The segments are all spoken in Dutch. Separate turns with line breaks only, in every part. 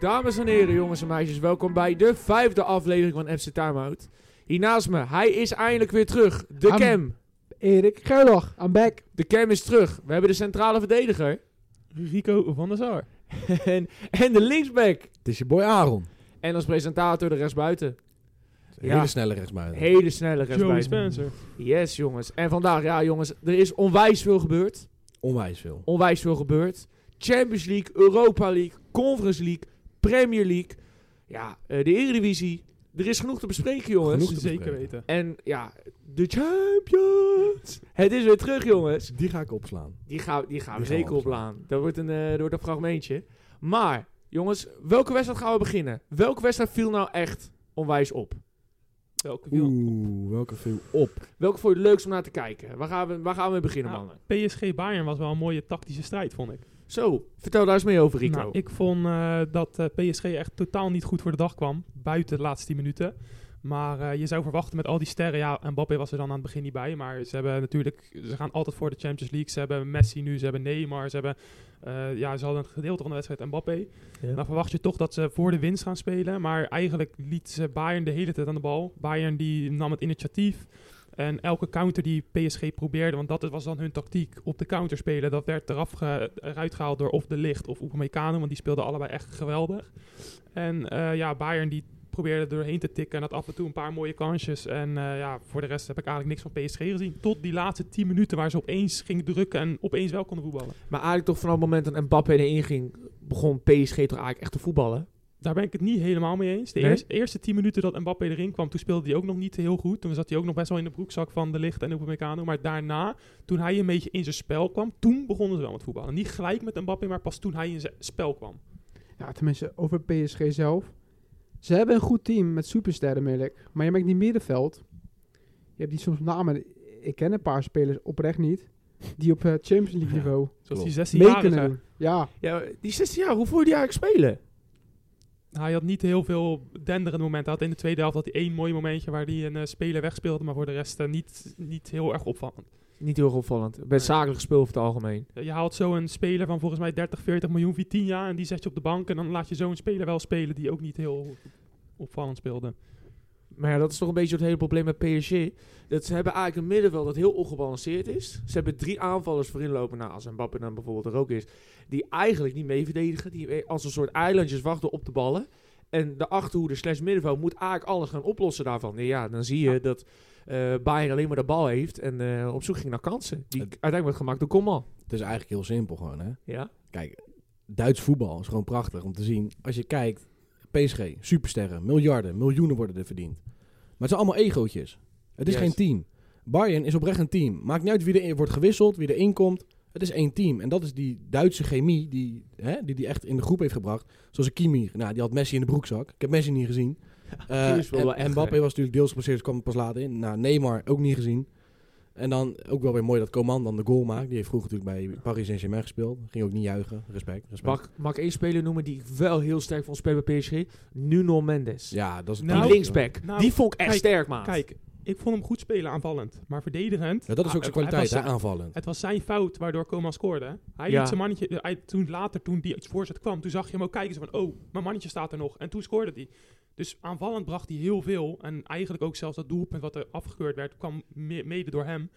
Dames en heren, jongens en meisjes, welkom bij de vijfde aflevering van FC Timeout. Hier naast me, hij is eindelijk weer terug. De
Am-
Cam.
Erik Gerlach, I'm back.
De Cam is terug. We hebben de centrale verdediger.
Rico van der Zaar.
en, en de linksback.
Het is je boy Aaron.
En als presentator de rechtsbuiten.
Hele
Ja.
snelle rechtsbuiten.
Hele snelle
Joey
rechtsbuiten.
Spencer.
Yes, jongens. En vandaag, ja, jongens, er is onwijs veel gebeurd.
Onwijs veel.
onwijs veel gebeurd. Champions League, Europa League, Conference League, Premier League. Ja, eh, de Eredivisie. Er is genoeg te bespreken, jongens.
Genoeg te
Zeker
bespreken.
weten.
En ja, de Champions. Het is weer terug, jongens.
Die ga ik opslaan.
Die gaan, die gaan we
Die gaan we
zeker oplaan. Dat wordt een, eh, dat wordt een fragmentje. Maar, jongens, welke wedstrijd gaan we beginnen? Welke wedstrijd viel nou echt onwijs op?
Welke wil?
Oeh, welke viel op.
Welke vond je het leukst om naar te kijken? Waar gaan we, waar gaan we mee beginnen,
Nou,
mannen?
PSG Bayern was wel een mooie tactische strijd, vond ik.
Zo, vertel daar eens mee over, Rico.
Nou, ik vond eh, dat eh, PSG echt totaal niet goed voor de dag kwam. Buiten de laatste 10 minuten. Maar eh, je zou verwachten met al die sterren. Ja, Mbappé was er dan aan het begin niet bij. Maar ze hebben natuurlijk. Ze gaan altijd voor de Champions League. Ze hebben Messi nu. Ze hebben Neymar. Ze hebben. eh, ja, ze hadden een gedeelte van de wedstrijd Mbappé. Dan verwacht je toch dat ze voor de winst gaan spelen. Maar eigenlijk liet ze Bayern de hele tijd aan de bal. Bayern die nam het initiatief. En elke counter die PSG probeerde, want dat was dan hun tactiek, op de counter spelen, dat werd eraf ge- eruit gehaald door of de Licht of Upamecano, want die speelden allebei echt geweldig. En eh, ja, Bayern die probeerde er doorheen te tikken en had af en toe een paar mooie kansjes. En eh, ja, voor de rest heb ik eigenlijk niks van PSG gezien. Tot die laatste 10 minuten waar ze opeens gingen drukken en opeens wel konden voetballen.
Maar eigenlijk toch vanaf het moment dat Mbappé erin ging, begon PSG toch eigenlijk echt te voetballen.
Daar ben ik het niet helemaal mee eens. De
Nee?
eerste, eerste 10 minuten dat Mbappé erin kwam, toen speelde hij ook nog niet heel goed. Toen zat hij ook nog best wel in de broekzak van de licht en Upamecano. Maar daarna, toen hij een beetje in zijn spel kwam, toen begonnen ze wel met voetballen. Niet gelijk met Mbappé, maar pas toen hij in zijn spel kwam.
Ja, tenminste, over PSG zelf. Ze hebben een goed team met supersterren, merk. Maar je merkt die middenveld. Je hebt die soms namen. Ik ken een paar spelers oprecht niet. Die op eh, Champions League
Ja,
niveau
Zoals
Klopt.
die
mee
16
kunnen
jaar.
doen. Ja,
Ja, die 16 jaar, hoe voel je die eigenlijk spelen?
Hij had niet heel veel denderende momenten. Hij had in de tweede helft had hij één mooi momentje waar hij een eh, speler wegspeelde. Maar voor de rest eh, niet, niet heel erg opvallend. Eh,
Niet heel erg opvallend. Best zakelijk speel over het algemeen.
Je haalt zo een speler van volgens mij 30, 40 miljoen Vitinha en die zet je op de bank. En dan laat je zo'n speler wel spelen die ook niet heel opvallend speelde.
Maar ja, dat is toch een beetje het hele probleem met PSG. Dat ze hebben eigenlijk een middenveld dat heel ongebalanceerd is. Ze hebben drie aanvallers voorin lopen. Nou, als Mbappé dan bijvoorbeeld er ook is. Die eigenlijk niet mee verdedigen. Die als een soort eilandjes wachten op de ballen. En de achterhoede slash middenveld moet eigenlijk alles gaan oplossen daarvan. Ja, dan zie je dat eh Bayern alleen maar de bal heeft. En eh, op zoek ging naar kansen. Die
Het-
uiteindelijk werd gemaakt door Coman.
Het is eigenlijk heel simpel gewoon, hè.
Ja.
Kijk, Duits voetbal is gewoon prachtig om te zien. Als je kijkt, PSG, supersterren, miljarden, miljoenen worden er verdiend. Maar het zijn allemaal egootjes. Het is
Yes.
geen team. Bayern is oprecht een team. Maakt niet uit wie er wordt gewisseld, wie erin komt. Het is één team. En dat is die Duitse chemie die hè, die, die echt in de groep heeft gebracht. Zoals een Kimi. Nou, die had Messi in de broekzak. Ik heb Messi niet gezien. Eh,
Kimi is wel
en,
wel echt
en Mbappé
gek.
was natuurlijk deels geblesseerd, dus kwam pas laat in. Nou, Neymar ook niet gezien. En dan ook wel weer mooi dat Coman dan de goal maakt. Die heeft vroeger natuurlijk bij Paris Saint-Germain gespeeld. Ging ook niet juichen. Respect, respect.
Mag, mag ik één speler noemen die ik wel heel sterk vond spelen bij PSG? Nuno Mendes.
Ja, dat is
Nou,
die linksback.
nou,
die vond ik echt
kijk,
sterk, maat.
Kijk, ik vond hem goed spelen aanvallend, maar verdedigend.
Ja, dat is ook zijn
Ah, hij
kwaliteit, hè,
was-
aanvallend.
Het was zijn fout waardoor Coman scoorde. hè. Hij
Ja.
liet zijn mannetje, eh, hij, toen later, toen die voorzet kwam, toen zag je hem ook kijken. Zo van, oh, mijn mannetje staat er nog. En toen scoorde hij. Dus aanvallend bracht hij heel veel. En eigenlijk ook zelfs dat doelpunt wat er afgekeurd werd, kwam me- mede door hem.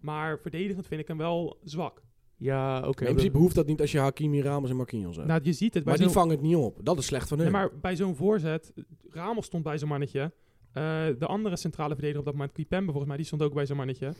Maar verdedigend vind ik hem wel zwak.
Ja, oké.
in principe hoeft dat niet als je Hakimi, Ramos en Marquinhos hebt.
Nou, je ziet het bij
maar die
zo'n
vangen het niet op. Dat is slecht van hun.
Nee, maar bij zo'n voorzet, Ramos stond bij zo'n mannetje. Eh, de andere centrale verdediger op dat moment, Kipembe volgens mij, die stond ook bij zo'n mannetje.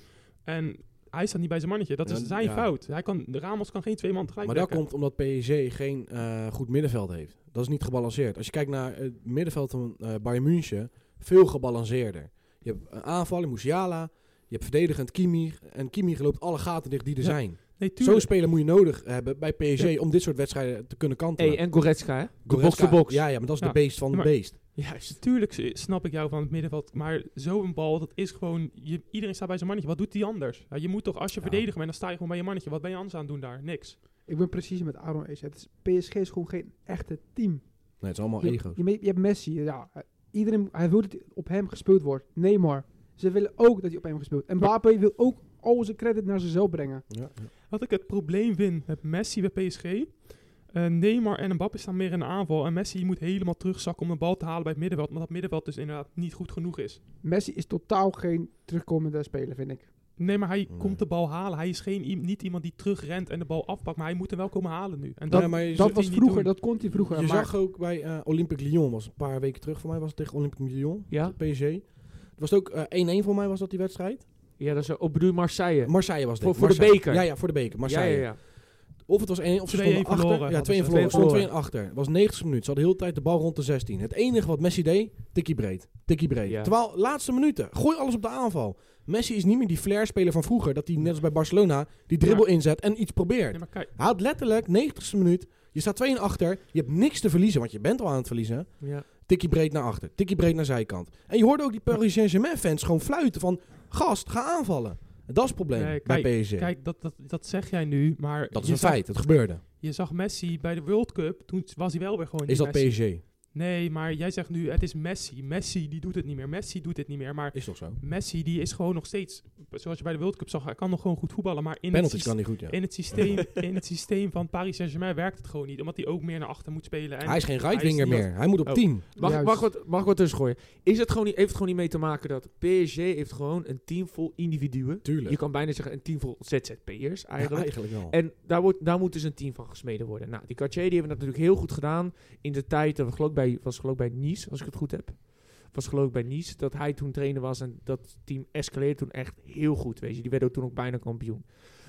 En hij staat niet bij zijn mannetje. Dat is
Ja,
zijn
ja.
fout. Hij kan, Ramos kan geen twee man tegelijk
Maar dat
dekken.
komt omdat PSG geen eh, goed middenveld heeft. Dat is niet gebalanceerd. Als je kijkt naar het middenveld van eh, Bayern München, veel gebalanceerder. Je hebt een aanvaller, Musiala. Je hebt verdedigend Kimi. En Kimi loopt alle gaten dicht die er
Ja,
zijn.
Nee,
Zo'n
tuurlijk.
speler moet je nodig hebben bij PSG om dit soort wedstrijden te kunnen kantelen.
Hey, en Goretzka, hè? De
Goretzka-
box-to-box.
Ja, ja, maar dat is
Ja,
de beest van
maar-
de beest.
Juist.
Tuurlijk s- snap ik jou van het middenveld, maar zo'n bal, dat is gewoon... Je, iedereen staat bij zijn mannetje. Wat doet die anders? Ja, je moet toch, als je
Ja.
verdediger bent, dan sta je gewoon bij je mannetje. Wat ben je anders aan het doen daar? Niks.
ik ben precies met Aaron eens. Het is, PSG is gewoon geen echte team.
Nee, het is allemaal
Je,
Oh, ego's.
je, je hebt Messi. Ja, iedereen, hij wil dat op hem gespeeld wordt. Neymar. Ze willen ook dat hij op hem gespeeld En Mbappé wil ook al zijn credit naar zichzelf brengen.
Ja.
Wat ik het probleem vind met Messi bij PSG. eh, Eh, Neymar en Mbappé staan meer in de aanval. En Messi moet helemaal terugzakken om de bal te halen bij het middenveld. Maar dat middenveld dus inderdaad niet goed genoeg is.
Messi is totaal geen terugkomende speler, vind ik.
Nee, maar hij
Nee.
komt de bal halen. Hij is geen, i- niet iemand die terugrent en de bal afpakt. Maar hij moet hem wel komen halen nu. En dat,
Ja, maar je
zult
Dat
hij
was
niet
vroeger,
doen.
dat kon hij vroeger.
Je
maar
zag ook bij eh, Olympique Lyon, was een paar weken terug voor mij, was het tegen Olympique Lyon,
Ja,
PSG. Het was ook eh, 1-1 voor mij was dat die wedstrijd.
ja dat is op bedoel je Marseille.
Marseille was dit.
Voor- voor de
Marseille.
beker.
Ja, ja, voor de beker.
ja,
Marseille.
ja, ja.
Of het was 1 of ze
2-1
stonden achter.
verloren
ja,
hadden
2
ze.
verloren.
2-1
Ze stonden 2 achter. Het was 90 minuten. Ze hadden de hele tijd de bal rond de 16. Het enige wat Messi deed, tikkie breed. Tikkie breed.
Ja.
Terwijl, laatste minuten. Gooi alles op de aanval. Messi is niet meer die flair-speler van vroeger. Dat hij net als bij Barcelona die dribbel inzet en iets probeert.
Nee, maar kijk,
Hij had letterlijk 90ste minuut. Je staat 2-1 achter. Je hebt niks te verliezen, want je bent al aan het verliezen.
ja.
Tikkie breed naar achter. Tikkie breed naar zijkant. En je hoorde ook die Paris Saint-Germain fans gewoon fluiten van... Gast, ga aanvallen. En dat is het probleem
Nee,
bij PSG.
kijk dat, dat, dat zeg jij nu. Maar
dat is
je
een
zag-
feit. Het gebeurde.
Je zag Messi bij de World Cup. Toen was hij wel weer gewoon
Is
die
dat
Messi.
PSG?
Nee, maar jij zegt nu het is Messi. Messi die doet het niet meer. Messi doet het niet meer. Maar
Is toch zo?
Messi die is gewoon nog steeds, zoals je bij de World Cup zag, hij kan nog gewoon goed voetballen. Maar in, het,
Penalties
systeem,
kan niet goed, ja.
in, het, systeem, in het systeem van Paris Saint-Germain werkt het gewoon niet. Omdat hij ook meer naar achter moet spelen. En
hij is geen right
hij is
winger
niet-
meer. Hij moet op
Oh.
10.
Mag, ik-
Juist.
mag, ik wat, mag ik wat tussen gooien? Is het gewoon niet, heeft het gewoon niet mee te maken dat PSG heeft gewoon een team vol individuen.
Tuurlijk.
Je kan bijna zeggen een team vol ZZP'ers
Ja,
eigenlijk.
wel.
En daar, wordt, daar moet dus een team van gesmeden worden. Nou, die Cartier die hebben dat natuurlijk heel goed gedaan. In de tijd, dat was geloof ik bij, was geloof ik bij Nice, als ik het goed heb. Was geloof ik bij Nice, dat hij toen trainer was. En dat team escaleerde toen echt heel goed, weet je. Die werden ook toen ook bijna kampioen.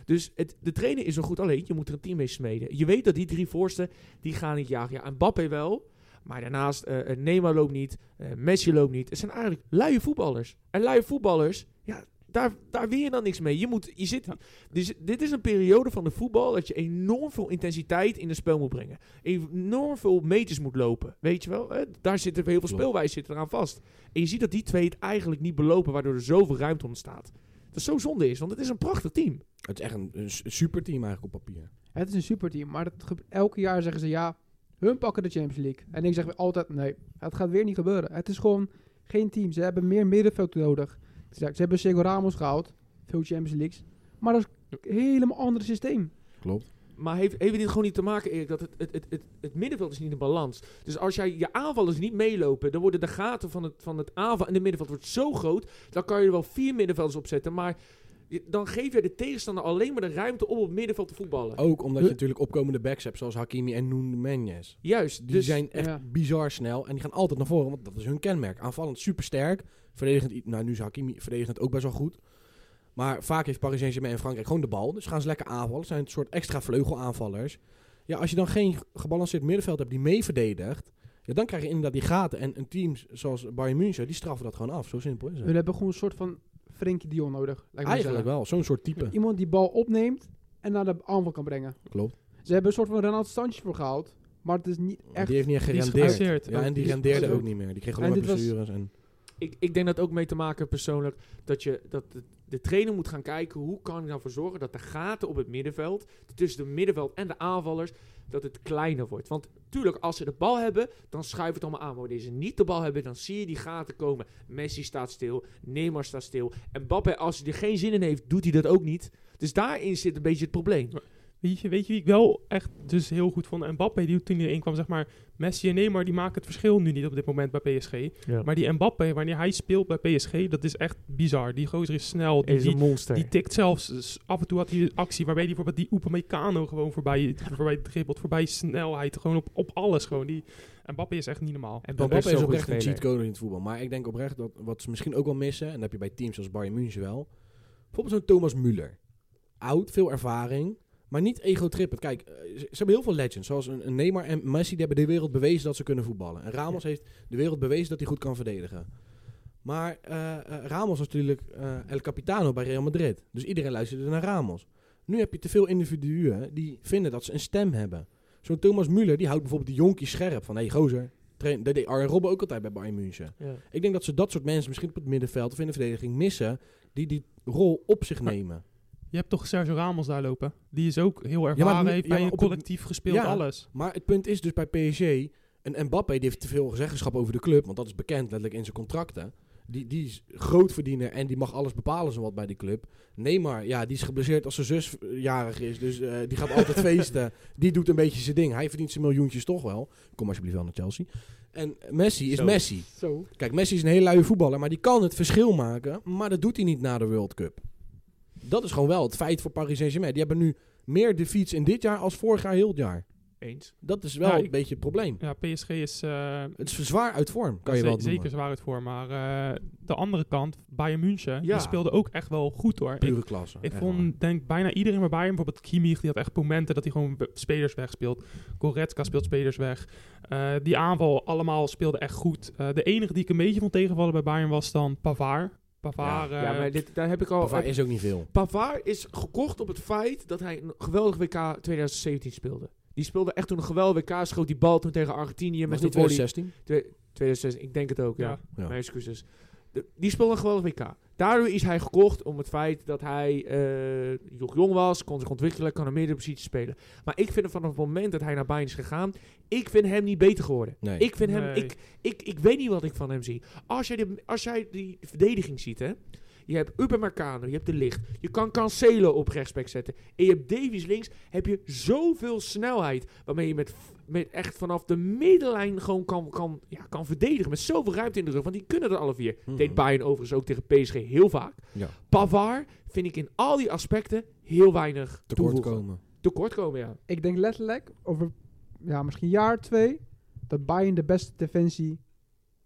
Dus het, de trainer is wel goed, alleen je moet er een team mee smeden. Je weet dat die drie voorsten, die gaan niet jagen. Ja, Mbappé wel, maar daarnaast eh eh, Neymar loopt niet, eh, Messi loopt niet. Het zijn eigenlijk luie voetballers. En luie voetballers, ja, daar, daar weer je dan niks mee. Je, moet, je zit, dus dit is een periode van de voetbal dat je enorm veel intensiteit in het spel moet brengen. Enorm veel meters moet lopen. Weet je wel? Eh, daar zitten heel veel
Klopt.
speelwijzen zitten eraan vast. En je ziet dat die twee het eigenlijk niet belopen, waardoor er zoveel ruimte ontstaat. Dat zo zonde is, want het is een prachtig team.
Het is echt een, een super team eigenlijk op papier.
Het is een superteam, maar dat gebe- elke jaar zeggen ze ja, hun pakken de Champions League. En ik zeg weer altijd nee, het gaat weer niet gebeuren. Het is gewoon geen team. Ze hebben meer middenveld nodig. Ze ze hebben Sergio Ramos gehaald, veel Champions Leagues. Maar dat is een helemaal ander systeem.
Klopt.
Maar heeft, heeft dit gewoon niet te maken, Erik, dat het, het, het, het, het middenveld is niet in balans. Dus als jij je aanvallers niet meelopen, dan worden de gaten van het, van het aanval en de middenveld wordt zo groot, dan kan je er wel vier middenvelders op zetten, maar je- dan geef je de tegenstander alleen maar de ruimte om op het middenveld te voetballen.
Ook omdat je
Huh?
natuurlijk opkomende backs hebt, zoals Hakimi en Nuno Mendes.
Juist,
Die
dus,
zijn echt
ja.
bizar snel en die gaan altijd naar voren, want dat is hun kenmerk. Aanvallend supersterk, verdedigend, i- nou nu is Hakimi verdedigend ook best wel goed. Maar vaak heeft Paris Saint-Germain en Frankrijk gewoon de bal, dus gaan ze lekker aanvallen. Zijn een soort extra vleugelaanvallers. Ja, als je dan geen gebalanceerd middenveld hebt die mee verdedigt, ja, dan krijg je inderdaad die gaten. En een team zoals Bayern München, die straffen dat gewoon af. Zo simpel is het.
Hun hebben gewoon een soort van Frenkie Dion nodig. lijkt me
Eigenlijk
zo.
wel, zo'n soort type.
Iemand die bal opneemt en naar de aanval kan brengen.
Klopt.
Ze hebben een soort van Renato Sanchez voor gehaald, maar het is niet echt...
Die heeft niet echt
Die is
gerendeerd.
geblesseerd.
Ja, en die
Die is
rendeerde ook
geblesseerd.
niet meer. Die kreeg
En
alleen maar
dit was-
blessures. En...
ik, ik denk dat ook mee te maken persoonlijk dat, je, dat de, de trainer moet gaan kijken hoe kan ik nou voor zorgen dat de gaten op het middenveld, tussen de middenveld en de aanvallers, dat het kleiner wordt. Want tuurlijk, als ze de bal hebben, dan schuiven het allemaal aan. Maar wanneer ze niet de bal hebben, dan zie je die gaten komen. Messi staat stil, Neymar staat stil. En Mbappé, als hij er geen zin in heeft, doet hij dat ook niet. Dus daarin zit een beetje het probleem.
Weet je, weet je wie ik wel echt dus heel goed vond? En Mbappé, die toen hij erin kwam, zeg maar... Messi en Neymar, die maken het verschil nu niet op dit moment bij PSG. Maar die Mbappé, wanneer hij speelt bij PSG, dat is echt bizar. Die gozer is snel. Die, die,
monster.
die tikt zelfs... dus af en toe had hij een actie waarbij die bijvoorbeeld die Upamecano gewoon voorbij, voorbij dribbelt. Voorbij snelheid. Gewoon op, op alles gewoon. Die Mbappé is echt niet normaal.
en
Mbappé is,
zo'n goede
oprecht een
speler.
cheatcode in het voetbal. Maar ik denk oprecht dat wat ze misschien ook wel missen, en dat heb je bij teams zoals Bayern München wel. Bijvoorbeeld zo'n Thomas Müller. Oud, veel ervaring, maar niet egotrippend. Kijk, eh, ze, ze hebben heel veel legends, zoals een, een Neymar en Messi, die hebben de wereld bewezen dat ze kunnen voetballen. En Ramos heeft de wereld bewezen dat hij goed kan verdedigen. Maar eh, eh, Ramos was natuurlijk eh, El Capitano bij Real Madrid. Dus iedereen luisterde naar Ramos. Nu heb je te veel individuen die vinden dat ze een stem hebben. Zo'n Thomas Müller, die houdt bijvoorbeeld die jonkies scherp. Van, hé hey, gozer, train. Dat deed Arjen Robben ook altijd bij Bayern München.
Ja.
Ik denk dat ze dat soort mensen misschien op het middenveld of in de verdediging missen... die die rol op zich
Maar-
nemen.
Je hebt toch Sergio Ramos daar lopen? Die is ook heel ervaren.
nu-
heeft bij
ja, maar
een
op het-
collectief gespeeld,
Ja.
alles.
Maar het punt is dus bij PSG... een Mbappé die heeft te veel zeggenschap over de club... want dat is bekend letterlijk in zijn contracten. Die, die is grootverdiener en die mag alles bepalen zo wat bij die club. Neymar, ja, die is geblesseerd als zijn zus eh, jarig is. Dus eh, die gaat altijd feesten. Die doet een beetje zijn ding. Hij verdient zijn miljoentjes toch wel. Kom alsjeblieft wel naar Chelsea. En Messi is
Zo.
Messi.
Zo.
Kijk, Messi is een hele luie voetballer, maar die kan het verschil maken. Maar dat doet hij niet na de World Cup. Dat is gewoon wel het feit voor Paris Saint-Germain. Die hebben nu meer defeats in dit jaar als vorig jaar heel het jaar.
Eens.
Dat is wel
Ja,
een
ik-
beetje het probleem.
Ja, PSG is... eh,
Het is zwaar uit vorm, kan je
ze-
wel noemen.
zeker zwaar het voor, maar eh, de andere kant, Bayern München,
Ja.
die speelde ook echt wel goed hoor. Ik,
Pure klasse.
ik
echt
vond,
waar.
denk bijna iedereen bij Bayern, bijvoorbeeld Kimmich, die had echt momenten dat hij gewoon be- spelers wegspeelt. Goretzka speelt spelers weg. Eh, die aanval, allemaal speelde echt goed. Eh, de enige die ik een beetje vond tegenvallen bij Bayern was dan Pavard. Pavard,
ja,
eh,
maar dit, daar heb ik al...
Pavard is ook niet veel.
Pavard is gekocht op het feit dat hij een geweldig WK 2017 speelde. Die speelde echt toen een geweldig WK, schoot die bal toen tegen Argentinië.
Was
Met
niet
die volley.
2016?
Twee- 2016, ik denk het ook, ja.
Ja.
Ja.
Mijn excuses. De- die speelde een geweldig WK. Daardoor is hij gekocht om het feit dat hij eh, nog jong was, kon zich ontwikkelen, kan een meerdere positie spelen. Maar ik vind hem vanaf het moment dat hij naar Bayern is gegaan, ik vind hem niet beter geworden.
Nee.
Ik vind hem,
Nee.
ik, ik, ik weet niet wat ik van hem zie. Als jij, de, als jij die verdediging ziet, hè. Je hebt Upamecano, je hebt De Licht. Je kan Cancelo op rechtsback zetten. En je hebt Davies links. Heb je zoveel snelheid waarmee je met, met echt vanaf de middenlijn gewoon kan, kan, ja, kan verdedigen. Met zoveel ruimte in de rug, want die kunnen er alle vier.
Mhm.
Deed Bayern overigens ook tegen PSG heel vaak.
Ja.
Pavard vind ik in al die aspecten heel weinig
Tekort
toevoegen.
komen.
Tekortkomen, ja.
Ik denk letterlijk over ja, misschien een jaar, twee, dat Bayern de beste defensie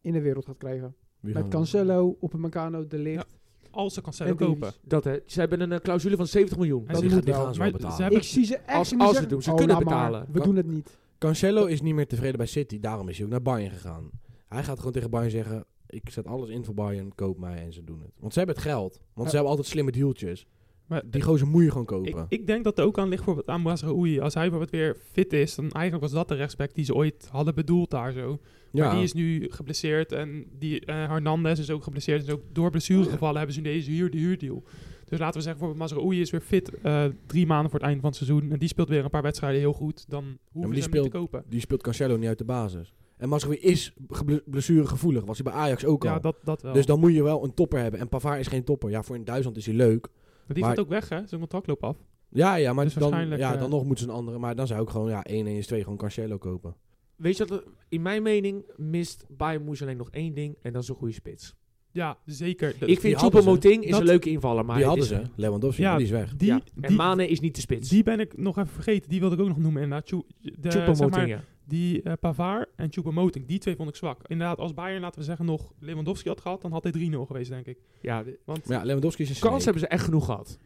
in de wereld gaat krijgen.
Wie
Met
gaan we-
Cancelo, Opamecano, De Ligt
als ze Cancelo
en
kopen.
Davies.
Dat, hè. Ze hebben een eh, clausule van 70 miljoen.
En
Dat
ze
moet
gaan-
wel.
gaan ze
maar
wel betalen.
Ze hebben,
Ik zie ze echt
Als-
niet
als ze
zeggen,
het doen, ze
"Oh,
kunnen
laat maar,
betalen."
we doen het niet.
Cancelo is niet meer tevreden bij City. Daarom is hij ook naar Bayern gegaan. Hij gaat gewoon tegen Bayern zeggen... Ik zet alles in voor Bayern, koop mij en ze doen het. Want ze hebben het geld. Want ze hebben altijd slimme dealtjes.
maar-
Die gozer moet je gewoon kopen.
Ik, ik denk dat er ook aan ligt voor aan Oei. Als hij bijvoorbeeld weer fit is, dan eigenlijk was dat de rechtsback die ze ooit hadden bedoeld daar zo. Maar die is nu geblesseerd en die eh, Hernandez is ook geblesseerd. Dus ook door
Oh,
blessuregevallen hebben ze nu deze huur, de huurdeal. Dus laten we zeggen, bijvoorbeeld Mazraoui is weer fit eh, drie maanden voor het eind van het seizoen. En die speelt weer een paar wedstrijden heel goed. Dan hoeven
die
ze hem niet te
speelt-
kopen.
Die speelt Cancelo niet uit de basis. En Masri is geble- blessuregevoelig. Was hij bij Ajax ook al.
Ja, dat, dat wel.
dus dan moet je wel een topper hebben. En Pavard is geen topper. Ja, voor in Duitsland is hij leuk.
Maar die
maar-
gaat ook weg, hè? Zijn contract loopt af.
Ja, ja maar
Dus
dan,
waarschijnlijk,
ja,
eh,
dan nog moeten ze een andere. Maar dan zou ik gewoon ja, 1-1 is 2 gewoon Cancelo kopen.
Weet je wat, er- in mijn mening mist Bayern Moes alleen nog één ding en dat is een goede spits.
Ja, zeker. De-
ik vind
hadden ze.
Choupo-Moting is
Dat-
een leuke invaller, maar
die
het
hadden
is-
ze. Lewandowski,
Ja,
maar die is weg.
die,
ja. En
die,
Mane is niet de spits.
die ben ik nog even vergeten. Die wilde ik ook nog noemen inderdaad. Tjoe- de- zeg
Choupo-Moting,
maar,
ja.
Die eh Pavard en Choupo-Moting, die twee vond ik zwak. Inderdaad, als Bayern, laten we zeggen, nog Lewandowski had gehad, dan had hij 3-0 geweest, denk ik.
ja. De
Want ja.
Maar ja, Lewandowski is een
kans
snake.
hebben ze echt genoeg gehad.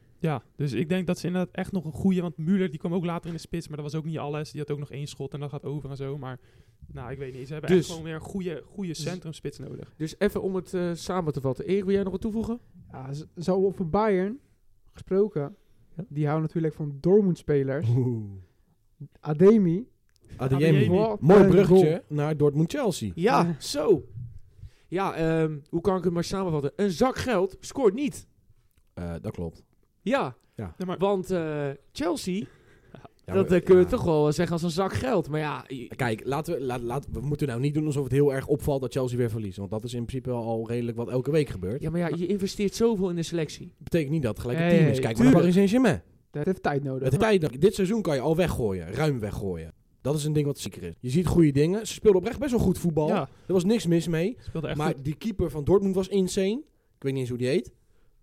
dus ik denk dat ze inderdaad echt nog een goede... Want Müller, die kwam ook later in de spits, maar dat was ook niet alles. Die had ook nog één schot en dat gaat over en zo. Maar, nou, ik weet niet. Ze hebben
Dus-
echt gewoon weer een goede,
Dus-
goede centrumspits nodig.
Dus even om het eh, samen te vatten. Erik, wil jij nog wat toevoegen?
Ja, z- zo over Bayern gesproken,
Ja.
die houden natuurlijk van Dortmund-spelers.
Oeh.
Ademi.
Adeyemi.
Adeyemi.
wat
Mooi
eh,
een goal.
bruggetje naar Dortmund-Chelsea.
Ja,
Ja.
zo. Ja, ehm, hoe kan ik het maar samenvatten? Een zak geld scoort niet.
Eh, dat klopt.
Ja,
Ja, maar
want eh, Chelsea,
Ja,
dat
maar-
eh, kunnen
ja.
we toch wel zeggen als een zak geld. Maar ja, i-
Kijk, laten we, laat, laat, we moeten nou niet doen alsof het heel erg opvalt dat Chelsea weer verliest. Want dat is in principe al redelijk wat elke week gebeurt.
ja, maar ja, je investeert zoveel in de selectie.
betekent niet dat het gelijk een
Nee,
team is. Kijk maar naar
tuurlijk.
Paris Saint-Germain.
Dat heeft tijd nodig.
Het tijd, dat- dit seizoen kan je al weggooien, ruim weggooien. Dat is een ding wat zeker is. Je ziet goede dingen. Ze speelden oprecht best wel goed voetbal.
ja,
Er was niks mis mee.
speelde echt
maar
goed.
die keeper van Dortmund was insane. Ik weet niet eens hoe die heet.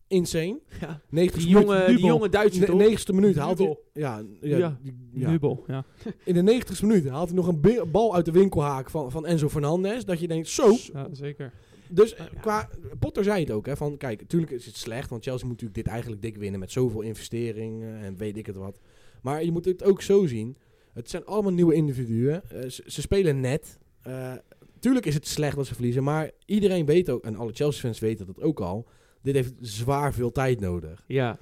Insane.
Ja.
90
Die jonge, die
Nubel.
jonge Duitse toch?
90ste minuut haalt hij...
Nubel.
Ja, ja,
Ja.
die- ja.
Dubbel, ja.
In de 90ste minuut haalt hij nog een bi- bal uit de winkelhaak van, van Enzo Fernandez. Dat je denkt, zo.
ja. Zeker.
Dus
Ja.
qua Potter zei het ook, hè, van kijk, natuurlijk is het slecht, want Chelsea moet natuurlijk dit eigenlijk dik winnen met zoveel investeringen en weet ik het wat. Maar je moet het ook zo zien. Het zijn allemaal nieuwe individuen. eh, ze, ze spelen net. Eh, tuurlijk is het slecht dat ze verliezen, maar iedereen weet ook en alle Chelsea fans weten dat ook al. Dit heeft zwaar veel tijd nodig.
Ja.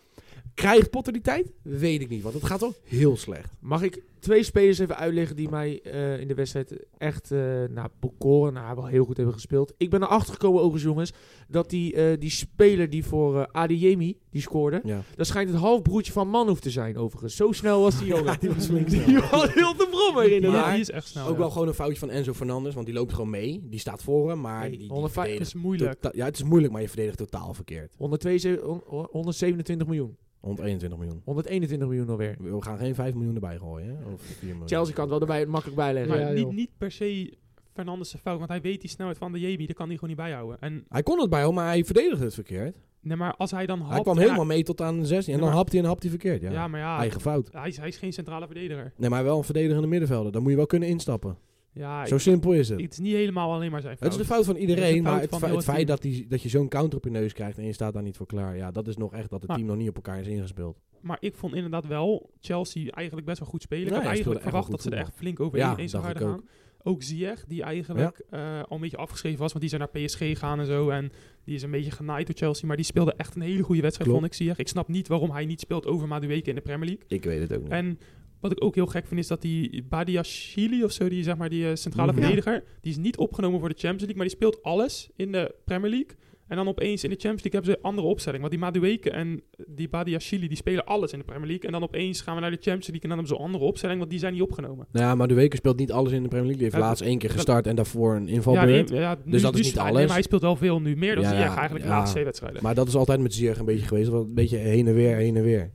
Krijgt Potter die tijd? Weet ik niet, want het gaat wel heel slecht.
Mag ik twee spelers even uitleggen die mij eh, in de wedstrijd echt eh nou, bekoren, nou, wel heel goed hebben gespeeld. Ik ben erachter gekomen overigens jongens, dat die, eh, die speler die voor eh, Adeyemi, die scoorde,
Ja.
dat schijnt het halfbroertje van Manhoef te zijn overigens. Zo snel was die jongen.
die was flink snel.
Die was heel te brommer
Die-
inderdaad.
die is echt snel.
Ook
Nou, ja.
wel gewoon een foutje van Enzo Fernandes, want die loopt gewoon mee. Die staat voor hem, maar
Hey,
die, die
105
Het
verdedigt
is moeilijk.
tota- ja, het is moeilijk, maar je verdedigt totaal verkeerd.
127 hon- hon- 127 miljoen.
121 miljoen.
121 miljoen alweer.
We we gaan geen 5 miljoen erbij gooien, hè? Of 4 miljoen.
Chelsea kan het wel erbij, makkelijk bijleggen.
Maar
Ja,
niet,
joh.
niet per se Fernandes zijn fout, want hij weet die snelheid van de JB, daar kan hij gewoon niet bijhouden. En
Hij kon het bij hem, maar hij verdedigde het verkeerd.
nee, maar als hij dan hapt...
hij kwam
ja,
helemaal mee tot aan de 16.
Ja,
En dan
maar-
hapt hij en hapt hij verkeerd. Ja.
Ja, maar ja,
Eigen fout.
hij, is, hij is geen centrale verdediger.
Nee, maar wel een verdedigende middenvelder. Dan moet je wel kunnen instappen.
Ja,
Zo
ik-
simpel is het.
het is niet helemaal alleen maar zijn
Het
fout.
is de fout van
Het is de
iedereen,
fout
maar het,
van
fe-
heel
het
het
feit
team.
dat, die, dat je zo'n counter op je neus krijgt en je staat daar niet voor klaar. Ja, dat is nog echt dat het
Maar-
team nog niet op elkaar is ingespeeld.
Maar ik vond inderdaad wel Chelsea eigenlijk best wel goed spelen. Ik
Ja,
had
ja, speelde
eigenlijk
echt wel
verwacht dat ze
goed
er echt flink over
Ja,
eens zouden
dacht ik
gaan. Ook Ziyech, die eigenlijk eh, al een beetje afgeschreven was, want die zijn naar PSG gegaan en zo. En die is een beetje genaaid door Chelsea, maar die speelde echt een hele goede wedstrijd,
Klopt.
vond ik Ziyech. Ik snap niet waarom hij niet speelt over Madueke in de Premier League.
Ik weet het ook niet.
En wat ik ook heel gek vind is dat die Badiashile of zo, die, zeg maar, die eh, centrale
Mhm.
verdediger, die is niet opgenomen voor de Champions League, maar die speelt alles in de Premier League. En dan opeens in de Champions League hebben ze een andere opstelling. Want die Madueke en die Badiashile, die spelen alles in de Premier League. En dan opeens gaan we naar de Champions League en dan hebben ze een andere opstelling, want die zijn niet opgenomen.
Nou ja, maar de Weken speelt niet alles in de Premier League. Die heeft
Ja,
laatst één keer gestart en daarvoor een invalbeurt.
die- ja, nu-
Dus dat
nu
is niet
sta- nee,
alles.
maar hij speelt wel veel nu. Meer dan
Ja,
ja,
ja,
eigenlijk de
ja.
laatste twee wedstrijden.
Maar dat is altijd met Ziyech een beetje geweest. wel Een beetje heen en weer, heen en weer.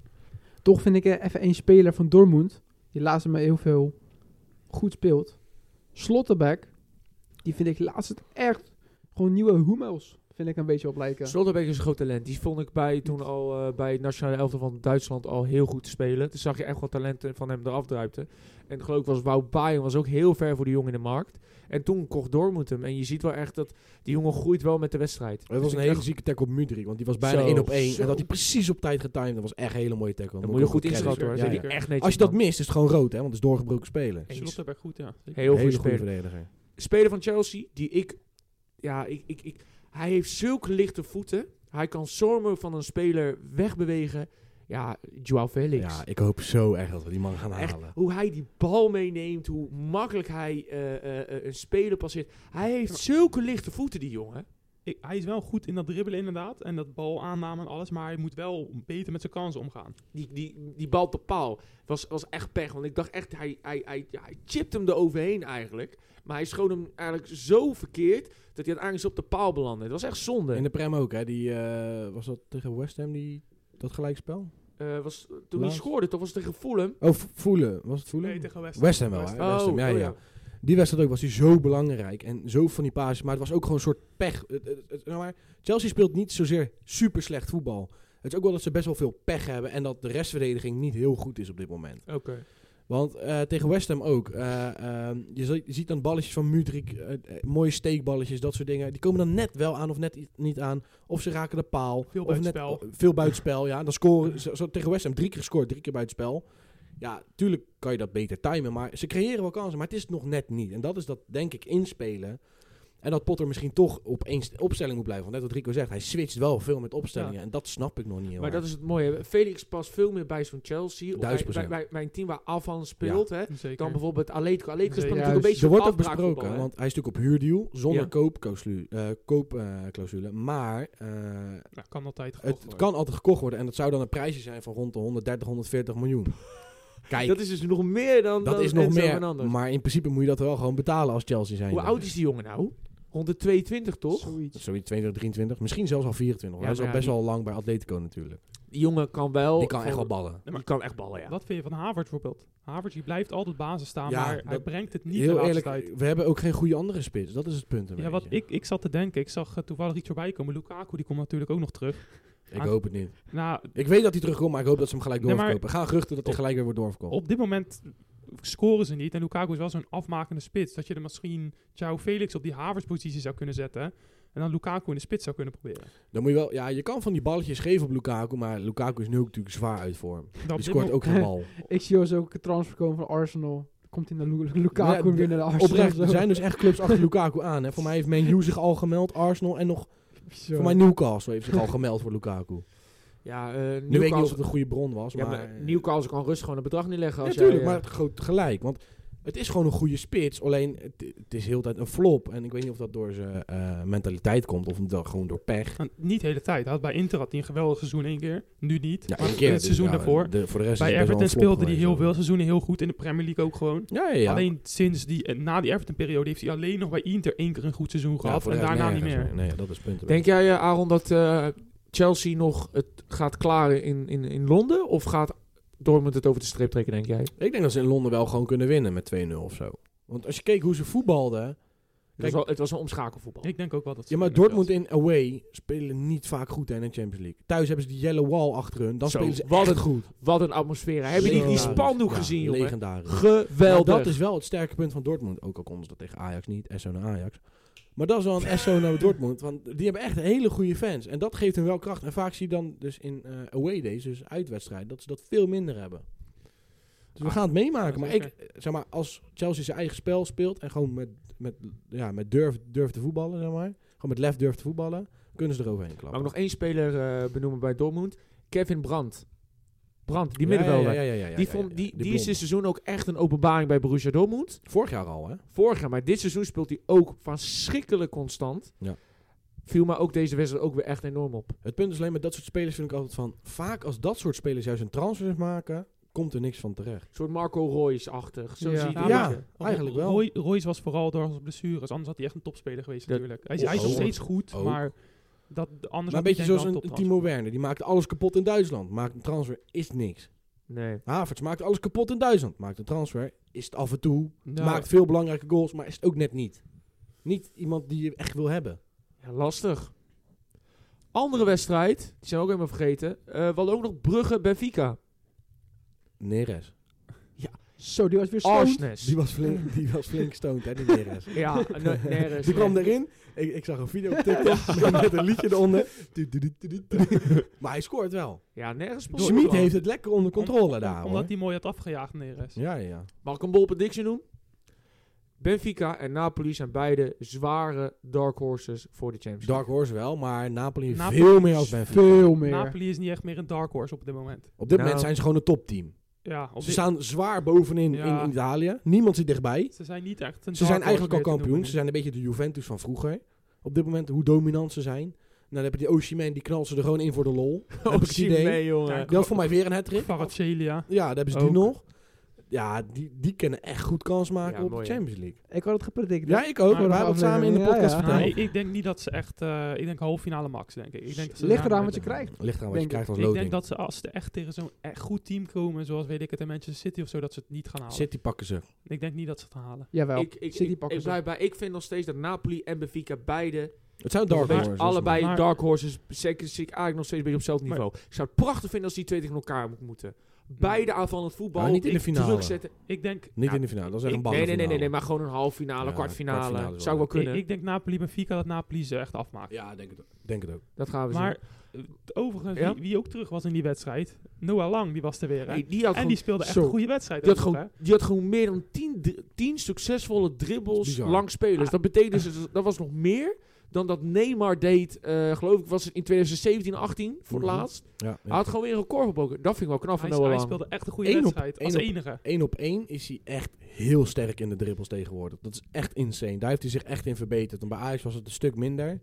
Toch vind ik eh, even één speler van Dortmund, die laatst me heel veel goed speelt. Slotterbeck, die vind ik laatst echt gewoon nieuwe Hummels, vind ik een beetje op lijken.
Slotterbeck is een groot talent. Die vond ik bij, toen al eh, bij het nationale elftal van Duitsland al heel goed spelen. Toen zag je echt wat talenten van hem eraf druipte. En geloof ik was Wout Bayern was ook heel ver voor die jongen in de markt. En toen kocht Dortmund hem. En je ziet wel echt dat die jongen groeit wel met de wedstrijd. Dus
Het was een hele zieke tackle op Mudrik, want die was bijna
Zo,
1 op 1. En
zo.
dat hij precies op tijd getimed. Dat was echt een hele mooie tackle.
Dan moet je
ik ook
goed
wel credits
inschatten hoor.
geven.
Dat
Ja,
die
ja.
echt netjes
Als je dat
doet.
mist, is het gewoon rood, hè? Want het is doorgebroken spelen.
Eens.
Slotterberg goed, ja. zeker.
Heel goed
hele goede
speler.
verdediger.
Speler van Chelsea die ik... Ja, ik, ik, ik, hij heeft zulke lichte voeten. Hij kan zomaar van een speler wegbewegen. Ja, Joao Felix.
Ja, ik hoop zo echt dat we die man gaan
Echt,
halen.
hoe hij die bal meeneemt, hoe makkelijk hij eh, eh, eh, een speler passeert. Hij heeft zulke lichte voeten, die jongen.
Ik- hij is wel goed in dat dribbelen inderdaad. En dat bal aanname en alles. Maar hij moet wel beter met zijn kansen omgaan.
Die, die, die bal op de paal was, was echt pech. Want ik dacht echt, hij, hij, hij, ja, hij chipt hem eroverheen eigenlijk. Maar hij schoot hem eigenlijk zo verkeerd dat hij uiteindelijk op de paal belandde. Dat was echt zonde.
In de Prem ook, hè? Die, eh, was dat tegen West Ham, die, dat gelijkspel?
Eh, was, toen hij
Laatst.
scoorde, toch was het tegen Fulham. Oh,
Oh, v- Voelen. Was het Voelen?
Nee, tegen West Ham.
West Ham wel, hè?
West
West Ham, ja, ja. Die wedstrijd ook was hij zo belangrijk en zo van die paas. Maar het was ook gewoon een soort pech. Het- het- het- nou maar, Chelsea speelt niet zozeer super slecht voetbal. Het is ook wel dat ze best wel veel pech hebben en dat de restverdediging niet heel goed is op dit moment.
Oké.
Want eh, tegen West Ham ook. eh, ehm, je, zi- je ziet dan balletjes van Mudrik, eh, eh, mooie steekballetjes, dat soort dingen. Die komen dan net wel aan of net i- niet aan. Of ze raken de paal.
Veel
of net-
buitenspel.
oh, veel buitenspel, ja. Dan scoren ze zo, tegen West Ham drie keer gescoord, drie keer buitenspel. Ja, tuurlijk kan je dat beter timen, maar ze creëren wel kansen. Maar het is het nog net niet. En dat is dat, denk ik, inspelen. En dat Potter misschien toch op één st- opstelling moet blijven. Want net wat Rico zegt, hij switcht wel veel met opstellingen. En dat snap ik nog niet heel
Maar
erg.
dat is het mooie. Felix past veel meer bij zo'n Chelsea. Of bij,
Duizend
bij,
procent.
bij, bij een team waar Afan speelt, hè.
Zeker.
Dan bijvoorbeeld Atletico. Atletico speelt
Zeker.
natuurlijk een
Juist.
beetje
Er wordt ook
afbraakvoetbal,
besproken,
hè.
want hij is natuurlijk op huurdeal zonder
Ja.
koopclausule. eh, koopclausule. maar eh,
Ja, Nou, kan altijd
het,
gekocht
het
worden.
kan altijd gekocht worden en dat zou dan een prijsje zijn van rond de 130, 140 miljoen. Kijk, dat,
Dat is dus nog meer dan dan
is nog
Enzo
meer,
Fernandes.
maar in principe moet je dat wel gewoon betalen als Chelsea zijn.
Hoe oud is die jongen nou? 122 toch?
Zoiets.
Zoiets 22, 23, misschien zelfs al 24.
Ja,
hij is al
maar ja,
best
die-
wel lang bij Atletico natuurlijk.
Die jongen kan wel.
die kan echt wel
voor-
ballen.
Ja, maar-
Die kan echt ballen, ja.
Wat vind je van Havertz bijvoorbeeld? Havertz die blijft altijd basis staan,
Ja,
maar hij
dat-
brengt het niet de
Heel
laatste
eerlijk,
tijd.
we hebben ook geen goede andere spits. Dat is het punt een
Ja, wat
beetje.
ik, ik zat te denken, ik zag eh, toevallig iets voorbij komen. Lukaku die komt natuurlijk ook nog terug.
Ik hoop het niet.
Nou,
Ik weet dat hij terugkomt, maar ik hoop dat ze hem gelijk
Nee, maar-
doorverkopen. Gaan geruchten dat hij gelijk weer wordt doorverkopen.
op dit moment scoren ze niet en Lukaku is wel zo'n afmakende spits. Dat je er misschien Joao Felix op die Havertz positie zou kunnen zetten en dan Lukaku in de spits zou kunnen proberen.
Dan moet je wel, ja, je kan van die balletjes geven op Lukaku, maar Lukaku is nu ook natuurlijk zwaar uit vorm.
Dan op
Die
dit
scoort
moment-
ook geen bal.
Ik zie ons ook een transfer komen van Arsenal. Komt hij naar Lu- Lukaku
Ja,
weer naar de Arsenal?
Oprecht, er
zo.
zijn dus echt clubs achter Lukaku aan. Hè. Voor mij heeft Man U zich al gemeld, Arsenal en nog
Zo.
voor mij Newcastle heeft zich al gemeld voor Lukaku.
Ja, eh
Nu weet ik niet of
Newcastle,
het een goede bron was,
ja,
maar...
maar Newcastle kan rustig gewoon een bedrag neerleggen.
Ja,
Als
natuurlijk,
jij, eh,
maar het groot gelijk. Want Het is gewoon een goede spits, alleen het, het is heel de tijd een flop. En ik weet niet of dat door zijn eh, mentaliteit komt of dat gewoon door pech.
Nou, niet de hele tijd. Hij had bij Inter had hij een geweldig seizoen één keer. Nu niet.
Ja,
Maar
één keer,
het
dus
seizoen
ja,
daarvoor.
de- voor de rest
Bij
is het best wel
Everton
een flop
speelde hij
geweest,
heel
hoor.
veel seizoenen heel goed. In de Premier League ook gewoon.
Ja, ja, ja.
Alleen sinds die, eh, na die Everton-periode heeft hij alleen nog bij Inter één keer een goed seizoen
Ja,
gehad.
voor de
en
rest
daarna niet
nergens
meer.
Nee, ja, dat is het punt.
Denk jij, eh, Aaron, dat eh, Chelsea nog het gaat klaren in, in, in Londen? Of gaat Dortmund het over de streep trekken, denk jij?
Ik denk dat ze in Londen wel gewoon kunnen winnen met 2-0 of zo. Want als je keek hoe ze voetbalden.
Het was, wel, het was een omschakelvoetbal.
Ik denk ook wel dat ze
Ja, maar
winnen,
Dortmund in away spelen niet vaak goed hè, in de Champions League. Thuis hebben ze die yellow wall achter hun. Dan
Zo,
spelen ze
wat
echt
een
goed.
Wat een atmosfeer. Heb je die, die
Legendarisch.
spandoek
Ja,
gezien, jongen?
Legendarisch.
Geweldig.
Maar dat is wel het sterke punt van Dortmund. Ook al konden ze dat tegen Ajax niet. SO naar Ajax. Maar dat is wel een SO naar Dortmund. Want die hebben echt hele goede fans. En dat geeft hun wel kracht. En vaak zie je dan dus in eh, away days, dus uitwedstrijden, dat ze dat veel minder hebben. Dus we
Ah,
gaan het meemaken.
ja,
Maar ik,
zeker.
eh, zeg maar, als Chelsea zijn eigen spel speelt en gewoon met, met, ja, met durf, durf te voetballen, zeg maar. Gewoon met lef durft te voetballen, kunnen ze eroverheen
Mag
klappen.
ik nog één speler eh, benoemen bij Dortmund? Kevin Brandt. Brandt, die
Ja,
middenvelder.
ja, ja, ja, ja, ja,
die,
ja,
vond, die,
ja.
die, is dus-
blond.
dit seizoen ook echt een openbaring bij Borussia Dortmund.
Vorig jaar al, hè?
Vorig jaar, maar dit seizoen speelt hij ook verschrikkelijk constant.
Ja.
Viel maar ook deze wedstrijd ook weer echt enorm op.
Het punt is alleen met dat soort spelers vind ik altijd van... Vaak als dat soort spelers juist een transfer maken, komt er niks van terecht.
Een soort Marco Royce-achtig. Zo
Ja.
zie je het een
Ja,
maar-
beetje.
Roy-
Eigenlijk wel.
Roy, Royce was vooral door zijn blessures. Anders had hij echt een topspeler geweest
Dat-
natuurlijk. Hij is, hij is
Ook.
nog steeds goed,
Ook.
maar dat, anders had
Maar een
hij
beetje
denk ik
zoals
wel
een
toptransfer.
Timo Werner. Die maakt alles kapot in Duitsland. Maakt een transfer, is niks.
Nee.
Havertz maakt alles kapot in Duitsland. Maakt een transfer, is het af en toe.
Nou,
Maakt veel belangrijke goals, maar is het ook net niet. Niet iemand die je echt wil hebben.
Ja, lastig. Andere wedstrijd, die zijn we ook helemaal vergeten. Eh, we hadden ook nog Brugge-Benfica.
Neres.
Zo, die was weer stoned.
Arsnes.
Die was flink, die was flink stoned, hè, die Neres.
Ja, Ah, nee, nergens.
Die kwam erin. Ik, ik zag een video op TikTok met- met een liedje eronder. Tu- tu- tu- tu- tu. Maar hij scoort wel.
Ja, nergens.
Door-
Schmid heeft het lekker onder controle daar,
om-
hoor.
Omdat hij mooi had afgejaagd, Neres.
Ja, ja, ja.
Mag ik een bol prediction doen? Benfica en Napoli zijn beide zware dark horses voor de Champions League.
Dark Horse wel, maar Napoli, heeft
Napoli
veel meer als Benfica.
Veel meer.
Napoli is niet echt meer een dark horse op dit moment.
Op dit
Nou.
moment zijn ze gewoon een topteam.
Ja, op
Ze
dit-
staan zwaar bovenin
Ja.
in Italië. Niemand zit dichtbij.
ze zijn niet echt een
Ze
dark
zijn
horse
eigenlijk al
meer te
kampioen.
noemen
Ze
nu.
zijn een beetje de Juventus van vroeger. Op dit moment, hoe dominant ze zijn. Nou, dan heb je die Osimhen, die knalt ze er gewoon in voor de lol. heb ik het idee.
mee, jongen.
Dat is voor mij weer een hat
Kvaratskhelia.
Ja, daar hebben ze die
Ook.
nog. Ja, die, die kunnen echt goed kans maken
Ja,
op
mooi,
de
hè.
Champions League.
Ik had het gepredikt.
Ja, ik ook.
Maar
Maar we hebben het samen in de
Ja,
podcast
ja.
verteld.
Nee, ik denk niet dat ze echt... eh, ik denk halve finale max, denk ik. ik denk dat ze
Ligt
daarna
eraan wat je
met-
krijgt.
Ligt eraan wat je
Denk
krijgt als
Ik denk
loting.
dat ze als ze echt tegen zo'n echt goed team komen, zoals weet ik het in Manchester City of zo, dat ze het niet gaan halen.
City pakken ze.
Ik denk niet dat ze het gaan halen.
Jawel.
Ik, ik,
City
ik,
pakken
ik
ze.
blijf bij. Ik vind nog steeds dat Napoli en Benfica beide
Het zijn dark
Maar
horses. dat is
allebei
maar-
dark horses. Zeker zie ik eigenlijk nog steeds een beetje op hetzelfde niveau. ik zou het prachtig vinden als die twee tegen elkaar mo- moeten. Beide aanvallend voetbal.
Maar Nou, niet in de
ik
finale.
Druk zetten.
Ik denk,
Niet
Ja,
in de finale, dat is echt
Ik-
een
nee, nee, nee, nee,
ballenfinale.
nee, maar gewoon een halve finale,
Ja,
kwartfinale.
kwartfinale is
Zou
wel
wel kunnen.
Ik, ik denk Napoli Benfica dat Napoli ze echt afmaakt.
Ja, denk het, denk het ook.
dat gaan we
maar eh, overigens,
Ja?
wie, wie ook terug was in die wedstrijd, Noah Lang, die was er weer.
zien.
Hè?
Nee, die had
en
gewoon
die speelde echt
zo.
een goede wedstrijd.
Die had,
ook nog,
gewoon, die had gewoon meer dan 10 succesvolle dribbles
Bizar.
langs spelers. Dat betekende dus, dat- dat was nog meer dan dat Neymar deed, eh, geloof ik, was het in 2017, 18 voor het
Mhm.
laatst.
Ja,
Hij had gewoon weer een record gebroken. Dat vind ik wel knap
hè?
van
Hij,
Noah
hij
Lang.
speelde echt een goede
Eén op-
wedstrijd, als
één op-
enige.
1 op 1 is hij echt heel sterk in de dribbles tegenwoordig. Dat is echt insane. Daar heeft hij zich echt in verbeterd. En bij Ajax was het een stuk minder.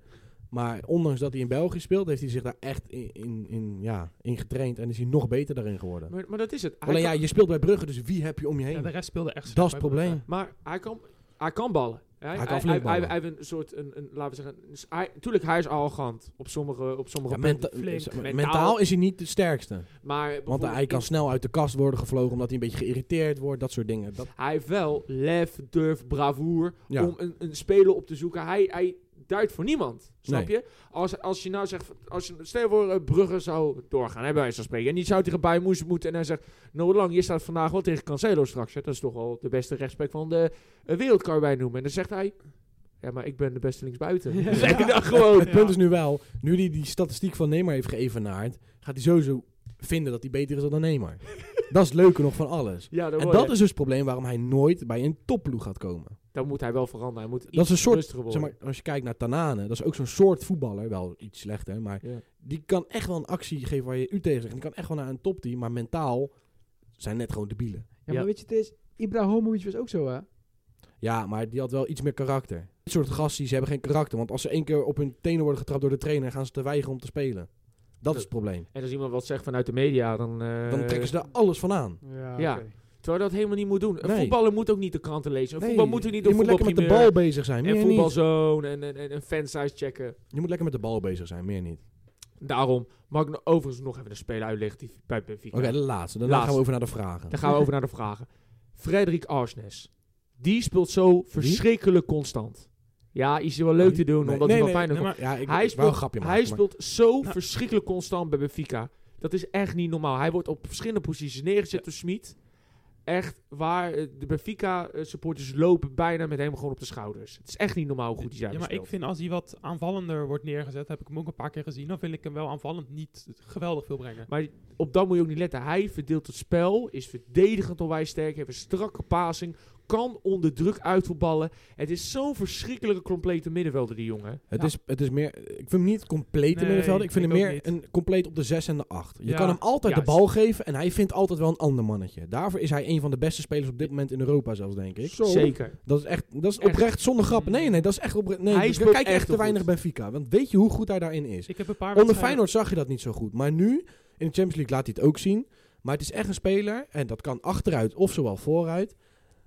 Maar ondanks dat hij in België speelt, heeft hij zich daar echt in, in, in, ja, in getraind. En is hij nog beter daarin geworden.
Maar, maar dat is het. Hij
Alleen
kan-
ja, je speelt bij Brugge, dus wie heb je om je
Ja,
heen?
de rest speelde echt
dat
slecht
is het
bij
probleem.
Maar hij kan, hij kan ballen. Hij,
kan
hij,
flink
hij-
ballen.
hij- hij heeft een soort, een, een, laten we zeggen, dus hij, tuurlijk hij is arrogant op sommige, op sommige
Ja,
punten.
menta-
flink.
zeg maar,
Mentaal-
mentaal is hij niet de sterkste.
Maar
Want
bijvoorbeeld
hij kan snel uit de kast worden gevlogen omdat hij een beetje geïrriteerd wordt. Dat soort dingen. Dat,
Hij heeft wel lef, durf, bravoer
Ja.
om een, een speler op te zoeken. Hij, hij duidt voor niemand, snap
Nee.
je? Als, als je nou zegt, als je, stel je voor eh, Brugge zou doorgaan, hebben wij zo spreken. En die zou tegen Bayern München moeten en hij zegt, nou lang, je staat vandaag wel tegen Cancelo straks. Hè? Dat is toch al de beste rechtsback van de eh, wereld, kan je bij noemen. En dan zegt hij, ja, maar ik ben de beste linksbuiten.
Ja.
Zeg ik dan gewoon.
Het punt is nu wel, nu hij die statistiek van Neymar heeft geëvenaard, gaat hij sowieso vinden dat hij beter is dan Neymar. dat is het leuke nog van alles.
Ja, dan,
En dat is dus het probleem waarom hij nooit bij een topploeg gaat komen.
dan moet hij wel veranderen. Hij moet iets
Dat is een soort,
rustiger worden.
zeg maar, als je kijkt naar Tanane, dat is ook zo'n soort voetballer, wel iets slechter, maar
Ja.
die kan echt wel een actie geven waar je u tegen zegt. Die kan echt wel naar een topteam, maar mentaal zijn net gewoon debielen.
Ja, maar
Ja.
weet je, het is... Ibrahimovic was ook zo, hè?
Ja, maar die had wel iets meer karakter. Dit soort gasten, ze hebben geen karakter. Want als ze één keer op hun tenen worden getrapt door de trainer, gaan ze te weigeren om te spelen. Dat is het probleem.
En als iemand wat zegt vanuit de media, dan... eh,
Dan trekken ze daar alles van aan.
Ja.
oké.
Terwijl dat helemaal niet moet doen. Een
Nee.
voetballer moet ook niet de kranten lezen. Een
Nee,
voetbal moet er niet
Je
door
moet lekker met de bal bezig zijn. Meer
En
niet.
voetbalzone en, en, en, en fansize checken.
Je moet lekker met de bal bezig zijn, meer niet.
Daarom mag ik nou overigens nog even de speler uitleggen die bij Benfica.
Oké, de laatste. Daarna
Laatste.
gaan we over naar de vragen.
Dan gaan we over naar de vragen. Frederik Arsnes. Die speelt zo verschrikkelijk constant. Ja, is wel leuk te doen,
Nee,
omdat
nee,
hij wel
nee,
fijn
nee, maar
Ja, ik
Hij
wou
speelt,
een grapje maken,
hij
maar-
speelt zo
Nou.
verschrikkelijk constant bij Benfica. Dat is echt niet normaal. Hij wordt op verschillende posities neergezet door Smit. Echt waar eh, de Benfica eh, supporters lopen bijna met hem gewoon op de schouders. Het is echt niet normaal hoe goed hij daar
ja, maar
speelt.
ik vind als hij wat aanvallender wordt neergezet, heb ik hem ook een paar keer gezien, dan vind ik hem wel aanvallend niet geweldig veel brengen.
Maar op dat moet je ook niet letten. Hij verdeelt het spel, is verdedigend onwijs sterk, heeft een strakke passing, kan onder druk uitvoetballen. Het is zo'n verschrikkelijke complete middenvelder, die jongen.
Het,
Ja.
is, het is meer, ik vind hem niet compleet
Nee,
in middenvelden. Ik vind
ik
hem
ook
meer
niet.
een compleet op de 6 en de 8. Je
Ja,
kan hem altijd de
juist.
bal geven en hij vindt altijd wel een ander mannetje. Daarvoor is hij een van de beste spelers op dit moment in Europa zelfs, denk ik.
Zo.
Zeker.
Dat is echt, dat is
Echt.
oprecht zonder grap. Nee, nee, dat is echt oprecht. Nee,
Hij
dus
speelt
kijk
echt
echt te
heel
weinig
goed.
Benfica. Want weet je hoe goed hij daarin is?
Ik heb een paar
Onder
wedstrijden-
Feyenoord zag je dat niet zo goed. Maar nu, in de Champions League laat hij het ook zien. Maar het is echt een speler, en dat kan achteruit of zowel vooruit.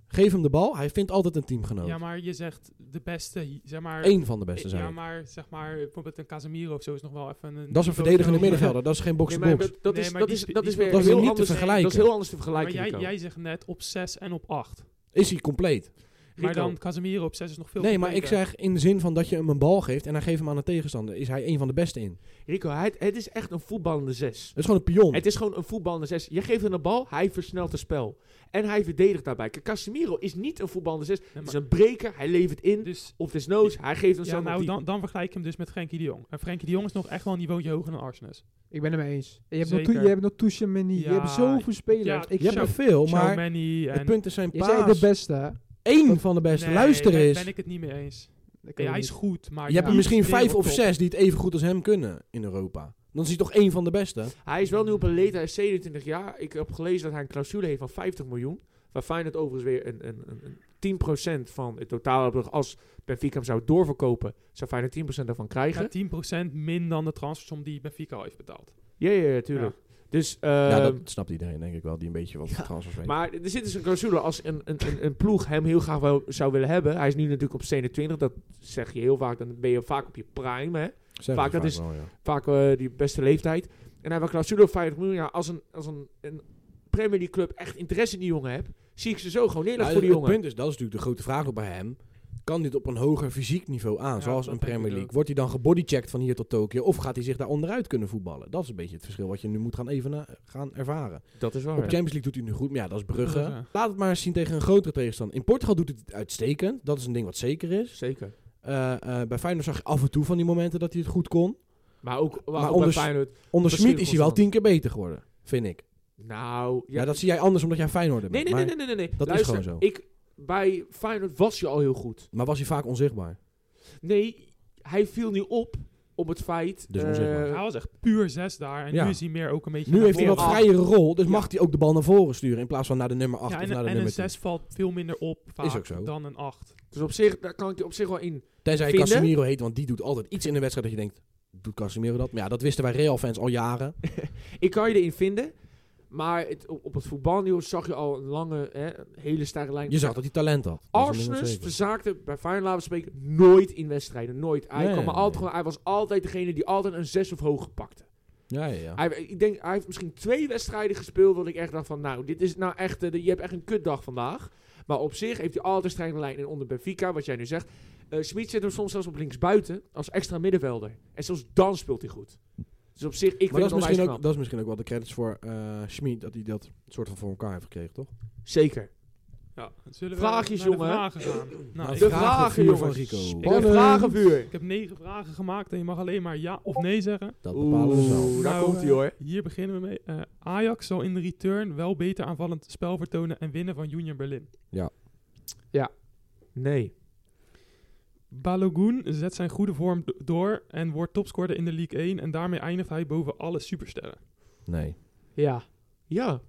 Geef hem de bal, hij vindt altijd een teamgenoot.
Ja, maar je zegt de beste, hi- zeg maar... eh,
Eén van de beste zijn.
Ja, maar zeg maar, bijvoorbeeld een Casemiro of zo is nog wel even een...
dat is een verdedigende middenvelder, dat is geen
Nee,
box-to-box.
maar dat, dat
Nee,
is,
maar
dat
die
is,
spe-
dat
die
is weer
Dat is weer
heel
niet te
anders,
vergelijken.
Dat is heel anders te
Maar
vergelijken,
jij,
Rico.
jij zegt net op 6 en op 8.
Is hij compleet?
Maar
Rico.
dan Casemiro op 6 is nog veel
Nee, maar ik
completer.
zeg in de zin van dat je hem een bal geeft en hij geeft hem aan een tegenstander. Is hij een van de beste in?
Rico, hij, het is echt een voetballende zes.
Dat is gewoon een pion.
Het is gewoon een voetballende zes. Je geeft hem de bal, hij versnelt het spel. En hij verdedigt daarbij. Kijk, Casemiro is niet een voetballende zes.
Nee,
Het is
maar-
een breker, hij levert in.
Dus
Of desnoods, hij geeft hem
ja,
zo
nou, dan, dan vergelijk ik hem dus met Frenkie de Jong. En Frenkie de Jong is nog echt wel een niveautje hoger dan Arsenis.
Ik ben het mee eens. En je hebt nog
Zeker.
Tou- je hebt nog Touchamini. Je
Ja,
hebt zoveel spelers.
ja,
ik
je hebt
heb
er
Zo-
veel,
Maar
maar
Manny
het
en...
punt is zijn
je zei de
paas.
beste. hè?
Eén van de beste.
Nee,
Luister
daar
eens.
ben ik het niet mee eens.
Dat kan
Ja, hij
niet.
is goed, maar...
Je hebt er
niet
misschien
de
vijf of
wereldtop.
zes die het even goed als hem kunnen in Europa. Dan is hij toch één van de beste.
Hij is wel nu op een leeftijd, hij is 27 jaar. Ik heb gelezen dat hij een clausule heeft van 50 miljoen. Waar Feyenoord overigens weer een, een, een, een 10% van het totale bedrag... als Benfica hem zou doorverkopen, zou Feyenoord 10% daarvan krijgen.
Ja, 10% min dan de transfersom die Benfica al heeft betaald.
Ja, ja, ja, tuurlijk. Dus, eh,
ja, dat snapt iedereen denk ik wel, die een beetje wat transfers weet.
Maar er zit dus een clausule als een, een, een, een ploeg hem heel graag wel zou willen hebben. Hij is nu natuurlijk op 27, dat zeg je heel vaak. Dan ben je vaak op je prime, hè.
Zeggen
vaak,
ze
dat is-
wel, ja.
vaak eh, die beste leeftijd. En hij wil clausule op 50 miljoen. Ja, als een, als een, een Premier League club echt interesse in die jongen hebt, zie ik ze zo gewoon neerleggen
Maar
voor die
het
jongen.
punt is, dat is natuurlijk de grote vraag nog bij hem. Kan dit op een hoger fysiek niveau aan,
Ja,
zoals
dat
een
denk ik
Premier
ook.
League? Wordt hij dan gebodychecked van hier tot Tokio? Of gaat hij zich daar onderuit kunnen voetballen? Dat is een beetje het verschil wat je nu moet gaan, even gaan ervaren.
Dat is
Op
waar.
Champions League doet hij nu goed, maar ja, dat is Brugge.
Brugge.
Laat het maar eens zien tegen een grotere tegenstander. In Portugal doet hij het uitstekend. Dat is een ding wat zeker is.
Zeker.
Eh, eh, bij Feyenoord zag je af en toe van die momenten dat hij het goed kon.
Maar ook, maar
Maar
ook
onder-
bij Feyenoord.
Onder
Verschil
Smit is hij wel
constant.
tien keer beter geworden, vind ik.
Nou,
Ja,
ja,
dat zie jij anders omdat jij Feyenoorder
nee,
bent.
nee, nee,
maar,
nee, nee, nee, nee.
dat is
Luister,
gewoon zo.
Ik, bij Feyenoord was je al heel goed.
maar was hij vaak onzichtbaar?
Nee, hij viel nu op op het feit.
Dus
eh,
onzichtbaar.
Hij was echt puur 6 daar. En
Ja.
nu is hij meer ook een beetje...
Nu
naar
heeft hij
meer
wat
voren.
acht.
vrijere rol, dus
Ja.
mag hij ook de bal naar voren sturen in plaats van naar de nummer 8
Ja,
of
en,
naar de
en een
nummer 10.
6 valt veel minder op vaak
ook zo.
dan een 8.
dus op zich, daar kan ik je op zich wel in.
Tenzij je
vinden.
Casemiro heet, want die doet altijd iets in de wedstrijd dat je denkt, doet Casemiro dat? Maar ja, dat wisten wij Real-fans al jaren.
Ik kan je erin vinden. Maar het, op, op het voetbalnieuws zag je al een lange, hè, een hele sterke lijn.
Je zag dat hij talent had. Dat is een ding
Arsenus
wat zeker is.
verzaakte bij Feyenoord laten we spreken nooit in wedstrijden. Nooit. Hij,
Nee,
kwam maar
nee.
altijd, gewoon, hij was altijd degene die altijd een 6 of hoger pakte.
Ja, ja, ja.
Hij, ik denk, hij heeft misschien twee wedstrijden gespeeld dat ik echt dacht van... Nou, dit is nou echt... eh, de- je hebt echt een kutdag vandaag. Maar op zich heeft hij altijd een strenge lijn. En onder Benfica, wat jij nu zegt... eh Smit zet hem soms zelfs op linksbuiten als extra middenvelder. En zelfs dan speelt hij goed. Dus op zich, ik
maar
vind
dat is,
het
misschien
onwijs
ook,
knap.
dat is misschien ook wel de credits voor eh Schmid, dat hij dat soort van voor elkaar heeft gekregen, toch?
Zeker.
Ja, zullen
Vraagjes,
we naar
jongen.
de vragen gaan? Nou,
Nou,
ik,
de
vraag
vragen,
vuur van
jongens.
Rico.
Ik heb
Spannend.
vragenvuur.
ik heb negen vragen gemaakt en je mag alleen maar ja of nee zeggen.
Dat bepalen we zelf.
Oeh, daar
Nou,
komt hij
eh,
hoor.
Hier beginnen we mee. Eh, Ajax zal in de return wel beter aanvallend spel vertonen en winnen van Union Berlin.
Nee.
Balogun zet zijn goede vorm do- door en wordt topscorer in de League 1 en daarmee eindigt hij boven alle supersterren.
Nee.
Ja.
Ja.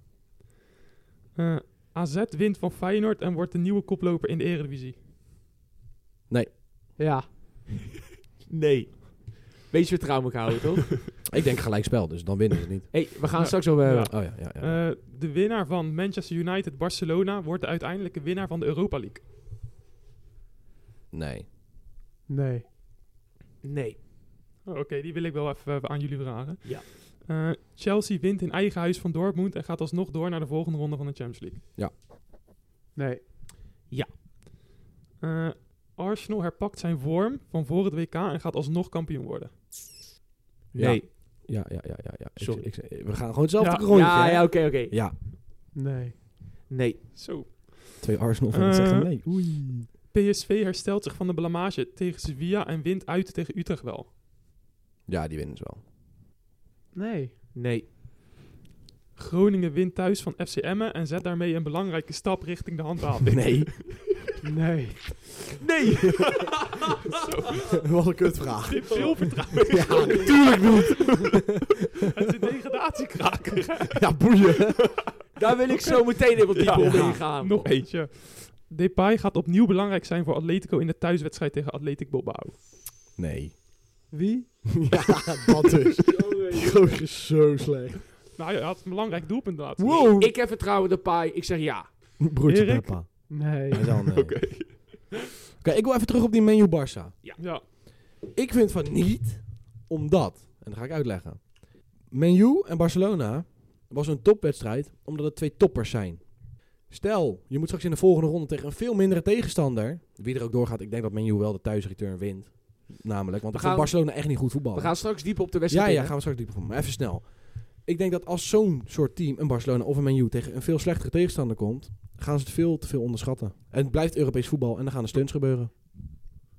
Eh, AZ wint van Feyenoord en wordt de nieuwe koploper in de Eredivisie.
Ja,
Nee. Beetje vertrouwen elkaar houden, toch?
Ik denk gelijkspel, dus dan winnen ze niet.
hey, we gaan
Ja.
het straks over hebben.
Ja.
Oh ja, ja, ja.
Eh, de winnaar van Manchester United Barcelona wordt de uiteindelijke winnaar van de Europa League.
nee.
nee.
Nee.
Oh, Oké, die wil ik wel even eh, aan jullie vragen.
Ja.
Eh, Chelsea wint in eigen huis van Dortmund en gaat alsnog door naar de volgende ronde van de Champions League.
Nee.
Eh, Arsenal herpakt zijn vorm van voor het WK en gaat alsnog kampioen worden.
Nee.
Ja, ja, ja, ja. ja. Ik-
Sorry.
Ik, we gaan gewoon hetzelfde
Ja.
rondje.
ja,
hè?
ja, oké, oké.
ja,
Nee.
Nee.
Zo.
twee Arsenal fans
Eh,
zeggen nee. Oei.
PSV herstelt zich van de blamage tegen Sevilla en wint uit tegen Utrecht wel.
Ja, die winnen ze wel.
Nee.
Nee.
Groningen wint thuis van FC Emmen en zet daarmee een belangrijke stap richting de handhaving.
Oh, Nee.
Nee.
Nee!
Wat een kutvraag.
Dit veel vertrouwen.
Ja, natuurlijk niet.
Het is een degradatiekraker.
Ja, boeien.
Daar wil ik zo meteen even dieper
Ja.
op ingaan.
Nog eentje. Depay gaat opnieuw belangrijk zijn voor Atletico in de thuiswedstrijd tegen Atletico Bilbao.
Nee.
Wie?
Ja, dat dus. Die gozer is zo slecht.
Nou ja, hij had een belangrijk doelpunt laten.
Wow.
Ik heb vertrouwen in de paai. Ik zeg ja.
Broertje
Erik?
Peppa.
Nee.
Hij zal nee. Oké,
Oké.
ik wil even terug op die menu Barça.
Ja.
Ik vind van niet, omdat, en dat ga ik uitleggen. Menu en Barcelona was een topwedstrijd, omdat het twee toppers zijn. Stel, je moet straks in de volgende ronde tegen een veel mindere tegenstander. Wie er ook doorgaat, ik denk dat Menu wel de thuisreturn wint. Namelijk, want
We
ik vond
gaan-
Barcelona echt niet goed
We
voetballen.
gaan straks dieper op de
ja,
wedstrijd
Oh. ja,
in, hè?
gaan we straks dieper op. Maar even snel. Ik denk dat als zo'n soort team, een Barcelona of een Menu, tegen een veel slechtere tegenstander komt, gaan ze het veel te veel onderschatten. En het blijft Europees voetbal en dan gaan de stunts gebeuren.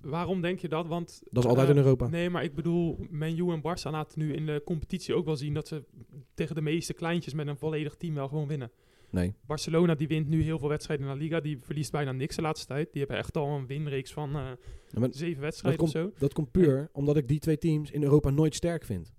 Waarom denk je dat? Want
Dat is altijd
eh,
in Europa.
Nee, maar ik bedoel, Menu en Barça laten nu in de competitie ook wel zien dat ze tegen de meeste kleintjes met een volledig team wel gewoon winnen.
Nee.
Barcelona die wint nu heel veel wedstrijden in La Liga, die verliest bijna niks de laatste tijd. Die hebben echt al een winreeks van eh,
Ja, maar
zeven wedstrijden of zo.
Dat komt puur omdat ik die twee teams in Europa nooit sterk vind.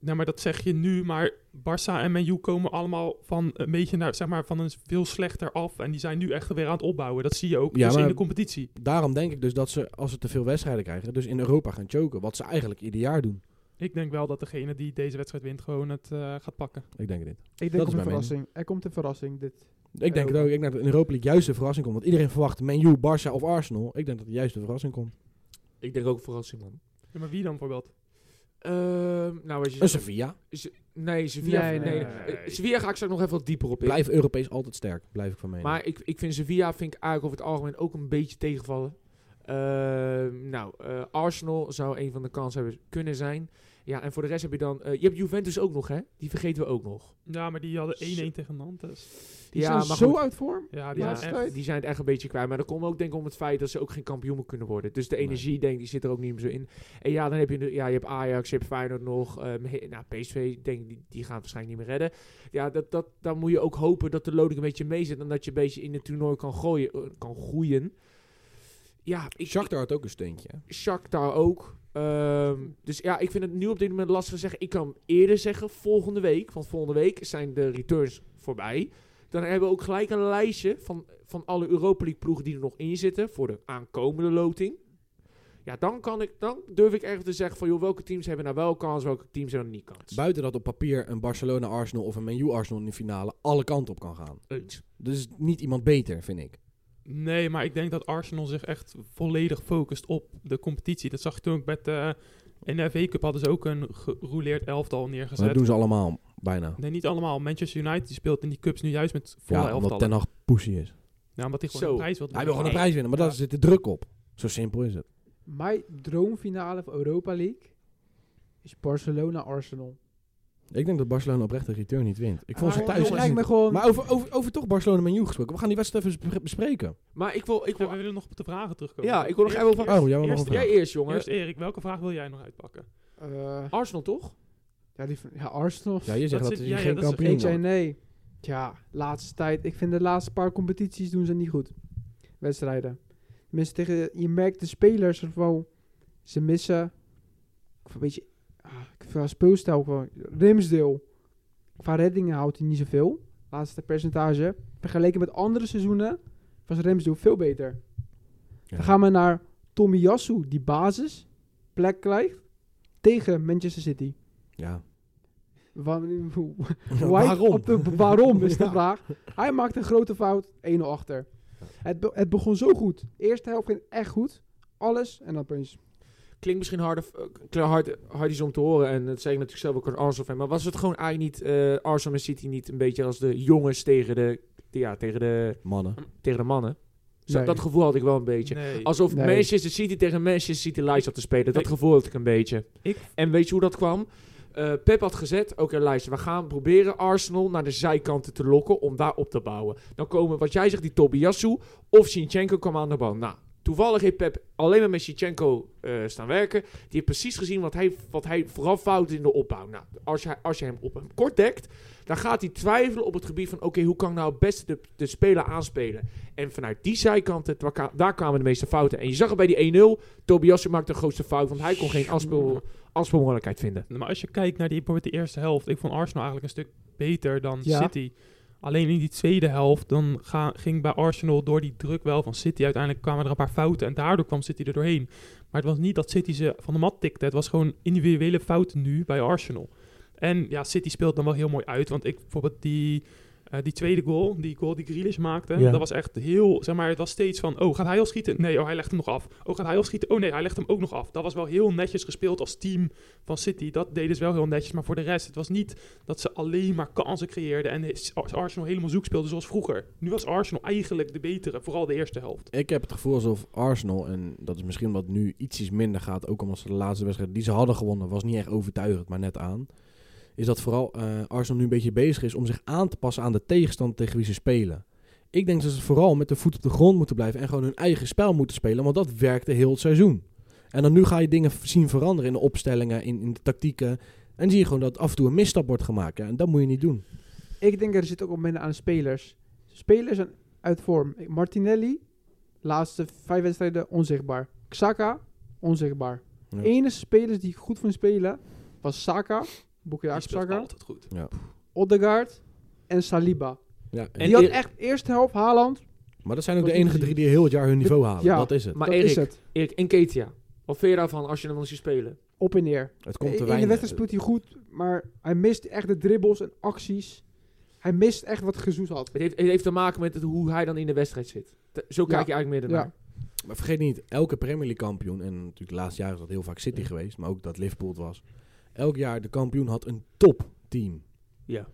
Nou, maar dat zeg je nu, maar Barça en Menu komen allemaal van een beetje naar, zeg maar, van een veel slechter af. En die zijn nu echt weer aan het opbouwen. Dat zie je ook
Ja,
dus in
maar-
de competitie.
Daarom denk ik dus dat ze, als ze te veel wedstrijden krijgen, dus in Europa gaan choken. Wat ze eigenlijk ieder jaar doen.
Ik denk wel dat degene die deze wedstrijd wint gewoon het eh, gaat pakken.
Ik denk dit.
Ik
is
denk op een
mijn
verrassing. Er komt een verrassing. Dit.
Ik denk het ook. Ik denk dat in Europa League juist de verrassing komt. Want iedereen verwacht Man U, Barça of Arsenal. Ik denk dat juist de verrassing komt.
Ik denk ook verrassing, man.
Ja, maar wie dan bijvoorbeeld?
Ehm, nou, als je...
Een Sevilla.
Nee, Sevilla...
Nee,
Nee,
nee,
nee,
nee.
Eh, Sevilla ga ik straks nog even wat dieper op in.
Blijf Europees altijd sterk. Blijf ik van mening.
Maar ik, ik vind Sevilla vind ik eigenlijk over het algemeen ook een beetje tegenvallen. Ehm, nou, eh, Arsenal zou een van de kanshebbers kunnen zijn. Ja, en voor de rest heb je dan... eh, je hebt Juventus ook nog, hè? Die vergeten we ook nog.
Ja, maar die hadden 1-1
Zo.
tegen Nantes.
Die
ja,
zijn
maar
zo
goed.
uit vorm.
Ja, die
Ja,
waren echt...
Laatste-
die zijn het echt een beetje kwijt. Maar dat komt ook denk ik om het feit dat ze ook geen kampioen meer kunnen worden. Dus de
Nee.
energie denk ik, die zit er ook niet meer zo in. En ja, dan heb je, de- ja, je hebt Ajax, je hebt Feyenoord nog. ehm, he- nou, PSV denk ik, die, die gaan het waarschijnlijk niet meer redden. Ja, dat, dat, dan moet je ook hopen dat de loading een beetje mee zit. En dat je een beetje in het toernooi kan, gooien, eh, kan groeien. Ja, ik,
Shakhtar had ook een steuntje.
ik- Shakhtar ook. Ehm, dus ja, ik vind het nu op dit moment lastig te zeggen. Ik kan eerder zeggen volgende week. Want volgende week zijn de returns voorbij. Dan hebben we ook gelijk een lijstje van, van alle Europa League ploegen die er nog in zitten. Voor de aankomende loting. Ja, dan, kan ik, dan durf ik echt te zeggen van joh, welke teams hebben nou wel kans, welke teams hebben nou niet kans.
Buiten dat op papier een Barcelona Arsenal of een Man U Arsenal in de finale alle kanten op kan gaan.
Eh.
Eens.
Dus niet iemand beter, vind ik.
Nee, maar ik denk dat Arsenal zich echt volledig focust op de competitie. Dat zag je toen ook met eh, de NRV Cup hadden ze ook een gerouleerd elftal
Maar dat
neergezet.
doen ze allemaal bijna.
Nee, niet allemaal. Manchester United die speelt in die cups nu juist met volle
Ja, omdat
elftallen.
Ten Hag poesie is.
Ja, omdat hij gewoon
Zo.
een prijs wil
Hij wil gewoon een
Nee.
prijs winnen, maar daar
Ja.
zit de druk op. Zo simpel is het.
Mijn droomfinale van Europa League is Barcelona-Arsenal.
Ik denk dat Barcelona oprecht de return niet wint. Ik vond ze
Maar
thuis
het lijkt
echt
me
niet-
gewoon...
Maar over, over, over toch Barcelona menu gesproken. We gaan die wedstrijd even bes- bespreken.
Maar ik wil, ik
Ja,
wil,
we willen nog op de vragen terugkomen.
ja, ik wil nog
Eerst-
even over...
Oh, jij wil nog een
eerst-
vraag.
Jij eerst jongen.
Eerst Erik, welke vraag wil jij nog uitpakken?
Eh,
Arsenal toch?
ja, die, van- ja, Arsenal.
Ja, je zegt
Dat
dat,
zit-
je
ja, ja,
geen
dat is-
kampioen
Ik zei
wordt.
nee. Ja, laatste tijd. Ik vind de laatste paar competities doen ze niet goed. Wedstrijden. Tenminste, tegen, je merkt de spelers gewoon... Ze missen... Of een beetje... Ah, qua speelstijl gewoon. Rimsdeel. Qua reddingen houdt hij niet zoveel. laatste percentage, vergeleken met andere seizoenen, was Ramsdale veel beter.
Ja.
Dan gaan we naar Tomiyasu, die basisplek krijgt tegen Manchester City.
Ja.
Wa- White
Waarom?
op de- waarom is de vraag. Hij maakt een grote fout, 1-0 achter. Het, be- het begon zo goed. Eerste helft ging echt goed. Alles en dan opeens.
Klinkt misschien hard, eh, kl- hard, hard iets om te horen. En dat zei ik natuurlijk zelf ook als Arsenal fan. Maar was het gewoon eigenlijk niet, eh, Arsenal en City niet een beetje als de jongens tegen de, ja, tegen de,
Mannen.
tegen de mannen? Zo,
Nee.
Dat gevoel had ik wel een beetje.
Nee.
Alsof
Nee.
Manchester City tegen Manchester City Light zat te spelen. Dat
Ik-
gevoel had ik een beetje.
Ik-
En weet je hoe dat kwam? Eh, Pep had gezet, oké luister, we gaan proberen Arsenal naar de zijkanten te lokken om daar op te bouwen. Dan komen, wat jij zegt, die Tobiasu of Sinchenko kwam aan de bal. Nou, toevallig heeft Pep alleen maar met Sinchenko eh, staan werken. Die heeft precies gezien wat hij, wat hij vooral fout in de opbouw. Nou, als je, als je hem op hem kort dekt, dan gaat hij twijfelen op het gebied van... oké, hoe kan ik nou het beste de, de speler aanspelen? En vanuit die zijkanten, daar kwa- daar kwamen de meeste fouten. En je zag het bij die 1-0, Tobiasu maakte de grootste fout... want hij kon geen afspeel, afspeelmogelijkheid vinden.
Nou, Maar als je kijkt naar die, bijvoorbeeld de eerste helft, ik vond Arsenal eigenlijk een stuk beter dan
Ja.
City. Alleen in die tweede helft, dan ga- ging bij Arsenal door die druk wel van City. Uiteindelijk kwamen er een paar fouten en daardoor kwam City er doorheen. Maar het was niet dat City ze van de mat tikte. Het was gewoon individuele fouten nu bij Arsenal. En ja, City speelt dan wel heel mooi uit. Want ik bijvoorbeeld die, eh, die tweede goal, die goal die Grealish maakte,
Ja.
dat was echt heel, zeg maar, het was steeds van, oh, gaat hij al schieten? Nee, oh, hij legt hem nog af. Oh, gaat hij al schieten? Oh nee, hij legt hem ook nog af. Dat was wel heel netjes gespeeld als team van City. Dat deden ze wel heel netjes. Maar voor de rest, het was niet dat ze alleen maar kansen creëerden en Arsenal helemaal zoek speelde zoals vroeger. Nu was Arsenal eigenlijk de betere, vooral de eerste helft.
Ik heb het gevoel alsof Arsenal, en dat is misschien wat nu ietsjes minder gaat, ook omdat ze de laatste wedstrijd die ze hadden gewonnen, was niet echt overtuigend, maar net aan. Is dat vooral eh, Arsenal nu een beetje bezig is om zich aan te passen aan de tegenstand tegen wie ze spelen. Ik denk dat ze vooral met de voet op de grond moeten blijven en gewoon hun eigen spel moeten spelen, want dat werkte heel het seizoen. En dan nu ga je dingen zien veranderen in de opstellingen, in, in de tactieken. En zie je gewoon dat af en toe een misstap wordt gemaakt. Ja, en dat moet je niet doen.
Ik denk er zit ook op minder aan de spelers. Spelers zijn uit vorm. Martinelli, laatste vijf wedstrijden onzichtbaar. Xhaka, onzichtbaar.
Ja.
Enige spelers die goed van spelen was Saka,
Ja,
Bukayo
speelt
Saka,
altijd goed.
Odegaard en Saliba.
Ja,
En
die had
eer-
echt eerste helft Haaland.
maar dat zijn ook de
Wat
enige
doen ze?
drie die heel het jaar hun niveau halen.
Ja.
Dat is het.
Maar
dat is
Erik,
het.
Erik, en Ketia, wat vind je daarvan als je hem dan ziet spelen?
Op en neer.
Het komt te
in de
weinig.
wedstrijd speelt hij goed, maar hij mist echt de dribbles en acties. Hij mist echt wat Gezoes had.
Het heeft, het heeft te maken met het- hoe hij dan in de wedstrijd zit. T- zo kijk je eigenlijk meer
Ja.
naar.
Maar vergeet niet, elke Premier League kampioen, en natuurlijk de laatste jaren is dat heel vaak City geweest, maar ook dat Liverpool het was. Elk jaar de kampioen had een topteam.
Ja.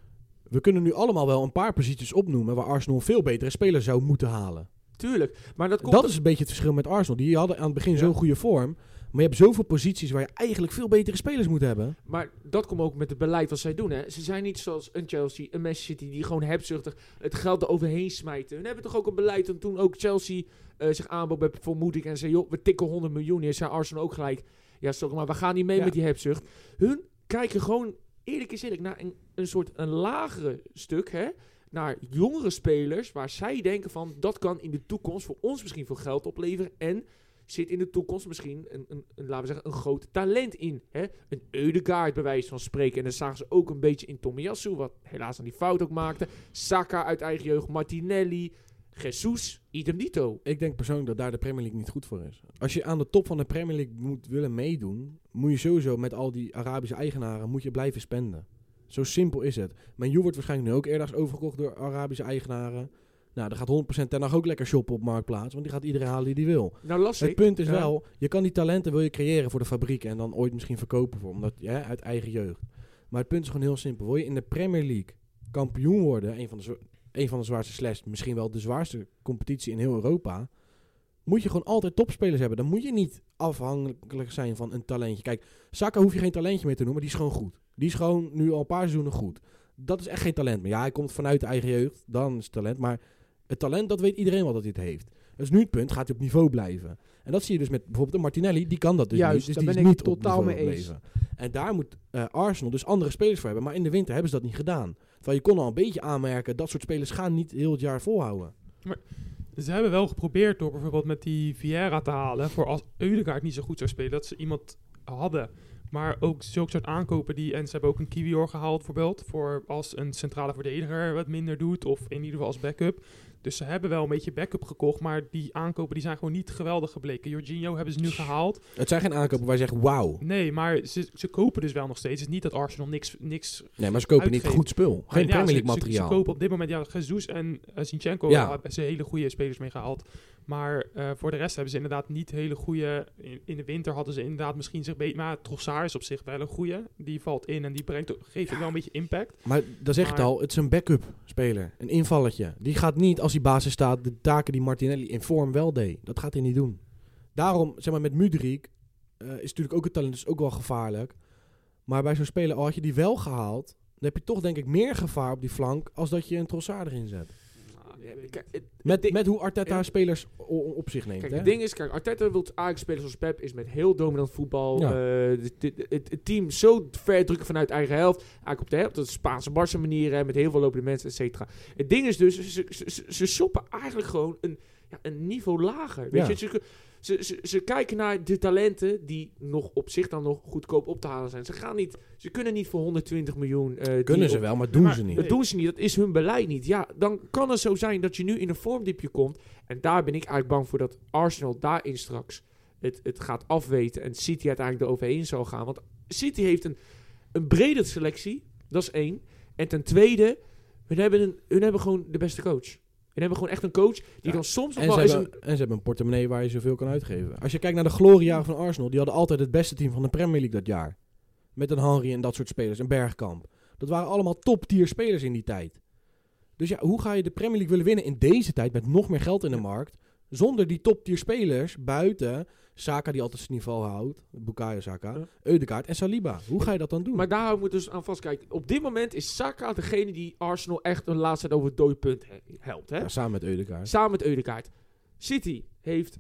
We kunnen nu allemaal wel een paar posities opnoemen waar Arsenal een veel betere spelers zou moeten halen.
Tuurlijk, maar dat komt...
Dat is een beetje het verschil met Arsenal. Die hadden aan het begin
Ja.
zo'n goede vorm, maar je hebt zoveel posities waar je eigenlijk veel betere spelers moet hebben.
Maar dat komt ook met het beleid wat zij doen. Hè. Ze zijn niet zoals een Chelsea, een Manchester City, die gewoon hebzuchtig het geld eroverheen smijten. Hun hebben toch ook een beleid. En toen ook Chelsea eh, zich aanbood bij Vermoeding en zei: joh, we tikken 100 miljoen neer. Zijn Arsenal ook gelijk. Ja, sorry, maar we gaan niet mee
Ja.
met die hebzucht. Hun kijken gewoon, eerlijk is eerlijk, naar een, een soort een lagere stuk. Hè, naar jongere spelers waar zij denken van dat kan in de toekomst voor ons misschien veel geld opleveren. En zit in de toekomst misschien een, een, een laten we zeggen, een groot talent in. Hè? Een Eudegaard bij wijze van spreken. En dat zagen ze ook een beetje in Tomiyasu, wat helaas aan die fout ook maakte. Saka uit eigen jeugd, Martinelli, Jesus, idem dito.
Ik denk persoonlijk dat daar de Premier League niet goed voor is. Als je aan de top van de Premier League moet willen meedoen, moet je sowieso met al die Arabische eigenaren moet je blijven spenden. Zo simpel is het. Menu wordt waarschijnlijk nu ook ergens overgekocht door Arabische eigenaren. Nou, dan gaat 100% ten Hag ook lekker shoppen op Marktplaats, want die gaat iedereen halen die die wil.
Nou las
Het
ik,
punt is
ja.
wel, je kan die talenten wil je creëren voor de fabriek en dan ooit misschien verkopen voor, omdat ja, uit eigen jeugd. Maar het punt is gewoon heel simpel. Wil je in de Premier League kampioen worden, een van de, zwa- een van de zwaarste slash, misschien wel de zwaarste competitie in heel Europa, moet je gewoon altijd topspelers hebben. Dan moet je niet afhankelijk zijn van een talentje. Kijk, Saka hoef je geen talentje meer te noemen, die is gewoon goed. Die is gewoon nu al een paar seizoenen goed. Dat is echt geen talent meer. Ja, hij komt vanuit de eigen jeugd, dan is het talent. Maar het talent, dat weet iedereen wel dat hij het heeft. Dus nu het punt, gaat hij op niveau blijven. En dat zie je dus met bijvoorbeeld een Martinelli, die kan dat dus
Juist,
niet. Dus die
daar ben
is
ik
niet op
totaal
niveau
mee eens.
gebleven. En daar moet eh, Arsenal dus andere spelers voor hebben. Maar in de winter hebben ze dat niet gedaan. Terwijl je kon al een beetje aanmerken, dat soort spelers gaan niet heel het jaar volhouden.
Ze hebben wel geprobeerd door bijvoorbeeld met die Vieira te halen voor als Eudegaard niet zo goed zou spelen, dat ze iemand hadden. Maar ook zulke soort aankopen die... En ze hebben ook een Kiwior gehaald bijvoorbeeld. Voor als een centrale verdediger wat minder doet. Of in ieder geval als backup. Dus ze hebben wel een beetje backup gekocht. Maar die aankopen die zijn gewoon niet geweldig gebleken. Jorginho hebben ze nu gehaald.
Het zijn geen aankopen waar je zegt wauw.
Nee, maar ze, ze kopen dus wel nog steeds. Het is niet dat Arsenal niks... niks
Nee, maar ze kopen niet
Uitgeven.
goed spul. Geen
Ja,
Premier
ze-
League
ze- Ze,
materiaal.
kopen op dit moment... Ja, Jesus en eh, Zinchenko
Ja.
hebben ze hele goede spelers mee gehaald. Maar eh, voor de rest hebben ze inderdaad niet hele goede... In, in de winter hadden ze inderdaad misschien zich beter... Maar Trossard is op zich wel een goede. Die valt in en die brengt, ook- geeft ook wel een beetje impact.
maar dan zeg je het
Maar-
al, het is een backup speler. Een invalletje. Die gaat niet, als hij basis staat, de taken die Martinelli in vorm wel deed. Dat gaat hij niet doen. Daarom, zeg maar, met Mudrik eh, is natuurlijk ook het talent dus ook wel gevaarlijk. Maar bij zo'n speler, al had je die wel gehaald, dan heb je toch denk ik meer gevaar op die flank als dat je een Trossard erin zet.
Kijk, het-
Met,
ding-
met hoe Arteta
Ja.
spelers o- op zich neemt.
Kijk,
hè?
het ding is, kijk, Arteta wil eigenlijk spelen zoals Pep is met heel dominant voetbal.
Ja.
eh, dit- dit- het, het team zo ver drukken vanuit eigen helft. Eigenlijk op de helft, dat is Spaanse Barse manieren, hè, met heel veel lopende mensen, et cetera. Het ding is dus, ze, ze, ze- ze shoppen eigenlijk gewoon een, ja, een niveau lager. Weet
Ja.
je, ze, ze, ze, ze kijken naar de talenten die nog op zich dan nog goedkoop op te halen zijn. Ze gaan niet, ze kunnen niet voor 120 miljoen. eh, die
Kunnen ze
op-
wel, maar
Ja,
doen
maar-
ze niet.
dat doen ze niet, dat is hun beleid niet. Ja, dan kan het zo zijn dat je nu in een vormdiepje komt. En daar ben ik eigenlijk bang voor dat Arsenal daarin straks het, het gaat afweten. En City uiteindelijk eroverheen zal gaan. Want City heeft een, een brede selectie, dat is één. En ten tweede, hun hebben, een, hun hebben gewoon de beste coach. Hun hebben gewoon echt een coach die
Ja,
dan soms nog
En ze,
wel eens
hebben,
een...
en ze hebben een portemonnee waar je zoveel kan uitgeven. Als je kijkt naar de gloriejaren van Arsenal, die hadden altijd het beste team van de Premier League dat jaar. Met een Henry en dat soort spelers, een Bergkamp. Dat waren allemaal top-tier spelers in die tijd. Dus ja, hoe ga je de Premier League willen winnen in deze tijd met nog meer geld in de markt, zonder die top-tier spelers buiten Saka die altijd zijn niveau houdt, Bukayo Saka,
Ja.
Eudegaard en Saliba. Hoe ga je dat dan doen?
Maar daar moet dus aan vastkijken. Op dit moment is Saka degene die Arsenal echt een laatste tijd over het dode punt he- helpt. Hè?
Ja, samen met Eudegaard.
Samen met Eudekaart. City heeft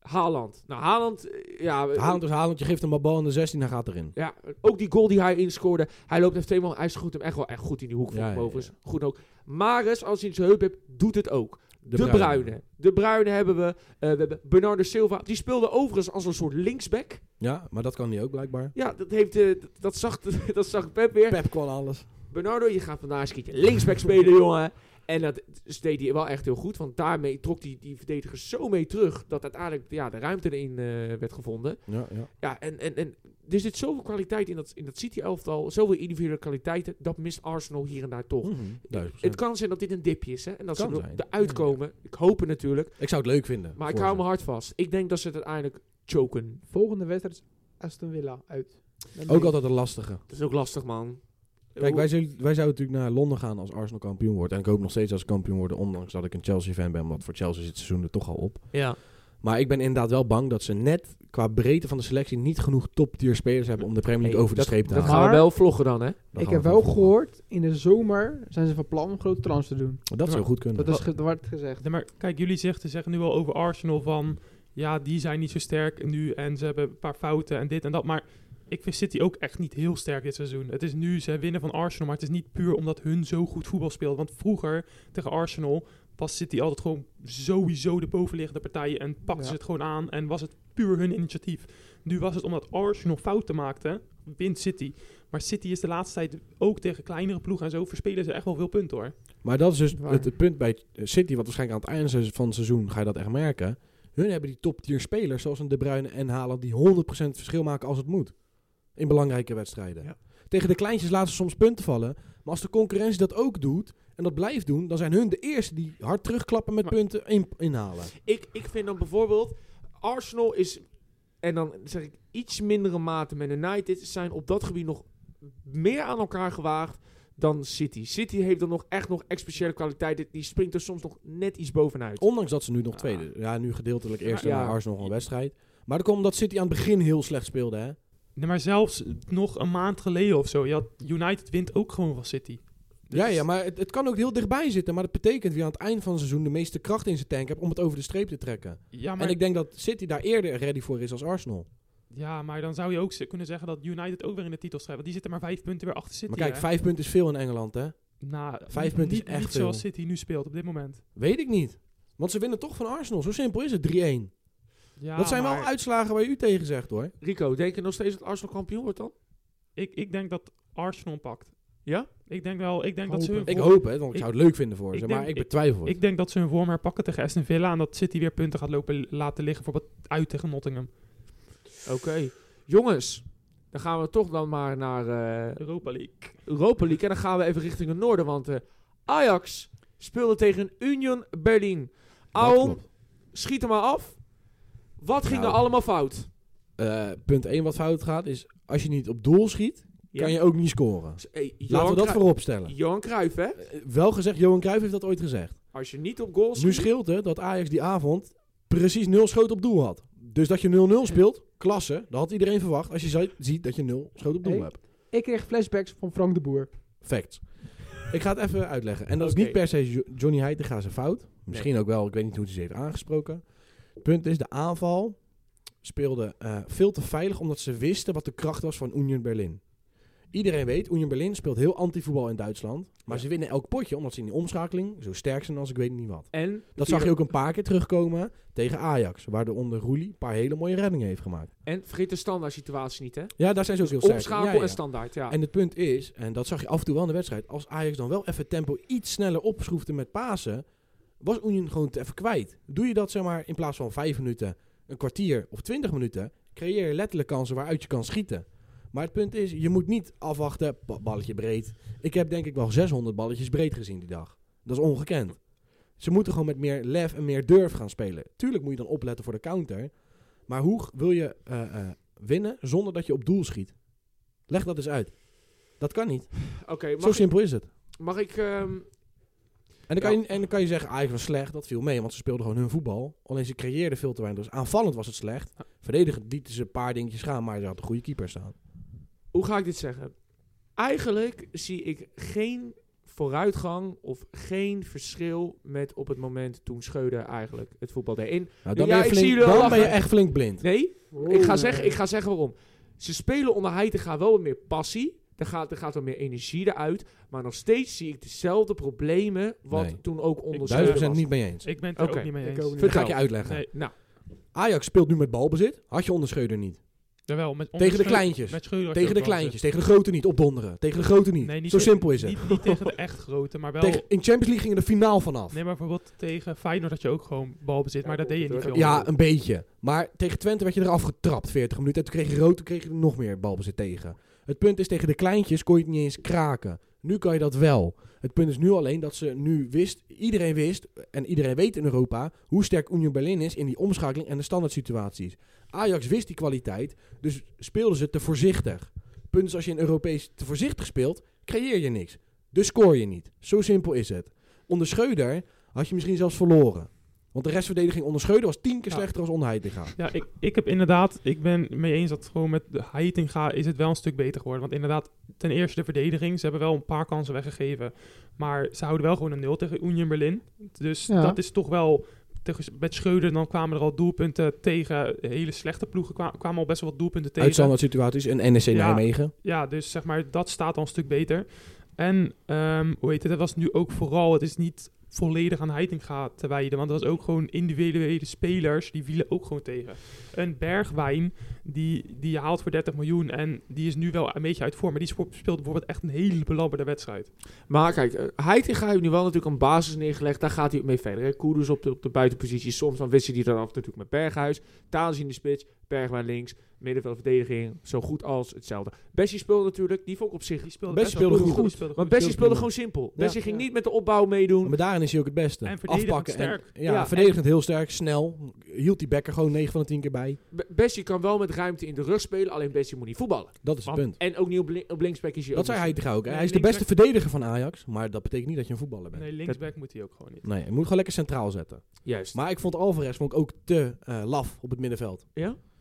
Haaland. Nou, Haaland, eh, ja, eh,
Haaland is dus Haaland, je geeft hem een bal in de 16 en hij gaat erin.
ja, ook die goal die hij inscoorde. Hij loopt even tweemaal, hij schiet hem echt wel echt goed in die hoek.
Ja,
van
ja, ja.
overigens. Goed ook. Maris, als hij in zijn heup hebt, doet het ook. De, Bruine. De Bruine hebben we. Eh, we hebben Bernardo Silva. Die speelde overigens als een soort linksback.
Ja, maar dat kan hij ook blijkbaar.
Ja, dat, heeft, eh, dat- dat, zag, dat zag Pep weer.
Pep kwam alles.
Bernardo, je gaat vandaag schieten. Linksback spelen, jongen. En dat s- deed hij wel echt heel goed. Want daarmee trok die, die verdediger zo mee terug. Dat uiteindelijk ja, de ruimte erin eh, werd gevonden.
Ja, ja.
Ja, en, en, en er zit zoveel kwaliteit in dat, in dat City-elftal. Zoveel individuele kwaliteiten. Dat mist Arsenal hier en daar toch.
Mhm.
Het kan zijn dat dit een dipje is. Hè, en dat
Kan
ze er-
zijn.
eruit komen. Ik hoop het natuurlijk.
Ik zou het leuk vinden.
Maar ik
voor
hou
ze.
mijn hart vast. Ik denk dat ze het uiteindelijk choken.
Volgende wedstrijd is Aston Villa uit. Dan
Ook
mee.
altijd een lastige.
Dat is ook lastig, man.
Kijk, wij, zullen- wij zouden natuurlijk naar Londen gaan als Arsenal kampioen wordt. En ik hoop nog steeds als ze kampioen worden, ondanks dat ik een Chelsea-fan ben. Omdat voor Chelsea zit het seizoen er toch al op.
Ja.
Maar ik ben inderdaad wel bang dat ze net qua breedte van de selectie niet genoeg top-tier spelers hebben om de Premier League
Hey,
over de
dat-
streep te
Dat
halen.
gaan we
Maar-
wel vloggen dan, hè?
Dan
ik
gaan
heb
we
wel
het
gehoord, in de zomer zijn ze van plan om grote trans te doen.
volgen. Dat zou goed kunnen.
Dat is ge- wordt gezegd.
Ja, maar kijk, jullie zeggen, zeggen nu wel over Arsenal van... Ja, die zijn niet zo sterk nu en ze hebben een paar fouten en dit en dat. Maar ik vind City ook echt niet heel sterk dit seizoen. Het is nu, ze winnen van Arsenal, maar het is niet puur omdat hun zo goed voetbal speelt. Want vroeger, tegen Arsenal, was City altijd gewoon sowieso de bovenliggende partijen en pakten
Ja.
ze het gewoon aan en was het puur hun initiatief. Nu was het omdat Arsenal fouten maakte, wint City. Maar City is de laatste tijd ook tegen kleinere ploegen en zo verspelen ze echt wel veel punten hoor.
Maar dat is dus
Waar.
het, het punt bij eh, City, wat waarschijnlijk aan het einde van het seizoen ga je dat echt merken. Hun hebben die top-tier spelers, zoals een De Bruyne en Haaland, die 100% verschil maken als het moet. In belangrijke wedstrijden.
Ja.
Tegen de kleintjes laten ze soms punten vallen. Maar als de concurrentie dat ook doet, en dat blijft doen, dan zijn hun de eerste die hard terugklappen met
Maar-
punten in- inhalen.
Ik, ik vind dan bijvoorbeeld, Arsenal is, en dan zeg ik iets mindere mate met United, zijn op dat gebied nog meer aan elkaar gewaagd dan City. City heeft dan nog echt nog echt speciale kwaliteiten, die springt er soms nog net iets bovenuit.
Ondanks dat ze nu nog
Ja.
tweede. Ja, nu gedeeltelijk eerst
Ja.
en Arsenal een wedstrijd. Maar dat komt omdat City aan het begin heel slecht speelde, hè?
Nee, maar zelfs nog een maand geleden of zo. Je had United wint ook gewoon van City. Dus-
Ja, ja, maar het, het kan ook heel dichtbij zitten. Maar dat betekent wie aan het eind van het seizoen de meeste kracht in zijn tank hebt om het over de streep te trekken.
ja, maar,
En ik denk dat City daar eerder ready voor is als Arsenal.
ja, maar dan zou je ook ze- kunnen zeggen dat United ook weer in de titel schrijft. Want die zitten maar vijf punten weer achter City.
Maar kijk,
hè?
vijf punten is veel in Engeland, hè?
Nou,
vijf punten is
niet,
echt
Niet zoals
veel.
City nu speelt op dit moment.
Weet ik niet. Want ze winnen toch van Arsenal. Zo simpel is het. 3-1.
Ja,
dat zijn
maar
wel uitslagen waar je u tegen zegt hoor.
Rico, denk je nog steeds dat Arsenal kampioen wordt dan?
Ik, ik denk dat Arsenal hem pakt.
Ja?
Ik denk wel, ik denk dat ze hun
Ik
vorm-
hoop het, want ik
ik-
zou het leuk vinden voor
ik
ze. Maar
denk-
ik betwijfel het.
Ik denk dat ze hun vorm herpakken tegen Aston Villa en dat City weer punten gaat lopen laten liggen, bijvoorbeeld uit tegen Nottingham.
Oké. Jongens, dan gaan we toch dan maar naar eh,
Europa League.
Europa League. En dan gaan we even richting het noorden, want eh, Ajax speelde tegen Union Berlin.
Dat
Aaron,
klopt.
schiet hem maar af. Wat ging
Nou.
er allemaal fout?
Eh, punt 1 wat fout gaat is, als je niet op doel schiet, kan je ook niet scoren.
Dus, eh,
Laten
Johan
we dat
Cru-
voorop stellen.
Johan Cruijff, hè?
Eh, Wel gezegd, Johan Cruijff heeft dat ooit gezegd.
Als je niet op goal
Nu
schiet...
scheelt het dat Ajax die avond precies nul schoot op doel had. Dus dat je 0-0 speelt, klasse, dat had iedereen verwacht als je zi- ziet dat je 0 schoot op doel
Hey.
hebt.
Ik kreeg flashbacks van Frank de Boer.
Facts. Ik ga het even uitleggen. En dat
Oké.
is niet per se Jo- Johnny Heitinga zijn fout. Misschien ook wel, ik weet niet hoe hij ze heeft aangesproken. Het punt is, de aanval speelde eh, veel te veilig omdat ze wisten wat de kracht was van Union Berlin. Iedereen weet, Union Berlin speelt heel anti-voetbal in Duitsland. Maar
Ja.
ze winnen elk potje omdat ze in die omschakeling zo sterk zijn als ik weet niet wat.
En
Dat zag je ook een paar keer terugkomen tegen Ajax. Waar onder Roelie een paar hele mooie reddingen heeft gemaakt.
En vergeet de standaard situatie niet, hè?
Ja, daar zijn ze ook heel sterk. in.
Omschakel
Ja, ja.
en standaard, ja.
En het punt is, en dat zag je af en toe wel in de wedstrijd. Als Ajax dan wel even het tempo iets sneller opschroefde met Pasen. Was Union gewoon te even kwijt. Doe je dat zeg maar in plaats van vijf minuten, een kwartier of twintig minuten. Creëer je letterlijk kansen waaruit je kan schieten. Maar het punt is, je moet niet afwachten. ba- Balletje breed. Ik heb denk ik wel 600 balletjes breed gezien die dag. Dat is ongekend. Ze moeten gewoon met meer lef en meer durf gaan spelen. Tuurlijk moet je dan opletten voor de counter. Maar hoe g- wil je eh, eh, winnen zonder dat je op doel schiet? Leg dat eens uit. Dat kan niet.
Oké,
Zo
mag, ik-
simpel is het.
mag ik... ehm,
En dan, kan
Ja.
je, en dan kan je zeggen, Ajax was slecht. Dat viel mee, want ze speelden gewoon hun voetbal. Alleen ze creëerden veel te weinig. Dus aanvallend was het slecht. Verdedigend lieten ze een paar dingetjes gaan, maar ze hadden een goede keeper staan.
hoe ga ik dit zeggen? Eigenlijk zie ik geen vooruitgang of geen verschil met op het moment toen Scheuden eigenlijk het voetbal deed. En
Nou, dan
Ja, ik
ben, je flink-
zie jullie wel
dan ben je
lachen.
echt flink blind.
nee, Ik
Oh,
ga, zeggen, ik ga zeggen waarom. Ze spelen onder Heitinga wel wat meer passie. Er gaat, er gaat wat meer energie eruit. Maar nog steeds zie ik dezelfde problemen. Wat
Nee.
toen ook onder
duizend
Schreuder
Duizend
was.
niet mee eens.
Ik ben het er
Oké,
ook niet mee
ik
eens.
ook niet.
Dat ga ik
Vertel.
je uitleggen.
Nee,
Nou,
Ajax speelt nu met balbezit. Had je onder Schreuder niet.
jawel, met
Tegen de
onderscheid-
kleintjes.
Met Schreuder had je
Tegen de
ook kansen.
kleintjes, tegen de grote niet, opdonderen. Tegen de grote niet.
Nee, niet
Zo
tegen-
simpel is het.
Niet, niet tegen de echt grote, maar wel...
Tegen, in Champions League gingen de finaal vanaf.
Nee, maar bijvoorbeeld tegen Feyenoord had je ook gewoon balbezit, maar dat deed je niet veel.
ja, een beetje. Maar tegen Twente werd je eraf getrapt, 40 minuten. En toen kreeg je rood, toen kreeg je er nog meer balbezit tegen. Het punt is, tegen de kleintjes kon je het niet eens kraken. Nu kan je dat wel. Het punt is nu alleen dat ze nu wist, iedereen wist, en iedereen weet in Europa, hoe sterk Union Berlin is in die omschakeling en de standaard situaties. Ajax wist die kwaliteit, dus speelden ze te voorzichtig. Het punt is, als je in Europees te voorzichtig speelt, creëer je niks. Dus scoor je niet. Zo simpel is het. Onder Schreuder had je misschien zelfs verloren. Want de restverdediging onder Schreuder was tien keer
Ja.
slechter als onder Heitinga.
Ja, ik, ik heb inderdaad, ik ben mee eens dat gewoon met de Heitinga is het wel een stuk beter geworden. Want inderdaad, ten eerste de verdediging, ze hebben wel een paar kansen weggegeven. Maar ze houden wel gewoon een nul tegen Union Berlin. Dus
Ja.
dat is toch wel, tegen, met Schreuder dan kwamen er al doelpunten tegen, hele slechte ploegen kwa- kwamen al best wel wat doelpunten tegen.
Uit standaard situaties en NEC
Ja.
Nijmegen.
Ja, dus zeg maar, dat staat al een stuk beter. En ehm, hoe heet het, dat was nu ook vooral, het is niet volledig aan Heitinga te wijden. Want dat was ook gewoon individuele spelers, die vielen ook gewoon tegen. Een Bergwijn, die, die je haalt voor 30 miljoen en die is nu wel een beetje uit vorm. Maar die spo- speelde bijvoorbeeld echt een hele belabberde wedstrijd.
Maar kijk, eh, Heitinga heeft nu wel natuurlijk een basis neergelegd. Daar gaat hij ook mee verder. hè. Koerders op de, op de buitenpositie. Soms dan wist hij die dan af natuurlijk met Berghuis. Thalys in de spits. Bergwijn links. Middenveldverdediging. Zo goed als hetzelfde. Bessie speelde natuurlijk. Die vond ik op zich.
Die speelde
Bessie
best wel
speelde goed.
Die speelde
Maar
goed.
Bessie speelde gewoon simpel. Bessie ging
Ja.
niet met de opbouw meedoen.
Maar daarin is hij ook het beste.
En verdedigend
Afpakken
sterk.
En, ja,
Ja,
verdedigend heel sterk, snel. Hield die bekker gewoon 9 van de 10 keer bij.
Be- Bessie kan wel met ruimte in de rug spelen. Alleen Bessie moet niet voetballen.
Dat is het
Want-
punt.
En ook niet op, li- op linksback is hij
Dat
ook
zei
niet-
Heitinga ook. hè.
Nee,
Hij is de beste
linksback-
verdediger van Ajax, maar dat betekent niet dat je een voetballer bent.
Nee,
Nee,
linksback moet hij ook gewoon niet.
je moet gewoon lekker centraal zetten.
Juist.
Maar ik vond Alvarez vond ik ook te eh, laf op het middenveld.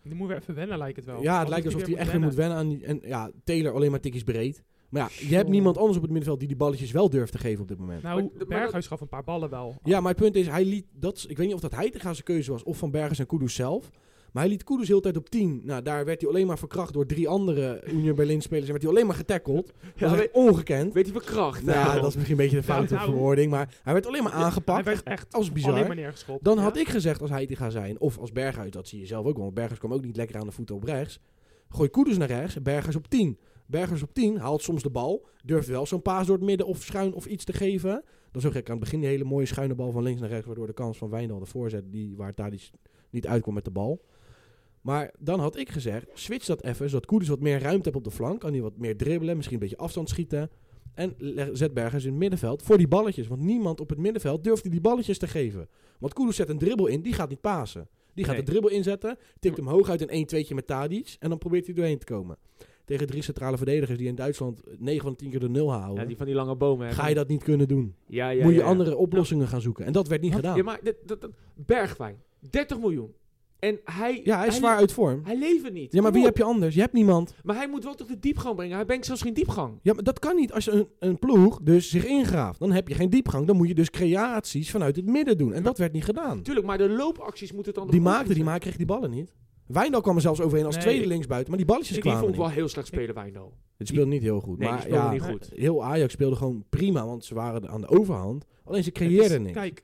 Die moet weer even wennen, lijkt het wel.
Ja, het lijkt alsof hij echt weer moet wennen aan die... En ja, Taylor alleen maar tikjes breed. Maar ja, je hebt
Zo.
niemand anders op het middenveld die die balletjes wel durft te geven op dit moment.
Maar- maar
Nou,
dat-
Berghuis gaf een paar ballen wel.
Ja, maar het punt is, hij liet dat... Ik weet niet of dat Heitinga zijn keuze was of Van Bergers en Kudus zelf. Maar hij liet Kudus heel de tijd op 10. Nou, daar werd hij alleen maar verkracht door drie andere Union Berlin-spelers. En werd hij alleen maar getackeld. Dat is
weet,
echt ongekend.
weet je van kracht?
Nou,
Nou,
dat is misschien een beetje de foute
nou.
verwoording. Maar hij werd alleen maar
Hij
aangepakt.
werd echt
Als
alleen
bizar.
maar neergeschopt.
Dan
Ja.
had ik gezegd als hij die gaat zijn, of als Berghuis, dat zie je zelf ook wel, want Berghuis kwam ook niet lekker aan de voeten op rechts. Gooi Koeders naar rechts, Berghuis op 10. Berghuis op 10 haalt soms de bal, durft wel zo'n paas door het midden of schuin of iets te geven. Dan zag ik aan het begin die hele mooie schuine bal van links naar rechts, waardoor de kans van Wijndal de voorzet, die, waar Tadic niet uitkwam met de bal. Maar dan had ik gezegd, switch dat even, zodat Koeders wat meer ruimte heeft op de flank. Kan hij wat meer dribbelen, misschien een beetje afstand schieten. En leg- zet Berghuis in het middenveld voor die balletjes. Want niemand op het middenveld durfde die balletjes te geven. Want Koeders zet een dribbel in, die gaat niet pasen. Die gaat
Nee.
de dribbel inzetten, tikt hem hoog uit een 1-2'tje met Tadic. En dan probeert hij doorheen te komen. Tegen drie centrale verdedigers die in Duitsland 9 van de 10 keer de nul houden.
ja, die van die lange bomen. hè.
Ga je dat niet kunnen doen.
Ja, ja,
Moet je
ja, ja.
andere oplossingen gaan zoeken. En dat werd niet gedaan.
Ja, maar dit- dat, dat, Bergwijn, 30 miljoen. En hij...
Ja, hij is zwaar uit vorm.
Hij levert niet.
Ja, maar
Kom
wie
op.
heb je anders? Je hebt niemand.
Maar hij moet wel toch de diepgang brengen. Hij brengt zelfs geen diepgang.
Ja, maar dat kan niet. Als een, een ploeg dus zich ingraaft, dan heb je geen diepgang. Dan moet je dus creaties vanuit het midden doen. En dat werd niet gedaan.
Tuurlijk, maar de loopacties moeten dan...
Die
toch ook
maakte, die
zijn.
maakte, kreeg die ballen niet. Wijndal kwam er zelfs overheen als
Nee,
tweede
ik-
linksbuiten, maar die balletjes
Ik die
kwamen
vond ik
niet.
wel heel slecht spelen, Wijndal.
Het speelde niet heel goed.
Nee, die
maar
speelde
ja,
niet goed.
heel Ajax speelde gewoon prima, want ze waren de- aan de overhand. Alleen ze creëerden
Het is-
niks.
Kijk,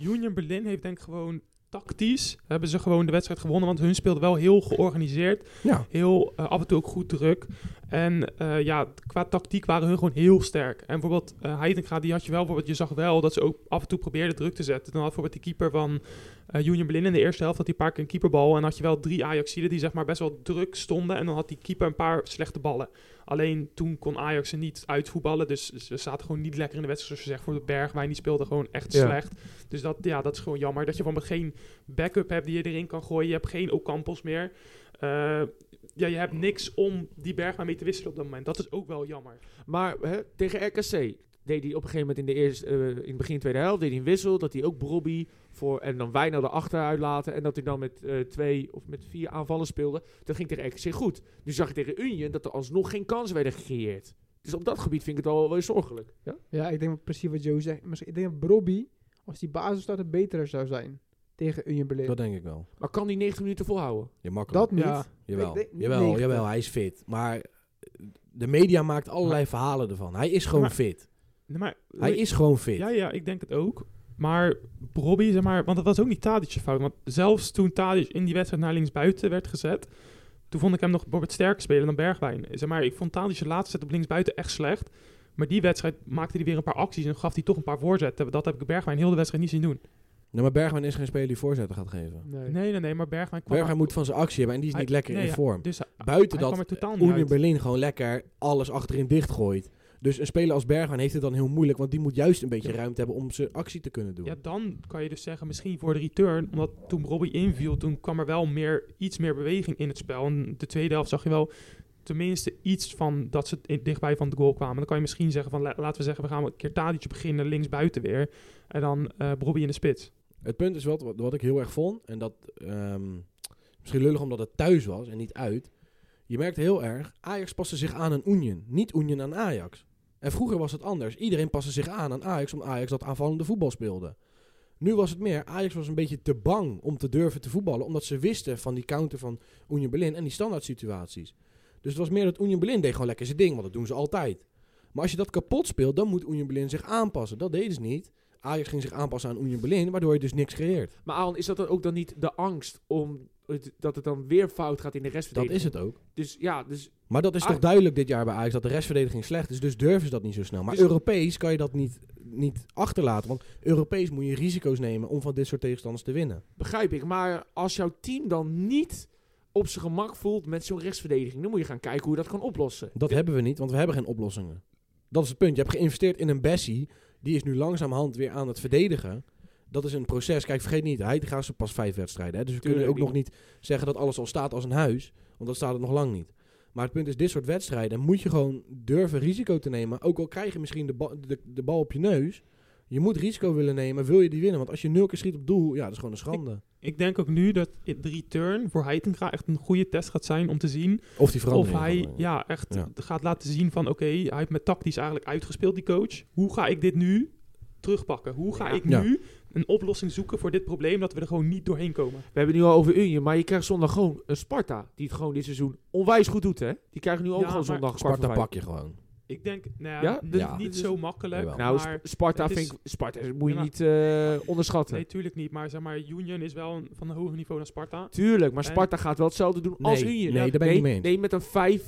Union Berlin heeft denk ik gewoon tactisch hebben ze gewoon de wedstrijd gewonnen, want hun speelde wel heel georganiseerd,
Ja,
heel eh, af en toe ook goed druk. En eh, ja, qua tactiek waren hun gewoon heel sterk. En bijvoorbeeld eh Heitinga, die had je wel, bijvoorbeeld, je zag wel dat ze ook af en toe probeerden druk te zetten. Dan had bijvoorbeeld die keeper van eh, Union Berlin in de eerste helft, had die een paar keer een keeperbal en had je wel drie Ajaxiden die zeg maar best wel druk stonden en dan had die keeper een paar slechte ballen. Alleen toen kon Ajax ze niet uitvoetballen. Dus ze zaten gewoon niet lekker in de wedstrijd. Zoals je zegt, voor de Bergwijn. Die speelde gewoon echt
Ja.
slecht. Dus dat, ja, dat is gewoon jammer. Dat je van geen backup hebt die je erin kan gooien. Je hebt geen Ocampos meer. Eh, ja, je hebt niks om die Bergwijn mee te wisselen op dat moment. Dat is ook wel jammer.
Maar hè, tegen RKC deed hij op een gegeven moment in, de eerste, eh, in het begin tweede helft deed hij een wissel. Dat hij ook Brobby voor en dan Wijnald erachter uitlaten. En dat hij dan met eh, twee of met vier aanvallen speelde. Dat ging tegen RKC goed. Nu zag je tegen Union dat er alsnog geen kansen werden gecreëerd. Dus op dat gebied vind ik het al wel weer zorgelijk. Ja?
Ja, ik denk precies wat Joe zegt. Misschien- Ik denk dat Brobby, als die basis staat, een betere zou zijn tegen Union Berlin.
dat
Dat,
denk ik wel.
Maar kan die 90 minuten volhouden?
Je makkelijk.
niet.
Ja.
jawel,
ik denk niet
jawel,
90.
jawel, hij is fit. Maar de media maakt allerlei verhalen ervan. Hij is gewoon
Maar-
fit.
Nee, maar,
Hij is gewoon fit.
Ja, ja, ik denk het ook. Maar Robbie, zeg maar, want dat was ook niet Tadic's fout. Want zelfs toen Tadic in die wedstrijd naar linksbuiten werd gezet, toen vond ik hem nog bijvoorbeeld sterker spelen dan Bergwijn. Zeg maar, ik vond Tadic's laatste set op linksbuiten echt slecht. Maar die wedstrijd maakte hij weer een paar acties en gaf hij toch een paar voorzetten. Dat heb ik Bergwijn heel de wedstrijd niet zien doen.
Nee, Nou, maar Bergwijn is geen speler die voorzetten gaat geven.
Nee.
Nee, nee, nee, maar Bergwijn kwam...
Bergwijn moet van zijn actie hebben en die is
Hij-
niet lekker
nee,
in
ja,
vorm.
Dus hij,
Buiten
hij
dat
kwam er totaal niet
Union
uit.
Berlin gewoon lekker alles achterin dichtgooit. Dus een speler als Bergwijn heeft het dan heel moeilijk, want die moet juist een beetje ruimte hebben om zijn actie te kunnen doen.
Ja, dan kan je dus zeggen, misschien voor de return, omdat toen Robbie inviel, toen kwam er wel meer, iets meer beweging in het spel. En de tweede helft zag je wel tenminste iets van dat ze in- dichtbij van de goal kwamen. Dan kan je misschien zeggen van, la- laten we zeggen, we gaan een keer Tadic beginnen, links buiten weer. En dan eh Robbie in de spits.
Het punt is wat, wat, wat ik heel erg vond, en dat ehm, misschien lullig omdat het thuis was en niet uit. Je merkt heel erg, Ajax paste zich aan aan Union, niet Union aan Ajax. En vroeger was het anders. Iedereen paste zich aan aan Ajax, omdat Ajax dat aanvallende voetbal speelde. Nu was het meer, Ajax was een beetje te bang om te durven te voetballen, omdat ze wisten van die counter van Union Berlin en die standaard situaties. Dus het was meer dat Union Berlin deed gewoon lekker zijn ding, want dat doen ze altijd. Maar als je dat kapot speelt, dan moet Union Berlin zich aanpassen. Dat deden ze niet. Ajax ging zich aanpassen aan Union Berlin, waardoor je dus niks creëert.
Maar Aaron, is dat dan ook dan niet de angst om het, dat het dan weer fout gaat in de rest
Dat is het ook.
Dus ja, dus
Maar dat is toch
Ah.
duidelijk dit jaar bij Ajax dat de restverdediging slecht is. Dus durven ze dat niet zo snel. Maar
Dus-
Europees kan je dat niet, niet achterlaten. Want Europees moet je risico's nemen om van dit soort tegenstanders te winnen.
Begrijp ik, maar als jouw team dan niet op zijn gemak voelt met zo'n rechtsverdediging, dan moet je gaan kijken hoe je dat kan oplossen.
Dat hebben we niet, want we hebben geen oplossingen. Dat is het punt. Je hebt geïnvesteerd in een Bessie. Die is nu langzamerhand weer aan het verdedigen. Dat is een proces. Kijk, vergeet niet, hij gaat ze pas vijf wedstrijden. Hè? Dus we
Tuurlijk,
kunnen ook
die-
nog niet zeggen dat alles al staat als een huis. Want dat staat het nog lang niet. Maar het punt is, dit soort wedstrijden moet je gewoon durven risico te nemen. Ook al krijg je misschien de, ba- de, de bal op je neus. Je moet risico willen nemen, wil je die winnen. Want als je nul keer schiet op doel, ja, dat is gewoon een schande.
Ik denk ook nu dat de return voor Heitinga echt een goede test gaat zijn om te zien
Of die
Of
verandering.
hij
gewoon, ja.
ja, echt
eh, Ja.
gaat laten zien van oké, hij heeft me tactisch eigenlijk uitgespeeld, die coach. Hoe ga ik dit nu terugpakken? Hoe ga
Ja.
ik
Ja.
nu een oplossing zoeken voor dit probleem dat we er gewoon niet doorheen komen.
We hebben het nu al over Union, maar je krijgt zondag gewoon een Sparta. Die het gewoon dit seizoen onwijs goed doet, hè? Die krijgen nu ook
Ja,
gewoon
maar
zondag kwart
Sparta
voor vijf.
pak je gewoon.
Ik denk, nou
Ja?
ja, dat is
Ja.
niet zo makkelijk.
Jawel.
Nou,
maar,
Sp- Sparta
het is-
vind ik... Sparta moet je
Ja, maar-
niet eh, onderschatten.
nee, tuurlijk niet. Maar zeg maar, Union is wel een- van een hoger niveau dan Sparta.
Tuurlijk, maar
Nee.
Sparta gaat wel hetzelfde doen
Nee,
als Union.
nee, daar ben ik niet mee eens.
Nee, met een 5-4-1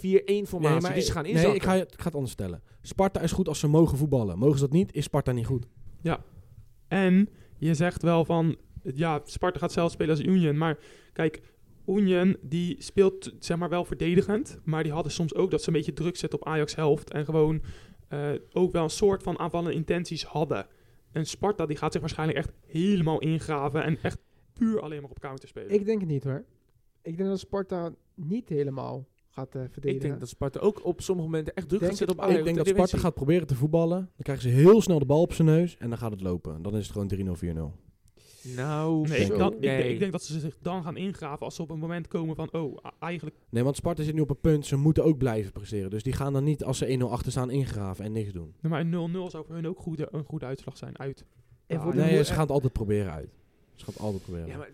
formatie.
maar-
dus ze gaan inzakken.
nee ik, ga, je- ik ga het anders vertellen. Sparta is goed als ze mogen voetballen. Mogen ze dat niet, is Sparta niet goed.
En je zegt wel van, ja, Sparta gaat zelf spelen als Union. Maar kijk, Union die speelt zeg maar wel verdedigend. Maar die hadden soms ook dat ze een beetje druk zetten op Ajax helft. En gewoon eh, ook wel een soort van aanvallende intenties hadden. En Sparta die gaat zich waarschijnlijk echt helemaal ingraven. En echt puur alleen maar op counter spelen.
Ik denk het niet hoor. Ik denk dat Sparta niet helemaal gaat eh, verdedigen.
Ik denk dat Sparta ook op sommige momenten echt druk
Denk
gaat zetten op Ajax.
Ik denk
op
dat
de
Sparta
defensie.
gaat proberen te voetballen. Dan krijgen ze heel snel de bal op zijn neus en dan gaat het lopen. Dan is het gewoon 3-0, 4-0.
Nou,
Nee, ik,
zo,
dan, ik, denk-
nee.
ik denk dat ze zich dan gaan ingraven als ze op een moment komen van, oh, a- eigenlijk
Nee, want Sparta zit nu op een punt. Ze moeten ook blijven presteren. Dus die gaan dan niet als ze 1-0 achter staan ingraven en niks doen.
nou maar een 0-0 zou voor hun ook goede, een goede uitslag zijn uit.
En voor de
Nee,
moe-
ze gaan het altijd proberen uit. Ze gaan het altijd proberen.
Ja, maar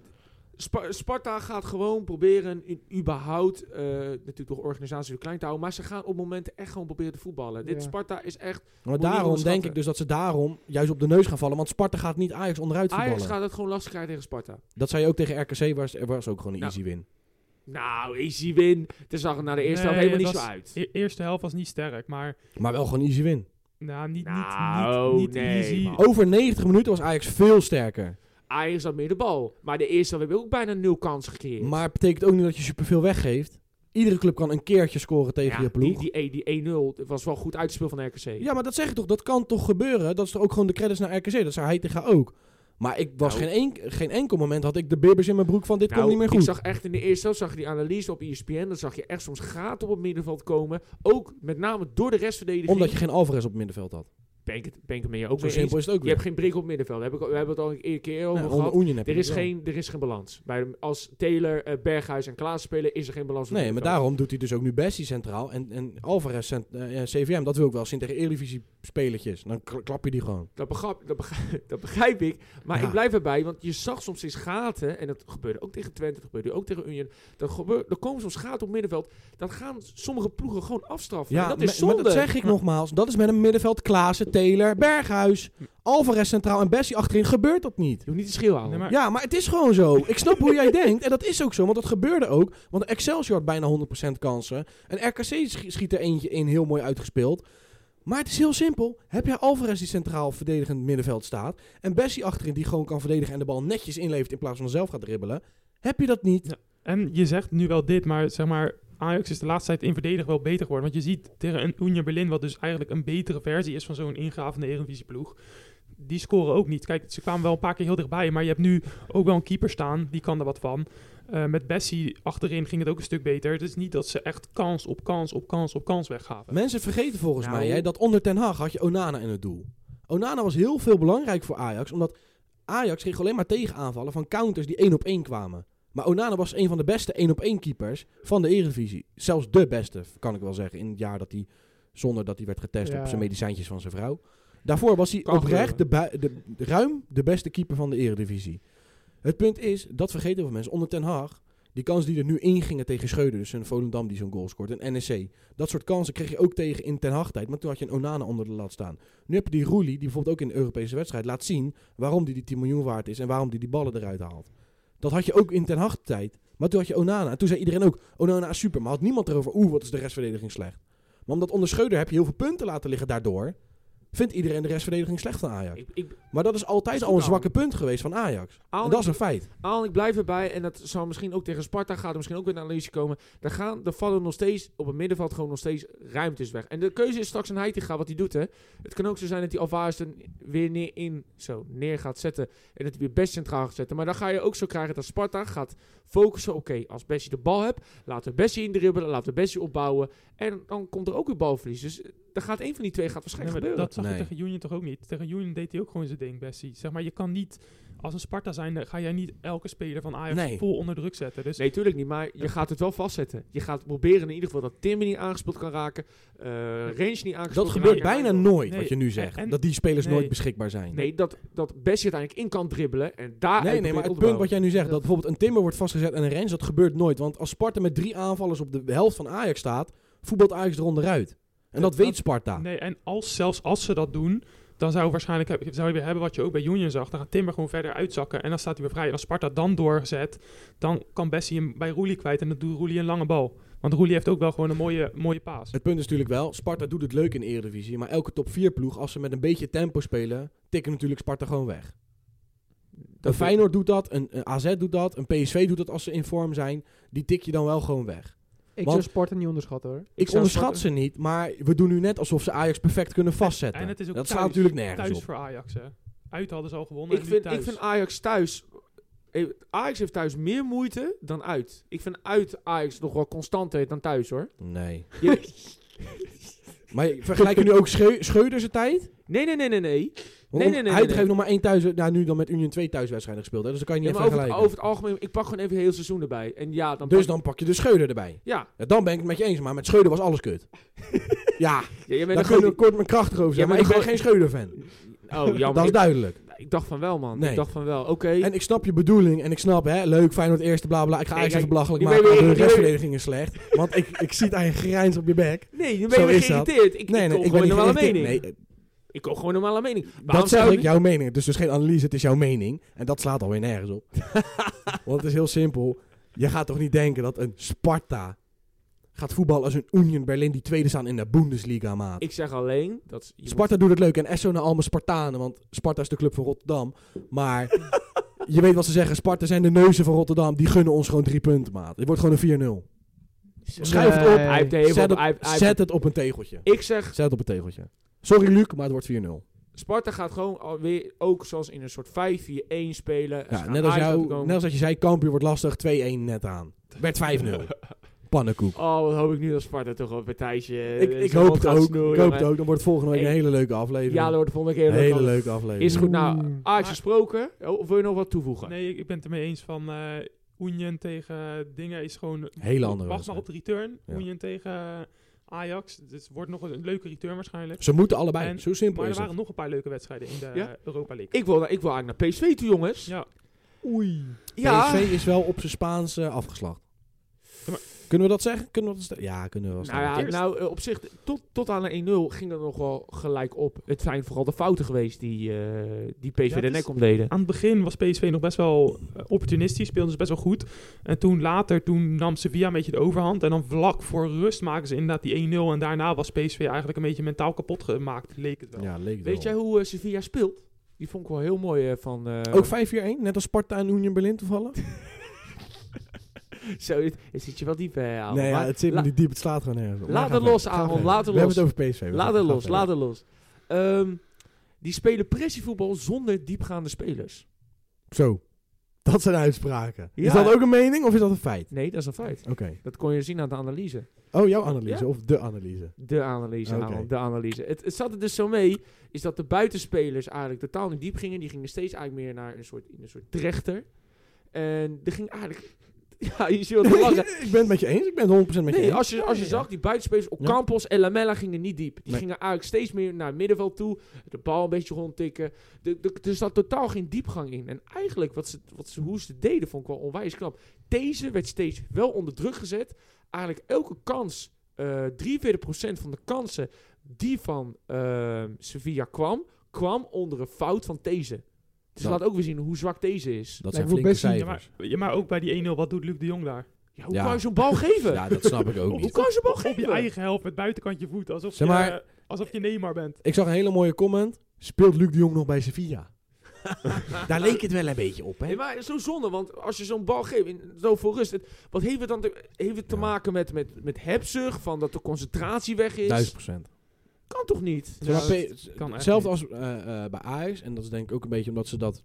Spa- Sparta gaat gewoon proberen, in- überhaupt, eh, natuurlijk door organisatie weer klein te houden, maar ze gaan op momenten echt gewoon proberen te voetballen. Dit
Ja.
Sparta is echt,
Maar
Moet je niet
daarom denk
onderschatten.
ik dus dat ze daarom juist op de neus gaan vallen. Want Sparta gaat niet Ajax onderuit voetballen.
Ajax gaat het gewoon lastig krijgen tegen Sparta.
Dat zei je ook tegen RKC, was, er was ook gewoon een
Nou,
easy win.
Nou, easy win. Het zag er na de eerste
Nee,
helft helemaal niet
dat
zo
is-
uit.
E- eerste helft was niet sterk, maar
Maar wel gewoon easy win.
nou, niet,
Nou,
niet, niet,
nee,
easy.
man.
Over 90 minuten was Ajax veel sterker.
Ajax had meer de bal, maar de eerste helft hebben we ook bijna nul kans gecreëerd.
Maar het betekent ook niet dat je superveel weggeeft. Iedere club kan een keertje scoren tegen
Ja,
je ploeg.
Die, die, die 1-0 dat was wel goed uitspeel van RKC.
Ja, maar dat zeg ik toch. Dat kan toch gebeuren. Dat is toch ook gewoon de credits naar RKC. Dat zei hij tegen ook. Maar ik was
Nou.
geen, enk- geen enkel moment had ik de bibbers in mijn broek van dit
Nou,
komt niet meer goed.
Ik zag echt in de eerste helft zag je die analyse op E ESPN. Dan zag je echt soms gaten op het middenveld komen. Ook met name door de restverdediging.
Omdat je geen Alvarez op het middenveld had.
Ben ik het, ben ik het met je ook
Zo
mee
simpel
eens.
is het ook
Je
weer.
hebt geen brik op het middenveld. Daar Heb ik, we hebben het al een keer- keer over
Nou, onder
gehad.
Oenjen heb je
Er is,
dat wel.
geen, er is geen balans. Bij, hem- als Taylor, eh, Berghuis en Klaas spelen is er geen balans. op het
Nee, maar
middenveld.
daarom doet hij dus ook nu Bessie centraal. En, en Alvarez cent, eh, eh, CVM, dat wil ik wel zien tegen Eredivisie spelertjes. Dan kla- klap je die gewoon.
Dat begrijp, dat, begrijp, dat begrijp ik. Maar
Ja.
ik blijf erbij. Want je zag soms eens gaten. En dat gebeurde ook tegen Twente. Dat gebeurde ook tegen Union. Dat gebeur, er komen soms gaten op het middenveld. Dan gaan sommige ploegen gewoon afstraffen. en dat is
me-
zonde.
maar dat zeg ik nogmaals. Dat is met een middenveld Klaassen, Taylor, Berghuis, Alvarez centraal en Bessie achterin gebeurt dat niet.
Je hoeft niet te schreeuwen.
Nee, maar-
Ja, maar het is gewoon zo. Ik snap hoe jij denkt. En dat is ook zo, want dat gebeurde ook. Want Excelsior had bijna 100% kansen. En RKC schi- schiet er eentje in, heel mooi uitgespeeld. Maar het is heel simpel. Heb jij Alvarez die centraal verdedigend middenveld staat... en Bessie achterin die gewoon kan verdedigen en de bal netjes inlevert... in plaats van zelf gaat dribbelen, heb je dat niet.
En je zegt nu wel dit, maar zeg maar, Ajax is de laatste tijd in verdedigen wel beter geworden. Want je ziet tegen een Union Berlin, wat dus eigenlijk een betere versie is van zo'n ingravende Eredivisie ploeg. Die scoren ook niet. Kijk, ze kwamen wel een paar keer heel dichtbij, maar je hebt nu ook wel een keeper staan, die kan er wat van. Eh, met Bessie achterin ging het ook een stuk beter. Het is niet dat ze echt kans op kans op kans op kans weggaven.
Mensen vergeten volgens
Nou.
mij hè, dat onder Ten Haag had je Onana in het doel. Onana was heel veel belangrijk voor Ajax, omdat Ajax kreeg alleen maar tegenaanvallen van counters die één op één kwamen. Maar Onana was een van de beste één op één keepers van de Eredivisie. Zelfs de beste, kan ik wel zeggen, in het jaar dat hij, zonder dat hij werd getest
Ja.
op zijn medicijntjes van zijn vrouw. Daarvoor was hij
Kan
oprecht de, bui- de, ruim de beste keeper van de Eredivisie. Het punt is, dat vergeten veel mensen, onder Ten Haag, die kansen die er nu ingingen tegen Schreuder, dus een Volendam die zo'n goal scoort, een NEC. Dat soort kansen kreeg je ook tegen in Ten Hag tijd, maar toen had je een Onana onder de lat staan. Nu heb je die Roelie, die bijvoorbeeld ook in de Europese wedstrijd laat zien waarom die die 10 miljoen waard is en waarom die die ballen eruit haalt. Dat had je ook in Ten Hag tijd, maar toen had je Onana. En toen zei iedereen ook, Onana is super, maar had niemand erover, oeh, wat is de restverdediging slecht. Maar omdat onder Schreuder heb je heel veel punten laten liggen daardoor, vindt iedereen de restverdediging slecht van Ajax.
Ik, ik,
Maar dat is altijd
Dat is
al een
goed,
zwakke punt geweest van Ajax. En
Alex-
dat is een feit.
Aan, ik blijf erbij. En dat zou misschien ook tegen Sparta gaat er misschien ook weer een analyse komen. Daar, gaan, daar vallen nog steeds op het middenveld gewoon nog steeds ruimtes weg. En de keuze is straks een Heitinga wat hij doet. Hè. Het kan ook zo zijn dat hij Alvarez er weer neer, in, zo, neer gaat zetten. En dat hij weer best centraal gaat zetten. Maar dan ga je ook zo krijgen dat Sparta gaat focussen. Oké, als Bessie de bal hebt, laten we Bessie indribbelen. Laten we Bessie opbouwen. En dan komt er ook weer balverlies. Dus eh, dan gaat een van die twee gaat
Nee,
waarschijnlijk gebeuren.
maar dat zag zag je
Nee.
tegen Union toch ook niet. Tegen Union deed hij ook gewoon zijn ding, Bessie. Zeg maar, je kan niet... Als een Sparta zijn, ga jij niet elke speler van Ajax
Nee.
vol onder druk zetten. Dus
Nee, tuurlijk niet, maar je gaat het wel vastzetten. Je gaat proberen in ieder geval dat Timmy niet aangespeeld kan raken, eh Range niet aangespeeld
Dat
kan
gebeurt
raken.
bijna nooit,
Nee,
wat je nu zegt.
en-
dat die spelers
nee.
nooit beschikbaar zijn.
Nee, dat, dat Bessie uiteindelijk in kan dribbelen en daar
Nee, nee, maar het punt wat jij nu zegt, dat bijvoorbeeld een Timber wordt vastgezet en een Rens, dat gebeurt nooit. Want als Sparta met drie aanvallers op de helft van Ajax staat, voetbalt Ajax eronder uit. En dat
Dat-
weet Sparta.
Nee, en als, zelfs als ze dat doen, dan zou, waarschijnlijk, heb- zou je weer hebben wat je ook bij Union zag. Dan gaat Timber gewoon verder uitzakken en dan staat hij weer vrij. En als Sparta dan doorzet, dan kan Bessie hem bij Roelie kwijt en dan doet Roelie een lange bal. Want Roelie heeft ook wel gewoon een mooie, mooie paas.
Het punt is natuurlijk wel, Sparta doet het leuk in de Eredivisie, maar elke top 4 ploeg, als ze met een beetje tempo spelen, tikken natuurlijk Sparta gewoon weg. Een Feyenoord doet dat, een, een AZ doet dat, een PSV doet dat als ze in vorm zijn. Die tik je dan wel gewoon weg.
Ik
Want-
zou Sparta niet onderschatten hoor.
Ik
zou
onderschat
Sparta-
ze niet, maar we doen nu net alsof ze Ajax perfect kunnen vastzetten.
En het is ook
dat
thuis,
slaat natuurlijk nergens
thuis
op.
voor Ajax, hè. Uit hadden ze al gewonnen
ik
en
vind,
nu thuis.
ik vind Ajax thuis... eh, Ajax heeft thuis meer moeite dan uit. Ik vind uit Ajax nog wel constanter dan thuis, hoor.
Nee.
Je-
Maar vergelijk je nu ook Scheu- Scheuder zijn tijd?
nee, nee, nee, nee, nee.
Want
Nee, nee, nee,
Hij
nee,
heeft nog maar één thuis, nou, nu dan met Union twee thuiswedstrijden gespeeld. Hè, dus dan kan je
Ja,
niet
maar
even
over, het,
vergelijken.
over het algemeen, ik pak gewoon even heel seizoen erbij. En ja, dan
Dus
pak-
dan pak je de Scheuder erbij.
Ja,
Ja, dan ben ik het met je eens, maar met Scheuder was alles kut. ja,
ja jij bent
daar
een
kun je
grote...
kort en krachtig over zijn,
Ja,
maar
maar
ik ben
dan
geen Scheuder-fan.
Oh, jammer.
Dat is
Ik-
duidelijk.
Ik dacht van wel, man.
Nee.
Ik dacht van wel. Oké.
En ik snap je bedoeling en ik snap, hè, leuk, Feyenoord eerste, bla bla. Ik ga
Nee,
Ajax even
kijk,
belachelijk
die
maken,
ben
want
je-
de
die ben je-
restverdediging is slecht. Want ik, ik zie het aan je grijns op je bek.
Nee, dan
Zo
ben je weer
is dat.
geïrriteerd. Ik,
Nee,
ik
nee,
kom
ik ben
gewoon een
niet
normale
geïrriteerd.
mening.
Nee,
Ik kom gewoon een normale mening. Waarom
Dat zeg
zou
ik, jouw mening. Dus dus geen analyse, het is jouw mening. En dat slaat alweer nergens op. Want het is heel simpel. Je gaat toch niet denken dat een Sparta gaat voetballen als een Union Berlin die tweede staan in de Bundesliga, maat.
Ik zeg alleen... Dat, je moet-
Sparta doet het leuk en Esso naar allemaal Spartanen, want Sparta is de club van Rotterdam. Maar je weet wat ze zeggen, Sparta zijn de neuzen van Rotterdam, die gunnen ons gewoon drie punten, maat. Het wordt gewoon een 4-0. Schuif het op.
Nee.
Hij heeft de hemel-
Zet
hij
het,
heeft- hij
zet het op een tegeltje.
heeft- Ik zeg,
Zet het op een tegeltje. Sorry Luc, maar het wordt 4-0.
Sparta gaat gewoon alweer ook zoals in een soort 5-4-1 spelen.
Ja, net, als jou, net als dat je zei, kampioen wordt lastig, 2-1 net aan. Werd 5-0. Pannenkoek.
Oh, wat hoop ik nu dat Sparta toch op een tijdje...
Ik,
eh,
ik
zo
hoop
wat
het
gaat
ook.
snoeien,
Ik hoop het
maar-
ook. Dan wordt volgende week een
Hey.
hele leuke aflevering.
Ja, dat wordt de volgende keer.
een
leuk.
hele
Want-
leuke aflevering.
Is goed, nou,
Oeh.
Ajax
Maar-
gesproken. Oh, Of wil je nog wat toevoegen?
Nee, ik- ik ben het ermee eens van eh Union tegen eh, dingen is gewoon...
Hele andere
Wacht maar
wedstrijd.
op de return.
Ja.
Union tegen eh, Ajax. Dus wordt nog een leuke return waarschijnlijk.
Ze moeten allebei.
En-
Zo simpel
Maar er
is het.
waren nog een paar leuke wedstrijden in de
Ja?
Europa League.
Ik wil, ik wil eigenlijk naar PSV toe, jongens.
Ja,
Oei.
Ja.
PSV is wel op zijn Spaans eh, afgeslacht.
Ja, maar-
Kunnen we dat zeggen? Kunnen we dat sta- ja, kunnen we wel
Nou
stellen.
ja, nou, eh, op zich, tot, tot aan een 1-0 ging dat nog wel gelijk op. Het zijn vooral de fouten geweest die, eh, die PSV
Ja,
de
het
nek
is-
om deden.
aan het begin was PSV nog best wel eh, opportunistisch, speelden ze best wel goed. En toen later, toen nam Sevilla een beetje de overhand. En dan vlak voor rust maken ze inderdaad die 1-0. En daarna was PSV eigenlijk een beetje mentaal kapot gemaakt, leek het wel.
ja, leek het
Weet jij
wel.
hoe eh, Sevilla speelt? Die vond ik wel heel mooi eh, van... eh,
Ook 5-4-1, net als Sparta en Union Berlin toevallig?
Zo, het, het zit je wel diep, eh, ouwe.
nee, ja,
Maar
het zit me
la-
niet diep, het slaat gewoon nergens op. Maar
Laat
ga
het
verder.
los,
Ga
Aaron,
verder.
laat het
We hebben
los.
het over PSV. we
Laat
gaan-
het
ga
los,
verder.
laat het los. Ehm, die spelen pressievoetbal zonder diepgaande spelers.
Zo. Dat zijn uitspraken.
Ja.
Is dat ook een mening of is dat een feit?
Nee, dat is een feit.
Oké.
Dat kon je zien aan de analyse.
Oh, jouw analyse
Ja.
of de analyse?
De analyse,
Oké.
Aaron, de analyse. Het, het zat er dus zo mee, is dat de buitenspelers eigenlijk totaal niet diep gingen. Die gingen steeds eigenlijk meer naar een soort, in een soort trechter. En er ging eigenlijk... Ja, je zult wel lachen.
ik ben het met je eens. Ik ben het 100% met je
Nee,
eens.
als je, als je
Ja, ja, ja.
zag, die buitenspelers, Ocampos en Lamella gingen niet diep. Die
Nee.
gingen eigenlijk steeds meer naar het middenveld toe. De bal een beetje rondtikken. De, de, er zat totaal geen diepgang in. En eigenlijk, wat ze, wat ze, hoe ze het deden, vond ik wel onwijs knap. Deze werd steeds wel onder druk gezet. Eigenlijk elke kans, eh 43% van de kansen die van eh, Sevilla kwam, kwam onder een fout van deze. Dus
Dat-
laat ook weer zien hoe zwak deze is.
Dat
Lijkt
zijn
me
flinke
best niet-
Ja,
cijfers.
maar, ja, maar ook bij die 1-0, wat doet Luc de Jong daar?
Ja, hoe
Ja.
kan je zo'n bal geven?
Ja, dat snap ik ook
hoe
niet.
kan je zo'n bal
Op je
geven?
eigen helft, met buitenkant je voet, alsof,
Zeg maar-
je, eh, alsof je Neymar bent.
Ik zag een hele mooie comment. Speelt Luc de Jong nog bij Sevilla? Daar leek het wel een beetje op,
Nee,
hè?
maar zo zonde, want als je zo'n bal geeft, in zoveel rust. Het, wat heeft het dan te, heeft het te
Ja.
maken met, met, met hebzucht, van dat de concentratie weg is?
1000 procent.
Kan toch niet?
Ja, dat kan echt
Hetzelfde
niet.
als eh, eh, bij Ajax. En dat is denk ik ook een beetje omdat ze dat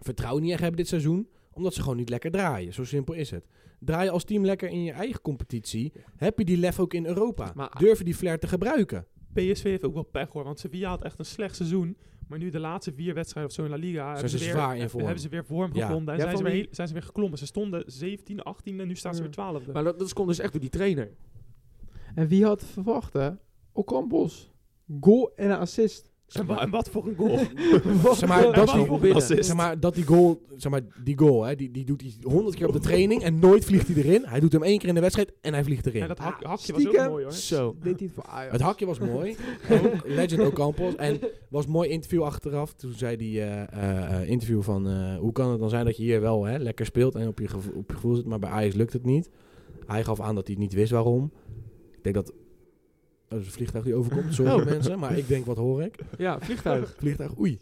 vertrouwen niet echt hebben dit seizoen. Omdat ze gewoon niet lekker draaien. Zo simpel is het. Draai je als team lekker in je eigen competitie. Heb je die lef ook in Europa.
Maar-
Durf je die flair te gebruiken.
PSV heeft ook wel pech hoor, want Sevilla had echt een slecht seizoen. Maar nu de laatste vier wedstrijden of zo in La Liga
Zijn ze
weer,
zwaar in vorm.
hebben ze weer vorm
Ja.
gevonden. En
Ja,
zijn, ze
van
weer,
wie-
heel- zijn ze weer geklommen. Ze stonden 17, 18 en nu staan ze
Ja.
weer 12.
Maar dat, dat komt dus echt door die trainer.
En wie had verwacht, hè? Ocampos. Goal en een assist.
en, wa- en wat voor een goal.
Zeg maar, dat,
Wat
die,
voor binnen.
assist.
zeg maar, dat die goal, zeg maar, die goal, hè, die, die doet hij honderd keer op de training en nooit vliegt hij erin. Hij doet hem één keer in de wedstrijd en hij vliegt erin.
Ja, dat hak-
Ah,
hakje was ook
stiekem.
mooi hoor.
Zo.
Deed hij het voor Ajax.
Het hakje was mooi. Ook Legend Ocampos. En was een mooi interview achteraf. Toen zei die eh, eh, eh, interview van... eh, hoe kan het dan zijn dat je hier wel hè, lekker speelt en op je, gevo- op je gevoel zit... maar bij Ajax lukt het niet. Hij gaf aan dat hij het niet wist waarom. Ik denk dat... Oh, dat is een vliegtuig die overkomt. Sorry
Oh.
mensen, maar ik denk wat hoor ik.
Ja, vliegtuig.
Vliegtuig, oei.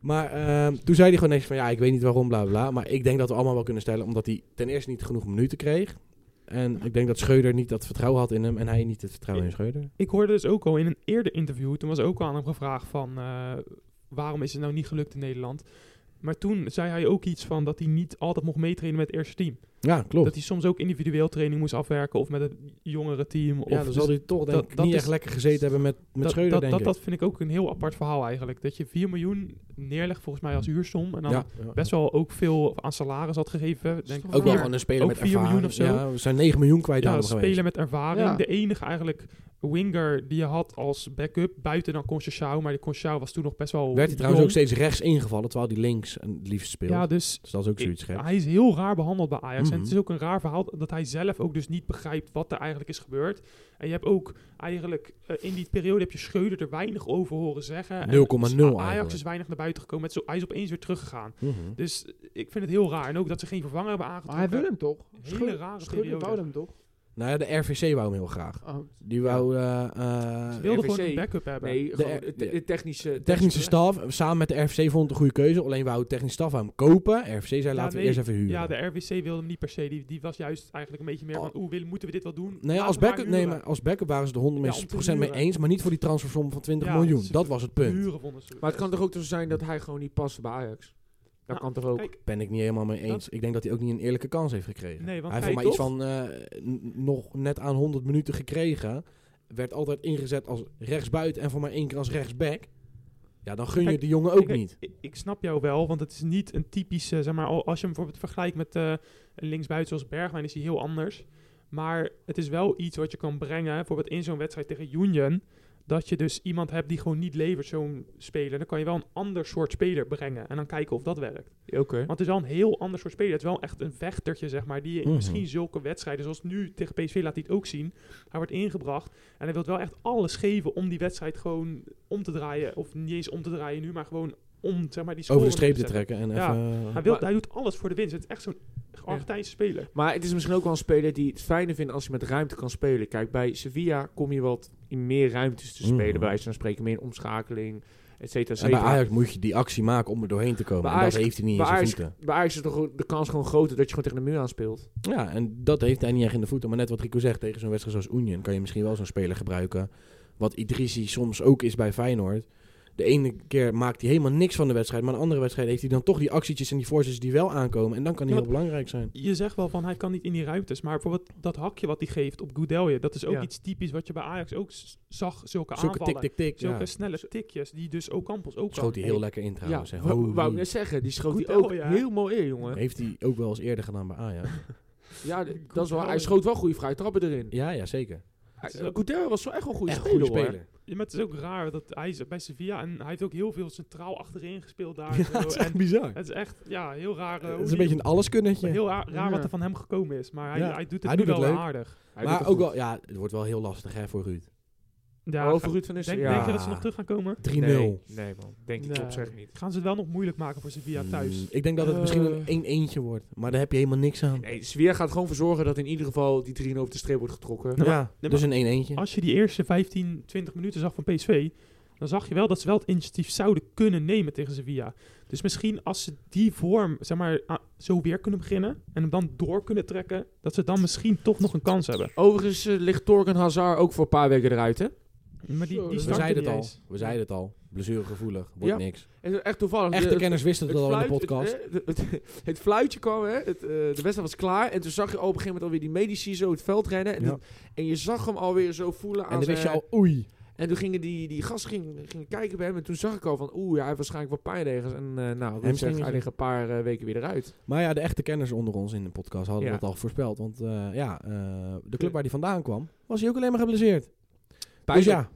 Maar ehm, toen zei hij gewoon niks van... ja, ik weet niet waarom, bla bla, bla. Maar ik denk dat we allemaal wel kunnen stellen... omdat hij ten eerste niet genoeg minuten kreeg... En ik denk dat Scheuder niet dat vertrouwen had in hem en hij niet het vertrouwen in Scheuder.
Ik hoorde dus ook al in een eerder interview, toen was ook al aan hem gevraagd van eh, waarom is het nou niet gelukt in Nederland. Maar toen zei hij ook iets van dat hij niet altijd mocht meetrainen met het eerste team.
Ja, klopt.
Dat hij soms ook individueel training moest afwerken of met het jongere team. Of
Ja, dan
dus
zal hij toch denk
dat-
ik
dat
niet
is-
echt lekker gezeten hebben met, met
dat,
Schreuder,
dat,
denk
dat,
ik.
dat vind ik ook een heel apart verhaal eigenlijk. Dat je 4 miljoen neerlegt volgens mij als huursom en dan
ja.
nou, best wel ook veel aan salaris had gegeven. Denk
toch
Ook wel
vier-
gewoon een speler
ook
met
vier
ervaring.
miljoen of zo.
Ja, we zijn 9 miljoen kwijt aan
Ja,
hem geweest.
spelen met ervaring.
Ja.
De enige eigenlijk winger die je had als backup, buiten dan Conchachao. Maar die Conchachao was toen nog best wel...
Werd hij
jong.
trouwens ook steeds rechts ingevallen, terwijl hij links en het liefst speelt.
Ja, dus
dus dat is ook zoiets
ik-
gek.
hij is heel raar behandeld bij Ajax. En het
Mhm.
is ook een raar verhaal dat hij zelf ook dus niet begrijpt wat er eigenlijk is gebeurd. En je hebt ook eigenlijk eh, in die periode heb je Scheuder er weinig over horen zeggen. En
0,0
dus A- Ajax
eigenlijk.
is weinig naar buiten gekomen. Het is, hij is opeens weer teruggegaan.
Mhm.
Dus eh, ik vind het heel raar. En ook dat ze geen vervanger hebben
Maar
aangetrokken.
hij wil hem toch?
Hele
Scheur-
rare
Scheur
periode.
wou hem toch?
Nou ja, de RVC wou hem heel graag.
Oh,
Die wou eh, eh,
Ze wilden gewoon
RVC.
een backup hebben.
Nee, gewoon
de-
de, de technische...
technische staf, samen met de RVC vond het een goede keuze. Alleen wou de technische staf wou hem kopen. RVC zei, laten
nee,
we eerst even huren.
Ja, de RWC wilde hem niet per se. Die, die was juist eigenlijk een beetje meer
Oh.
van... Oeh, Willem, moeten we dit wel doen?
Nee,
Laten
Nou als
we maar
backup, nee,
huren.
maar als backup waren ze de 100
Ja,
mensen
om te
procent mee
huren.
eens, maar niet voor die transfersom van 20
Ja,
miljoen.
ze-
Dat was het punt.
Huren vonden ze
Maar het kan toch ook zo zijn dat hij gewoon niet past bij Ajax? Dat
Nou,
kan toch ook?
kijk,
ben ik niet helemaal mee eens. ik denk dat hij ook niet een eerlijke kans heeft gekregen.
Nee, want
hij
hij
heeft maar iets van eh, n- nog net aan 100 minuten gekregen. Werd altijd ingezet als rechtsbuiten en voor maar één keer als rechtsback. Ja, dan gun je
Kijk,
de jongen ook
Kijk,
niet.
Ik, ik snap jou wel, want het is niet een typische, zeg maar, al- als je hem bijvoorbeeld vergelijkt met eh, een linksbuiten zoals Bergwijn, is hij heel anders. Maar het is wel iets wat je kan brengen, bijvoorbeeld in zo'n wedstrijd tegen Union, dat je dus iemand hebt die gewoon niet levert, zo'n speler. Dan kan je wel een ander soort speler brengen en dan kijken of dat werkt.
Oké.
Want het is wel een heel ander soort speler. Het is wel echt een vechtertje, zeg maar. Die je in
Mhm.
misschien zulke wedstrijden, zoals nu tegen PSV, laat hij het ook zien. Hij wordt ingebracht en hij wil wel echt alles geven om die wedstrijd gewoon om te draaien. Of niet eens om te draaien nu, maar gewoon om, zeg maar, die score
Over de streep te
zetten.
trekken en
Ja,
even... eh,
Hij, wil,
Maar-
hij doet alles voor de winst. Het is echt zo'n Argentijnse speler.
Maar het is misschien ook wel een speler die het fijner vindt als hij met ruimte kan spelen. Kijk, bij Sevilla kom je wat in meer ruimtes te spelen.
Mhm.
Bij wijze van spreken, meer in omschakeling, et cetera, et
en bij
cetera.
Ajax moet je die actie maken om er doorheen te komen.
Bij
en dat
Ajax-
heeft hij niet in
bij
zijn
Ajax-
voeten.
Bij Ajax is toch gewoon de kans gewoon groter dat je gewoon tegen de muur aanspeelt.
Ja, en dat heeft hij niet echt in de voeten. Maar net wat Rico zegt, tegen zo'n wedstrijd zoals Union kan je misschien wel zo'n speler gebruiken. Wat Idrissi soms ook is bij Feyenoord. De ene keer maakt hij helemaal niks van de wedstrijd. Maar de andere wedstrijd heeft hij dan toch die actietjes en die voorzets die wel aankomen. En dan kan hij
Ja,
heel belangrijk zijn.
Je zegt wel van hij kan niet in die ruimtes, maar bijvoorbeeld dat hakje wat hij geeft op Goudelje, dat is ook
Ja.
iets typisch wat je bij Ajax ook s- zag, zulke,
Zulke
aanvallen.
tik, tik, tik.
zulke
Ja.
snelle tikjes, die dus ook Campos ook kan.
Schoot hij heel lekker in trouwens.
ja,
hè.
wou,
Holy.
wou ik net zeggen. Die schoot
Goed
hij ook
wel, ja.
heel mooi in, jongen.
Heeft hij ook wel eens eerder gedaan bij Ajax.
Ja, d-
Goed
dat is wel,
wel,
hij
ja.
schoot wel goede vrije trappen erin.
Ja, ja, zeker.
Hij-
Zo.
Goudel was wel echt wel een goede
Echt
speler,
goede
hoor.
speler.
Ja, maar het is ook raar dat hij is bij Sevilla en hij heeft ook heel veel centraal achterin gespeeld daar. en
Ja,
zo.
dat is
en
echt bizar.
het is echt ja, heel raar. eh, hoe
Het is
die-
een beetje een alleskunnetje.
heel raar, raar wat
Ja.
er van hem gekomen is. Maar hij,
Ja.
hij doet het
Hij
nu
doet het
wel
leuk.
aardig.
Hij doet
Maar
het
ook
goed.
wel, ja, het wordt wel heel lastig hè, voor Ruud. 3-0.
Ja,
Maar over
ga-
Ruud van Nistelrooy.
denk,
ja.
denk je dat ze nog terug gaan komen?
Nee, nee, man. Denk ik
Nee.
op zich niet.
Gaan ze het wel nog moeilijk maken voor Sevilla thuis?
Mm, ik denk dat het
Eh.
misschien een 1 eentje wordt. Maar daar heb je helemaal niks aan.
Nee, Sevilla gaat gewoon voor zorgen dat in ieder geval die 3-0 over de streep wordt getrokken.
Nee, maar-
ja,
maar- Oh,
dus een 1 eentje.
Als je die eerste 15, 20 minuten zag van PSV, dan zag je wel dat ze wel het initiatief zouden kunnen nemen tegen Sevilla. Dus misschien als ze die vorm zeg maar, a- zo weer kunnen beginnen en hem dan door kunnen trekken, dat ze dan misschien toch nog een kans hebben.
Overigens eh, ligt Torgen Hazard ook voor een paar weken eruit, hè?
Maar die,
Zo,
die
we
We
startte
zeiden
niet
het al.
eens.
We zeiden het al. Blessuregevoelig. Wordt
Ja.
niks.
Het is echt toevallig.
Echte
De-
kenners wisten het, al in de
fluit-
podcast.
Het, eh, het- het- het fluitje kwam, hè? Het, eh, de wedstrijd was klaar. En toen zag je al op een gegeven moment alweer die medici zo het veld rennen. En,
Ja.
dat- en je zag hem alweer zo voelen aan
en dan
zijn...
wist je al, oei.
En toen gingen die, die gasten gingen, gingen kijken bij hem. En toen zag ik al van, oeh, ja, hij heeft waarschijnlijk wel pijnlegers. En eh, nou, Ruud zegt,
Hamstringetje.
hij ligt een paar eh, weken weer eruit.
Maar ja, de echte kenners onder ons in de podcast hadden
Ja.
dat al voorspeld. Want eh, ja, eh, de club waar hij vandaan kwam, was hij ook alleen maar geblesseerd. Dus
Pijnlijk,
ja,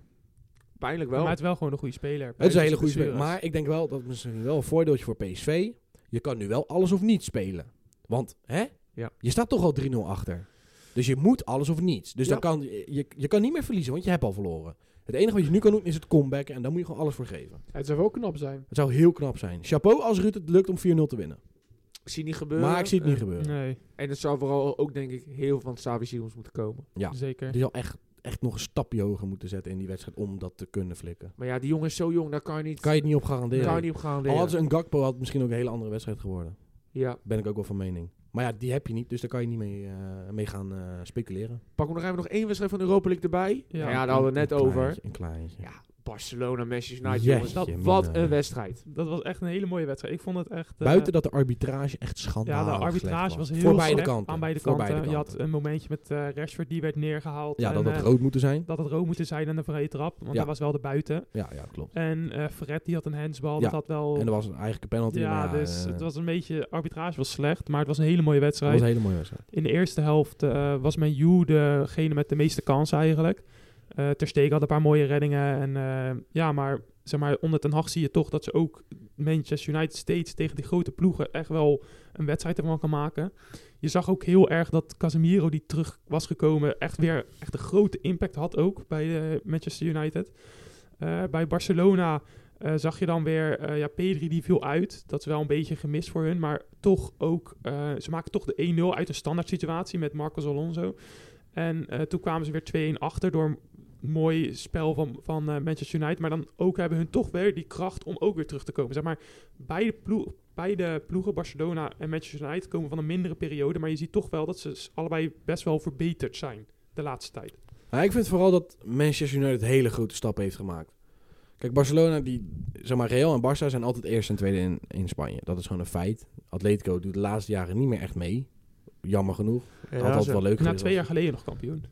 pijnlijk
Maar
wel.
het is wel gewoon een goede speler.
het is een hele
zijn
goede speler.
blessures.
Maar ik denk wel, dat is misschien wel een voordeeltje voor PSV. Je kan nu wel alles of niet spelen. Want, hè?
Ja.
Je staat toch al 3-0 achter. Dus je moet alles of niets. Dus
Ja.
dan kan, je, je kan niet meer verliezen, want je hebt al verloren. Het enige wat je nu kan doen is het comebacken en daar moet je gewoon alles voor geven.
Het zou wel knap zijn.
Het zou heel knap zijn. Chapeau als Ruud het lukt om 4-0 te winnen.
Ik zie het niet gebeuren.
maar ik zie het
Eh,
niet gebeuren.
Nee,
En het zou vooral ook, denk ik, heel veel van Savi Simons moeten komen.
Ja.
zeker.
Die zal echt, echt nog een stapje hoger moeten zetten in die wedstrijd om dat te kunnen flikken.
Maar ja, die jongen is zo jong, daar kan je niet,
Kan je het niet op
daar
garanderen.
kan je niet op gaan
Al
leren.
hadden ze een Gakpo, had het misschien ook een hele andere wedstrijd geworden.
Ja,
Ben ik ook wel van mening. Maar ja, die heb je niet, dus daar kan je niet mee, eh, mee gaan eh, speculeren.
pakken we nog even nog één wedstrijd van de Europa League erbij. Ja,
Ja.
ja daar hadden we het net
Een kleintje,
over.
Een kleintje.
Ja, Barcelona, Manchester United,
Jeetje,
jongens. Dat,
mina.
wat een wedstrijd.
Dat was echt een hele mooie wedstrijd. Ik vond het echt... eh,
Buiten dat de arbitrage echt schandalig
Ja, de arbitrage
slecht
was heel
Voor beide
slecht
kanten.
Aan beide
Voor
kanten.
beide
Je had
kanten.
een momentje met eh Rashford, die werd neergehaald.
Ja,
en,
dat had
eh,
rood moeten zijn.
dat het rood moeten zijn en een vrije trap, want
Ja.
dat was wel de buiten.
Ja, ja, klopt.
En eh, Fred die had een handsbal, dat
Ja.
had wel...
En er was een eigen penalty.
ja,
maar
dus
eh,
het was een beetje... Arbitrage was slecht, maar het was een hele mooie
het
wedstrijd.
was een hele mooie wedstrijd.
In de eerste helft eh, was mijn Yu degene met de meeste kansen eigenlijk. Eh Ter Stegen had een paar mooie reddingen. En, eh, ja, maar, zeg maar onder Ten Hag zie je toch dat ze ook Manchester United steeds tegen die grote ploegen echt wel een wedstrijd ervan kan maken. Je zag ook heel erg dat Casemiro die terug was gekomen echt weer echt een grote impact had ook bij eh, Manchester United. Eh, bij Barcelona eh, zag je dan weer, eh, ja, Pedri die viel uit. Dat is wel een beetje gemist voor hun. Maar toch ook, eh, ze maken toch de 1-0 uit een standaard situatie met Marcos Alonso. En eh, toen kwamen ze weer 2-1 achter door een mooi spel van, van eh, Manchester United. Maar dan ook hebben hun toch weer die kracht om ook weer terug te komen. Zeg maar, beide, ploeg, beide ploegen, Barcelona en Manchester United, komen van een mindere periode. Maar je ziet toch wel dat ze s- allebei best wel verbeterd zijn de laatste tijd.
Nou, ik vind vooral dat Manchester United hele grote stappen heeft gemaakt. Kijk, Barcelona, die, zeg maar, Real en Barça zijn altijd eerste en tweede in, in Spanje. Dat is gewoon een feit. Atletico doet de laatste jaren niet meer echt mee. Jammer genoeg.
Ja,
Had altijd
zo.
wel leuk
Na
geweest.
twee jaar geleden nog kampioen.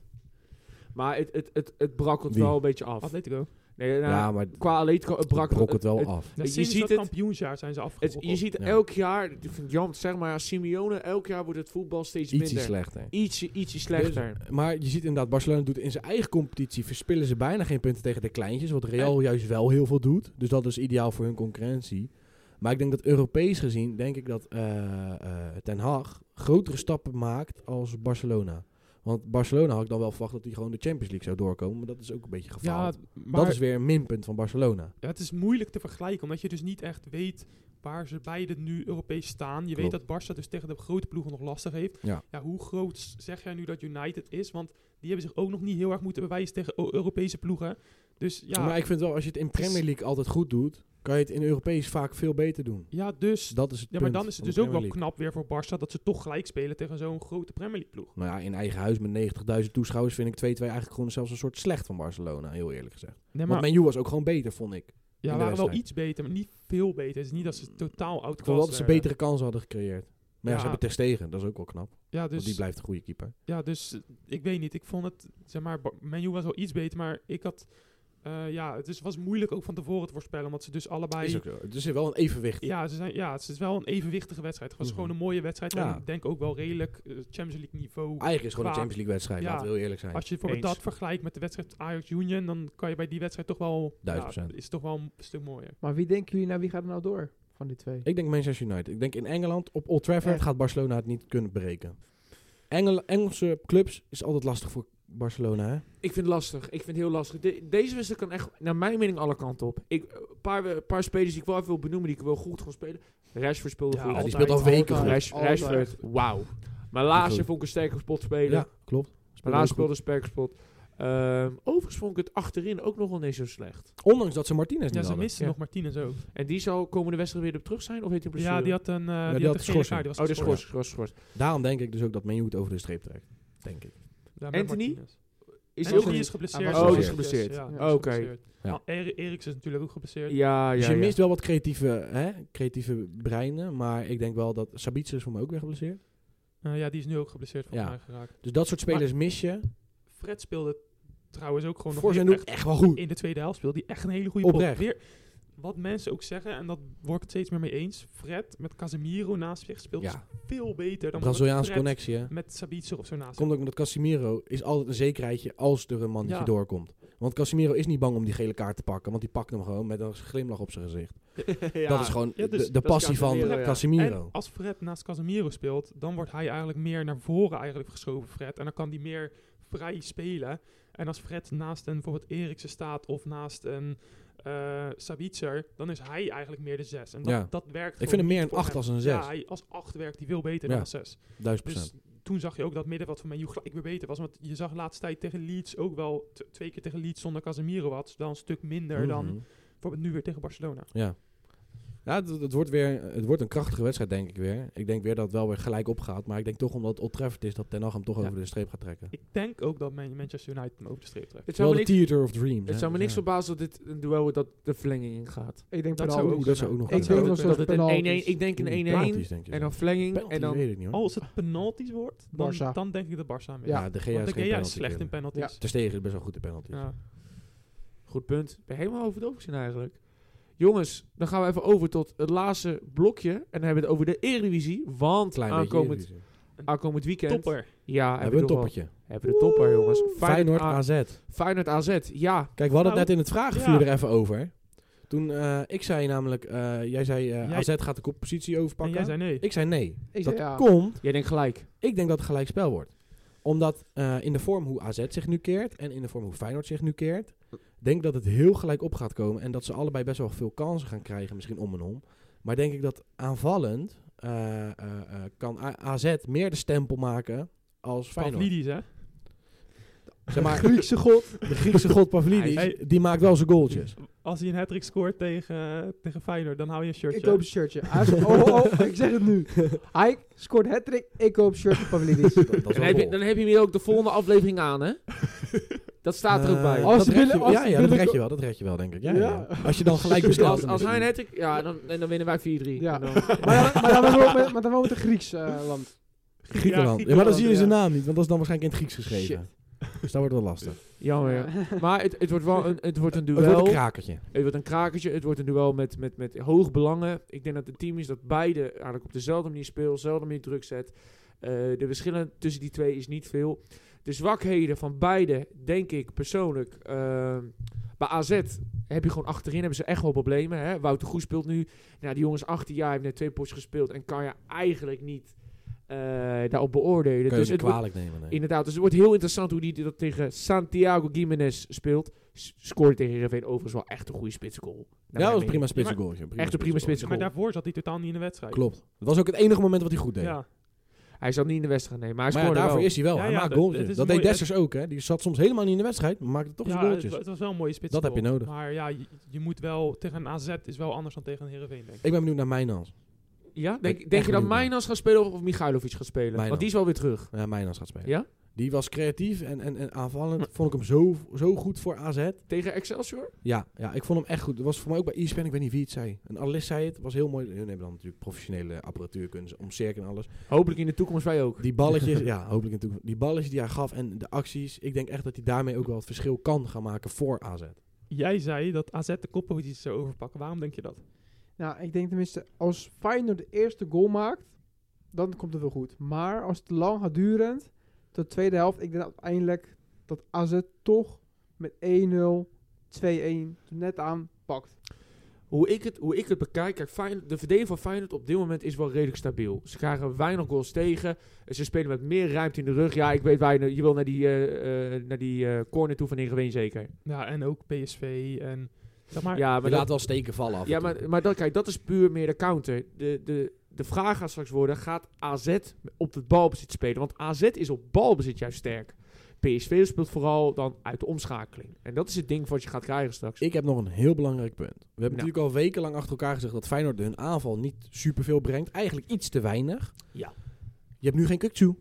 Maar het, het, het, het brakkelt
Wie?
wel een beetje af.
Atletico.
Nee, nou,
Ja, maar
Qua Atletico, het brak
brak het wel af.
Ja,
Je
sinds
ziet
dat
het-
kampioensjaar zijn ze
Het,
afgebroken.
je ziet
Ja.
elk jaar, ik vind Jan, zeg maar, Simeone, elk jaar wordt het voetbal steeds
Ietsje Dus-
minder.
slechter.
Ietsje, ietsje slechter.
Maar je ziet inderdaad, Barcelona doet in zijn eigen competitie... verspillen ze bijna geen punten tegen de kleintjes. Wat Real juist wel heel veel doet. Dus dat is ideaal voor hun concurrentie. Maar ik denk dat Europees gezien... denk ik dat eh, eh, Ten Hag grotere stappen maakt als Barcelona. Want Barcelona had ik dan wel verwacht... dat die gewoon de Champions League zou doorkomen. Maar dat is ook een beetje
ja,
gefaald.
maar
Dat is weer een minpunt van Barcelona.
Ja, het is moeilijk te vergelijken, omdat je dus niet echt weet waar ze beide nu Europees staan. Je
Klopt.
weet dat Barça dus tegen de grote ploegen nog lastig heeft.
Ja.
hoe groot s- zeg jij nu dat United is? Want die hebben zich ook nog niet heel erg moeten bewijzen tegen Eu- Europese ploegen. Dus ja,
Maar ik vind wel, als je het in Premier League altijd goed doet... kan je het in Europees vaak veel beter doen.
ja, dus,
Dus dat is het
ja maar
punt
dan is het
van
dus
de
ook wel
Premier League.
knap weer voor Barça dat ze toch gelijk spelen tegen zo'n grote Premier League ploeg.
Nou ja, in eigen huis met 90.000 toeschouwers vind ik 2-2 eigenlijk gewoon zelfs een soort slecht van Barcelona, heel eerlijk gezegd.
Nee,
Want
maar
Menu was ook gewoon beter, vond ik.
ja,
de
waren wel
wedstrijd.
iets beter, maar niet veel beter. Het is niet dat ze totaal
Ik
oud
vond wel dat ze betere kansen hadden gecreëerd. Maar ja, ze
eh, Ja.
hebben Ter Stegen, dat is ook wel knap.
Ja, dus
want die blijft een goede keeper.
Ja, dus eh, ik weet niet. Ik vond het, zeg maar, Ba- Man U was wel iets beter, maar ik had, eh, ja, het is, was moeilijk ook van tevoren te voorspellen, omdat ze dus allebei,
Is ook zo. Er zit wel een evenwicht.
ja, ze zijn, ja, het is wel een evenwichtige wedstrijd. Het was
Mhm.
gewoon een mooie wedstrijd
Ja. Ah,
en ik denk ook wel redelijk eh, Champions League niveau.
Eigenlijk is het gewoon een
Qua-
Champions League wedstrijd,
Ja.
laten we heel eerlijk zijn.
Als je bijvoorbeeld
Eens.
dat vergelijkt met de wedstrijd Ajax Union, dan kan je bij die wedstrijd toch wel,
Duizend
ja,
procent.
is toch wel een stuk mooier.
Maar wie denken jullie nou, wie gaat er nou door van die twee?
Ik denk Manchester United. Ik denk in Engeland, op Old Trafford,
Echt?
gaat Barcelona het niet kunnen breken. Engel- Engelse clubs is altijd lastig voor Barcelona, hè?
Ik vind het lastig. Ik vind het heel lastig. De- deze wedstrijd kan echt, naar mijn mening, alle kanten op. Ik, een paar, een paar spelers die ik wel even wil benoemen, die ik wel goed gewoon spelen. Rashford speelde
Ja,
goed.
Ja, die
altijd,
speelt al weken
altijd.
goed.
Rash-
Altijd.
Rashford, wauw. Maar laatste vond ik een sterke spot spelen.
Ja, klopt.
Maar laatste
Speelt
speelde een sterke spot. Ehm, overigens vond ik het achterin ook nog wel niet zo slecht.
goed. Ondanks dat ze Martinez niet
Ja, ze
hadden.
misten
Ja.
nog Martinez ook.
En die zal komende wedstrijd weer op terug zijn? Of heeft hij een blessure?
Ja, die had een, eh, die,
die
had
had
een gele kaart,
schorsing.
die was
Oh, de
geschorst.
schors, schors, schors.
Daarom denk ik dus ook dat Menu het over de streep trekt. Denk ik.
Ja, met
Anthony?
Martinez.
Is
Anthony
hij ook
is
niet?
geblesseerd.
Oh, die
is
geblesseerd.
Ja, die
Oké.
is geblesseerd.
Ja.
Ah, Eri- Eriks is natuurlijk ook geblesseerd.
Ja,
Dus
ja,
je
ja.
mist wel wat creatieve, hè, creatieve breinen. Maar ik denk wel dat Sabitzer is voor mij ook weer geblesseerd.
Eh, ja, die is nu ook geblesseerd volgens
Ja.
mij geraakt.
Dus dat soort spelers mis je.
Fred speelde trouwens ook gewoon
Voor
nog
zijn
weer
doen echt wel goed.
in de tweede helft speelde. Die echt een hele goede pot.
Oprecht.
Weer, wat mensen ook zeggen, en dat word ik het steeds meer mee eens. Fred met Casemiro naast zich speelt dus
Ja,
veel beter dan
Braziliaanse
Fred
connectie, hè.
met Sabitzer of zo naast
Komt
zich.
ook omdat Casimiro is altijd een zekerheidje als er een mannetje
Ja.
doorkomt. Want Casimiro is niet bang om die gele kaart te pakken, want die pakt hem gewoon met een glimlach op zijn gezicht. dat is gewoon
Ja, dus
de, de
dat is
passie van
Casemiro, ja.
Casimiro.
En als Fred naast Casemiro speelt, dan wordt hij eigenlijk meer naar voren eigenlijk geschoven, Fred. En dan kan hij meer vrij spelen. En als Fred naast een bijvoorbeeld Eriksen staat of naast een eh, Sabitzer, dan is hij eigenlijk meer de zes. En dat,
Ja.
dat werkt
Ik
gewoon
vind hem meer
niet
een
voor
8 als een 6.
Ja, hij, als acht werkt hij veel beter
Ja.
dan als zes.
Duizend
Dus
procent.
toen zag je ook dat middenveld van Menu gelijk weer beter was. Want je zag de laatste tijd tegen Leeds ook wel t- twee keer tegen Leeds zonder Casemiro had. Wel een stuk minder dan
Mhm.
bijvoorbeeld nu weer tegen Barcelona.
Ja. Ja, het, het wordt weer, het wordt een krachtige wedstrijd, denk ik weer. Ik denk weer dat het wel weer gelijk opgaat. Maar ik denk toch, omdat het Old Trafford is, dat Ten Hag hem toch
Ja.
over de streep gaat trekken.
Ik denk ook dat Man- Manchester United hem over de streep trekt.
Het zou
Wel
me
de
niks,
theater of dreams.
het
hè,
zou me
dus
niks
ja.
verbazen dat dit een duel wordt dat de verlenging ingaat.
Ik denk
Dat
dat
zou
Oeh, dat zou ook nog
Ik
kunnen.
denk dat
Dat,
ze
dat het
penalties-
een 1-1... Ik denk
Oeh,
een 1-1
penalties, denk je
en
zo.
dan verlenging en
Penalties,
dan...
weet ik niet hoor.
Als het penalties wordt, dan,
Barca.
dan denk ik dat Barca mee.
ja,
Ja,
de Gea
Want
is
de
geen
Gea
penalty
is slecht
killer.
in penalties.
Ter Stegen is best wel goed in penalty.
Ja.
Goed punt. Ik ben helemaal over de hoofd gezien eigenlijk. Jongens, dan gaan we even over tot het laatste blokje. En dan hebben we het over de Eredivisie. Want
Klein beetje.
aankomend, Ah,
Eredivisie. We
aankomend weekend...
Topper.
Ja,
hebben een
nog wel-
toppertje.
Hebben we de topper, jongens.
Feyenoord
A-
AZ.
Feyenoord AZ. Ja,
Kijk, we hadden het
Nou,
net in het vragenvuur
ja.
er even over. Toen, eh, ik zei namelijk, eh, jij zei eh,
Jij-
AZ gaat de koppositie
En
overpakken.
jij zei nee.
Ik zei nee.
Ik
dat
zei ja.
komt
jij denkt gelijk.
Ik denk dat het gelijk spel wordt. Omdat eh, in de vorm hoe AZ zich nu keert en in de vorm hoe Feyenoord zich nu keert, denk dat het heel gelijk op gaat komen en dat ze allebei best wel veel kansen gaan krijgen, misschien om en om. Maar denk ik dat aanvallend eh, eh, eh, kan A- AZ meer de stempel maken als Feyenoord.
Pavlidis, hè?
Zeg maar,
Griekse god.
de Griekse god Pavlidis,
Hij-
die maakt wel zijn goaltjes.
Als hij een hat scoort tegen, tegen Feyenoord, dan hou je een shirtje.
Ik koop een shirtje. Hij is- oh, oh, oh, ik zeg het nu. Hij scoort hat-trick. Ik koop shirtje Pavlidis.
Dat, dat is
Dan
wel
heb, je,
goal.
dan heb je hier ook de volgende aflevering aan, hè? Dat staat er ook
Eh,
bij.
als
dat
ze
red
willen-
je-
als
ja,
ze
ja, dat
willen-
red je wel, dat red je wel, denk ik. Ja,
Ja.
ja. Als je dan gelijk bestelt.
Dus als, als hij
misschien.
net... Ja, dan, en dan winnen wij 4-3.
Ja.
En dan-
Maar dan- maar dan wel met- maar dan wel met een Grieks eh, land.
Griekenland. Ja, maar dan zie je zijn naam niet, want dat is dan waarschijnlijk in het Grieks geschreven. Dus dat wordt wel lastig.
Jammer, ja. Maar het, het wordt wel een, het wordt een duel.
Het wordt een krakertje.
Het wordt een krakertje. Het wordt een duel met, met, met hoog belangen. Ik denk dat het team is dat beide eigenlijk op dezelfde manier speelt, dezelfde manier druk zet. Eh, de verschillen tussen die twee is niet veel. De zwakheden van beide, denk ik persoonlijk. eh, bij AZ heb je gewoon achterin hebben ze echt wel problemen. Hè? Wouter Goes speelt nu. Nou, die jongens 18 jaar heeft net twee potjes gespeeld en kan je eigenlijk niet eh, daarop beoordelen.
Kun je
dus
niet
het wordt-
kwalijk nemen. nee.
Inderdaad, dus het wordt heel interessant hoe die dat tegen Santiago Gimenez speelt. S- Scoorde tegen Heerenveen overigens wel echt een goede spitsgoal.
Ja, dat was een prima
Ja,
spitsengoal.
echt een prima spits.
Maar daarvoor zat hij totaal niet in de wedstrijd.
Klopt. Dat was ook het enige moment wat hij goed deed.
Ja.
Hij zal niet in de wedstrijd nemen, maar hij
Maar ja,
scoorde
daarvoor
wel.
is hij wel.
Ja,
hij
ja,
maakt
dat-
goals.
dat is
Dat
een
deed
mooie-
Dessers ook, hè. Die zat soms helemaal niet in de wedstrijd, maar maakte toch zijn
Ja, het,
goaltjes.
wa- het was wel een mooie spits.
Dat heb je nodig.
Maar ja, je, je moet wel tegen een AZ is wel anders dan tegen een Heerenveen, denk ik.
Ik ben benieuwd naar Mijnans.
Ja?
Ben ik
Denk, denk
echt
je dat
benieuwd naar.
Mijnas gaat spelen of- of Michailovic gaat spelen?
Mijnans.
Want die is wel weer terug.
Ja, Mijnans gaat spelen.
Ja?
Die was creatief en, en, en aanvallend. Vond ik hem zo, zo goed voor AZ.
Tegen Excelsior?
Ja, ja, ik vond hem echt goed. Het was voor mij ook bij E ESPN, ik weet niet wie het zei. Een analist zei het, was heel mooi. Hun hebben dan natuurlijk professionele apparatuur kunnen ze omcirkelen en alles.
Hopelijk in de toekomst wij ook.
Die balletjes, ja, hopelijk natuurlijk. Die balletjes die hij gaf en de acties. Ik denk echt dat hij daarmee ook wel het verschil kan gaan maken voor AZ.
Jij zei dat AZ de koppositie zou overpakken. Waarom denk je dat?
Nou, ik denk tenminste, als Feyenoord de eerste goal maakt, dan komt het wel goed. Maar als het te lang gaat duren, tot de tweede helft, ik denk uiteindelijk dat AZ toch met 1-0, 2-1 net aanpakt.
Hoe ik het, hoe ik het bekijk, kijk, Feyenoord- de verdediging van Feyenoord op dit moment is wel redelijk stabiel. Ze krijgen weinig goals tegen. Ze spelen met meer ruimte in de rug. Ja, ik weet waar je, je wil naar die, eh, eh, naar die eh, corner toe van Heerenveen zeker.
Ja, en ook PSV en... Zeg maar,
ja, maar dat-
wel steken vallen af.
Ja, maar, maar dat, kijk, dat is puur meer de counter. De, de, de vraag gaat straks worden, gaat AZ op het balbezit spelen? Want AZ is op balbezit juist sterk. PSV speelt vooral dan uit de omschakeling. En dat is het ding wat je gaat krijgen straks.
Ik heb nog een heel belangrijk punt. We hebben
Nou.
natuurlijk al wekenlang achter elkaar gezegd dat Feyenoord hun aanval niet superveel brengt. Eigenlijk iets te weinig.
Ja.
Je hebt nu geen Kukcu.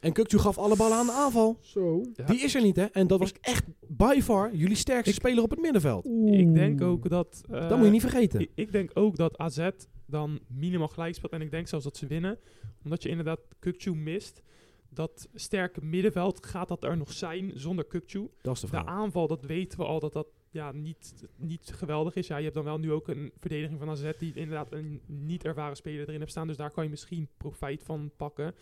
En Kukcu gaf alle ballen aan de aanval.
Zo.
Ja.
Die is er niet, hè? En dat was echt by far jullie sterkste speler op het middenveld.
Ik denk ook dat... eh,
Dat moet je niet vergeten.
ik, ik denk ook dat AZ dan minimaal gelijk speelt. En ik denk zelfs dat ze winnen. Omdat je inderdaad Kukcu mist. dat sterke middenveld gaat dat er nog zijn zonder Kukcu.
Dat is de
De
vraag.
aanval, dat weten we al dat dat ja, niet, niet geweldig is. Ja, je hebt dan wel nu ook een verdediging van AZ die inderdaad een niet ervaren speler erin heeft staan. Dus daar kan je misschien profijt van pakken.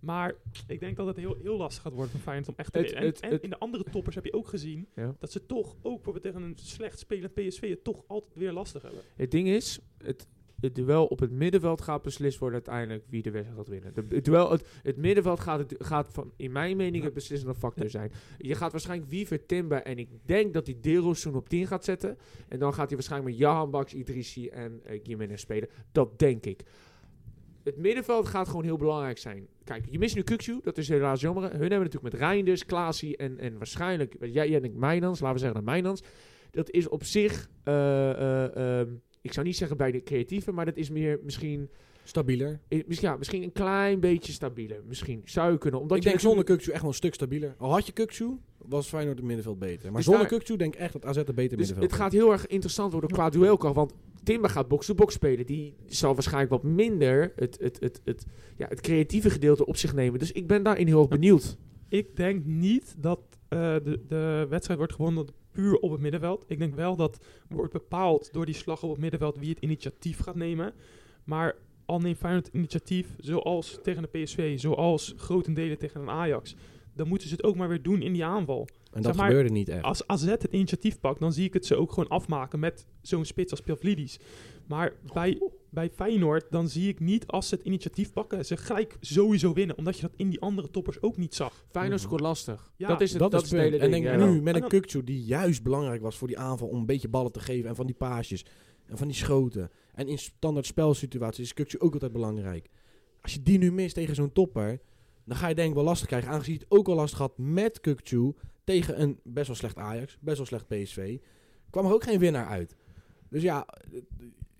Maar ik denk dat het heel, heel lastig gaat worden voor Feyenoord om echt te
Het-
winnen. En,
het-
en
het-
in de andere toppers heb je ook gezien
Ja.
dat ze toch, ook bijvoorbeeld tegen een slecht spelend PSV, het toch altijd weer lastig hebben.
Het ding is, het, het duel op het middenveld gaat beslist worden uiteindelijk wie de wedstrijd gaat winnen. De, het, duel, het, het middenveld gaat, het, gaat van, in mijn mening het beslissende factor zijn. Je gaat waarschijnlijk Wiever, Timber en ik denk dat hij Derosun op 10 gaat zetten. En dan gaat hij waarschijnlijk met Jahan Baks, Idrissi en eh Gimenez spelen. Dat denk ik. Het middenveld gaat gewoon heel belangrijk zijn. Kijk, je mist nu Kukzu, dat is helaas jammer. Hun hebben natuurlijk met Reinders, Klaasie en, en waarschijnlijk... Jij, jij denkt Mijnans, laten we zeggen dat Mijnans. Dat is op zich... eh, eh, ehm, ik zou niet zeggen bij de creatieve, maar dat is meer misschien,
Stabieler.
eh, misschien, ja, misschien een klein beetje stabieler. Misschien zou je kunnen. Omdat
ik
je
denk zonder
natuurlijk-
Kukcu echt wel een stuk stabieler. Al had je Kukcu, was Feyenoord het middenveld beter. Maar
Dus
zonder
daar-
Kukcu denk ik echt dat AZ het beter
Dus
middenveld
het gaat heel erg interessant worden qua duelkracht. Want Timber gaat box-to-box spelen. Die zal waarschijnlijk wat minder het, het, het, het, ja, het creatieve gedeelte op zich nemen. Dus ik ben daarin heel erg benieuwd.
Ik denk niet dat eh, de, de wedstrijd wordt gewonnen puur op het middenveld. Ik denk wel dat wordt bepaald door die slag op het middenveld wie het initiatief gaat nemen. Maar al neemt Feyenoord het initiatief, zoals tegen de PSV, zoals grotendelen tegen een Ajax... dan moeten ze het ook maar weer doen in die aanval.
En dat
zeg maar-
gebeurde niet echt.
Als AZ het initiatief pakt, dan zie ik het ze ook gewoon afmaken met zo'n spits als Pavlidis. Maar bij, bij Feyenoord, dan zie ik niet als ze het initiatief pakken, ze gelijk sowieso winnen. Omdat je dat in die andere toppers ook niet zag.
Feyenoord
Mhm.
scoort lastig.
Ja,
dat is het, dat is het
punt.
hele
En
ding.
denk
ja.
nu met
En
een
dan-
Kukcu die juist belangrijk was voor die aanval om een beetje ballen te geven en van die paasjes en van die schoten. En in standaard spelsituaties is Kukcu ook altijd belangrijk. Als je die nu mist tegen zo'n topper, dan ga je denk ik wel lastig krijgen. Aangezien je het ook al lastig had met Kukcu tegen een best wel slecht Ajax, best wel slecht PSV, kwam er ook geen winnaar uit. Dus ja, eh,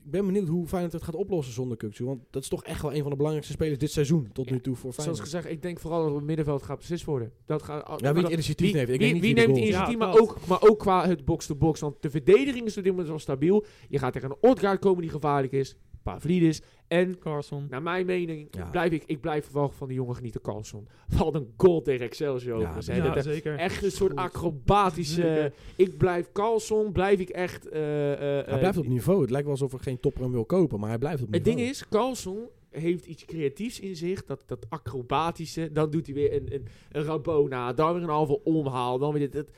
ik ben benieuwd hoe Feyenoord het gaat oplossen zonder Kukcu. Want dat is toch echt wel een van de belangrijkste spelers dit seizoen tot
Ja,
nu toe voor
Zoals
Feyenoord.
gezegd, ik denk vooral dat het middenveld gaat beslist worden. Dat gaat,
Ja, wie het initiatief neemt. Ik
wie,
denk niet
wie
wie de
neemt
goals-
initiatief,
Ja,
maar,
dat.
ook, maar ook qua het box-to-box. Want de verdediging is op dit moment wel stabiel. Je gaat tegen een Odgaard komen die gevaarlijk is. Pavlidis. En,
Carson.
naar mijn mening,
Ja.
blijf ik, ik blijf wel van die jongen genieten. Carlson. Wat een goal tegen Excelsior.
Ja,
overigens, hè.
Ja,
Dat- dat-
zeker. Dus
echt een soort
Goed.
acrobatische...
Zeker.
Ik blijf Carlson, blijf ik echt... eh, eh, eh,
Hij blijft op niveau. Het lijkt wel alsof er geen topper hem wil kopen, maar hij blijft op
Het
niveau.
ding is, Carlson heeft iets creatiefs in zich. Dat, dat acrobatische. Dan doet hij weer een, een, een Rabona. Dan weer een halve omhaal. Dan weer dit. dat-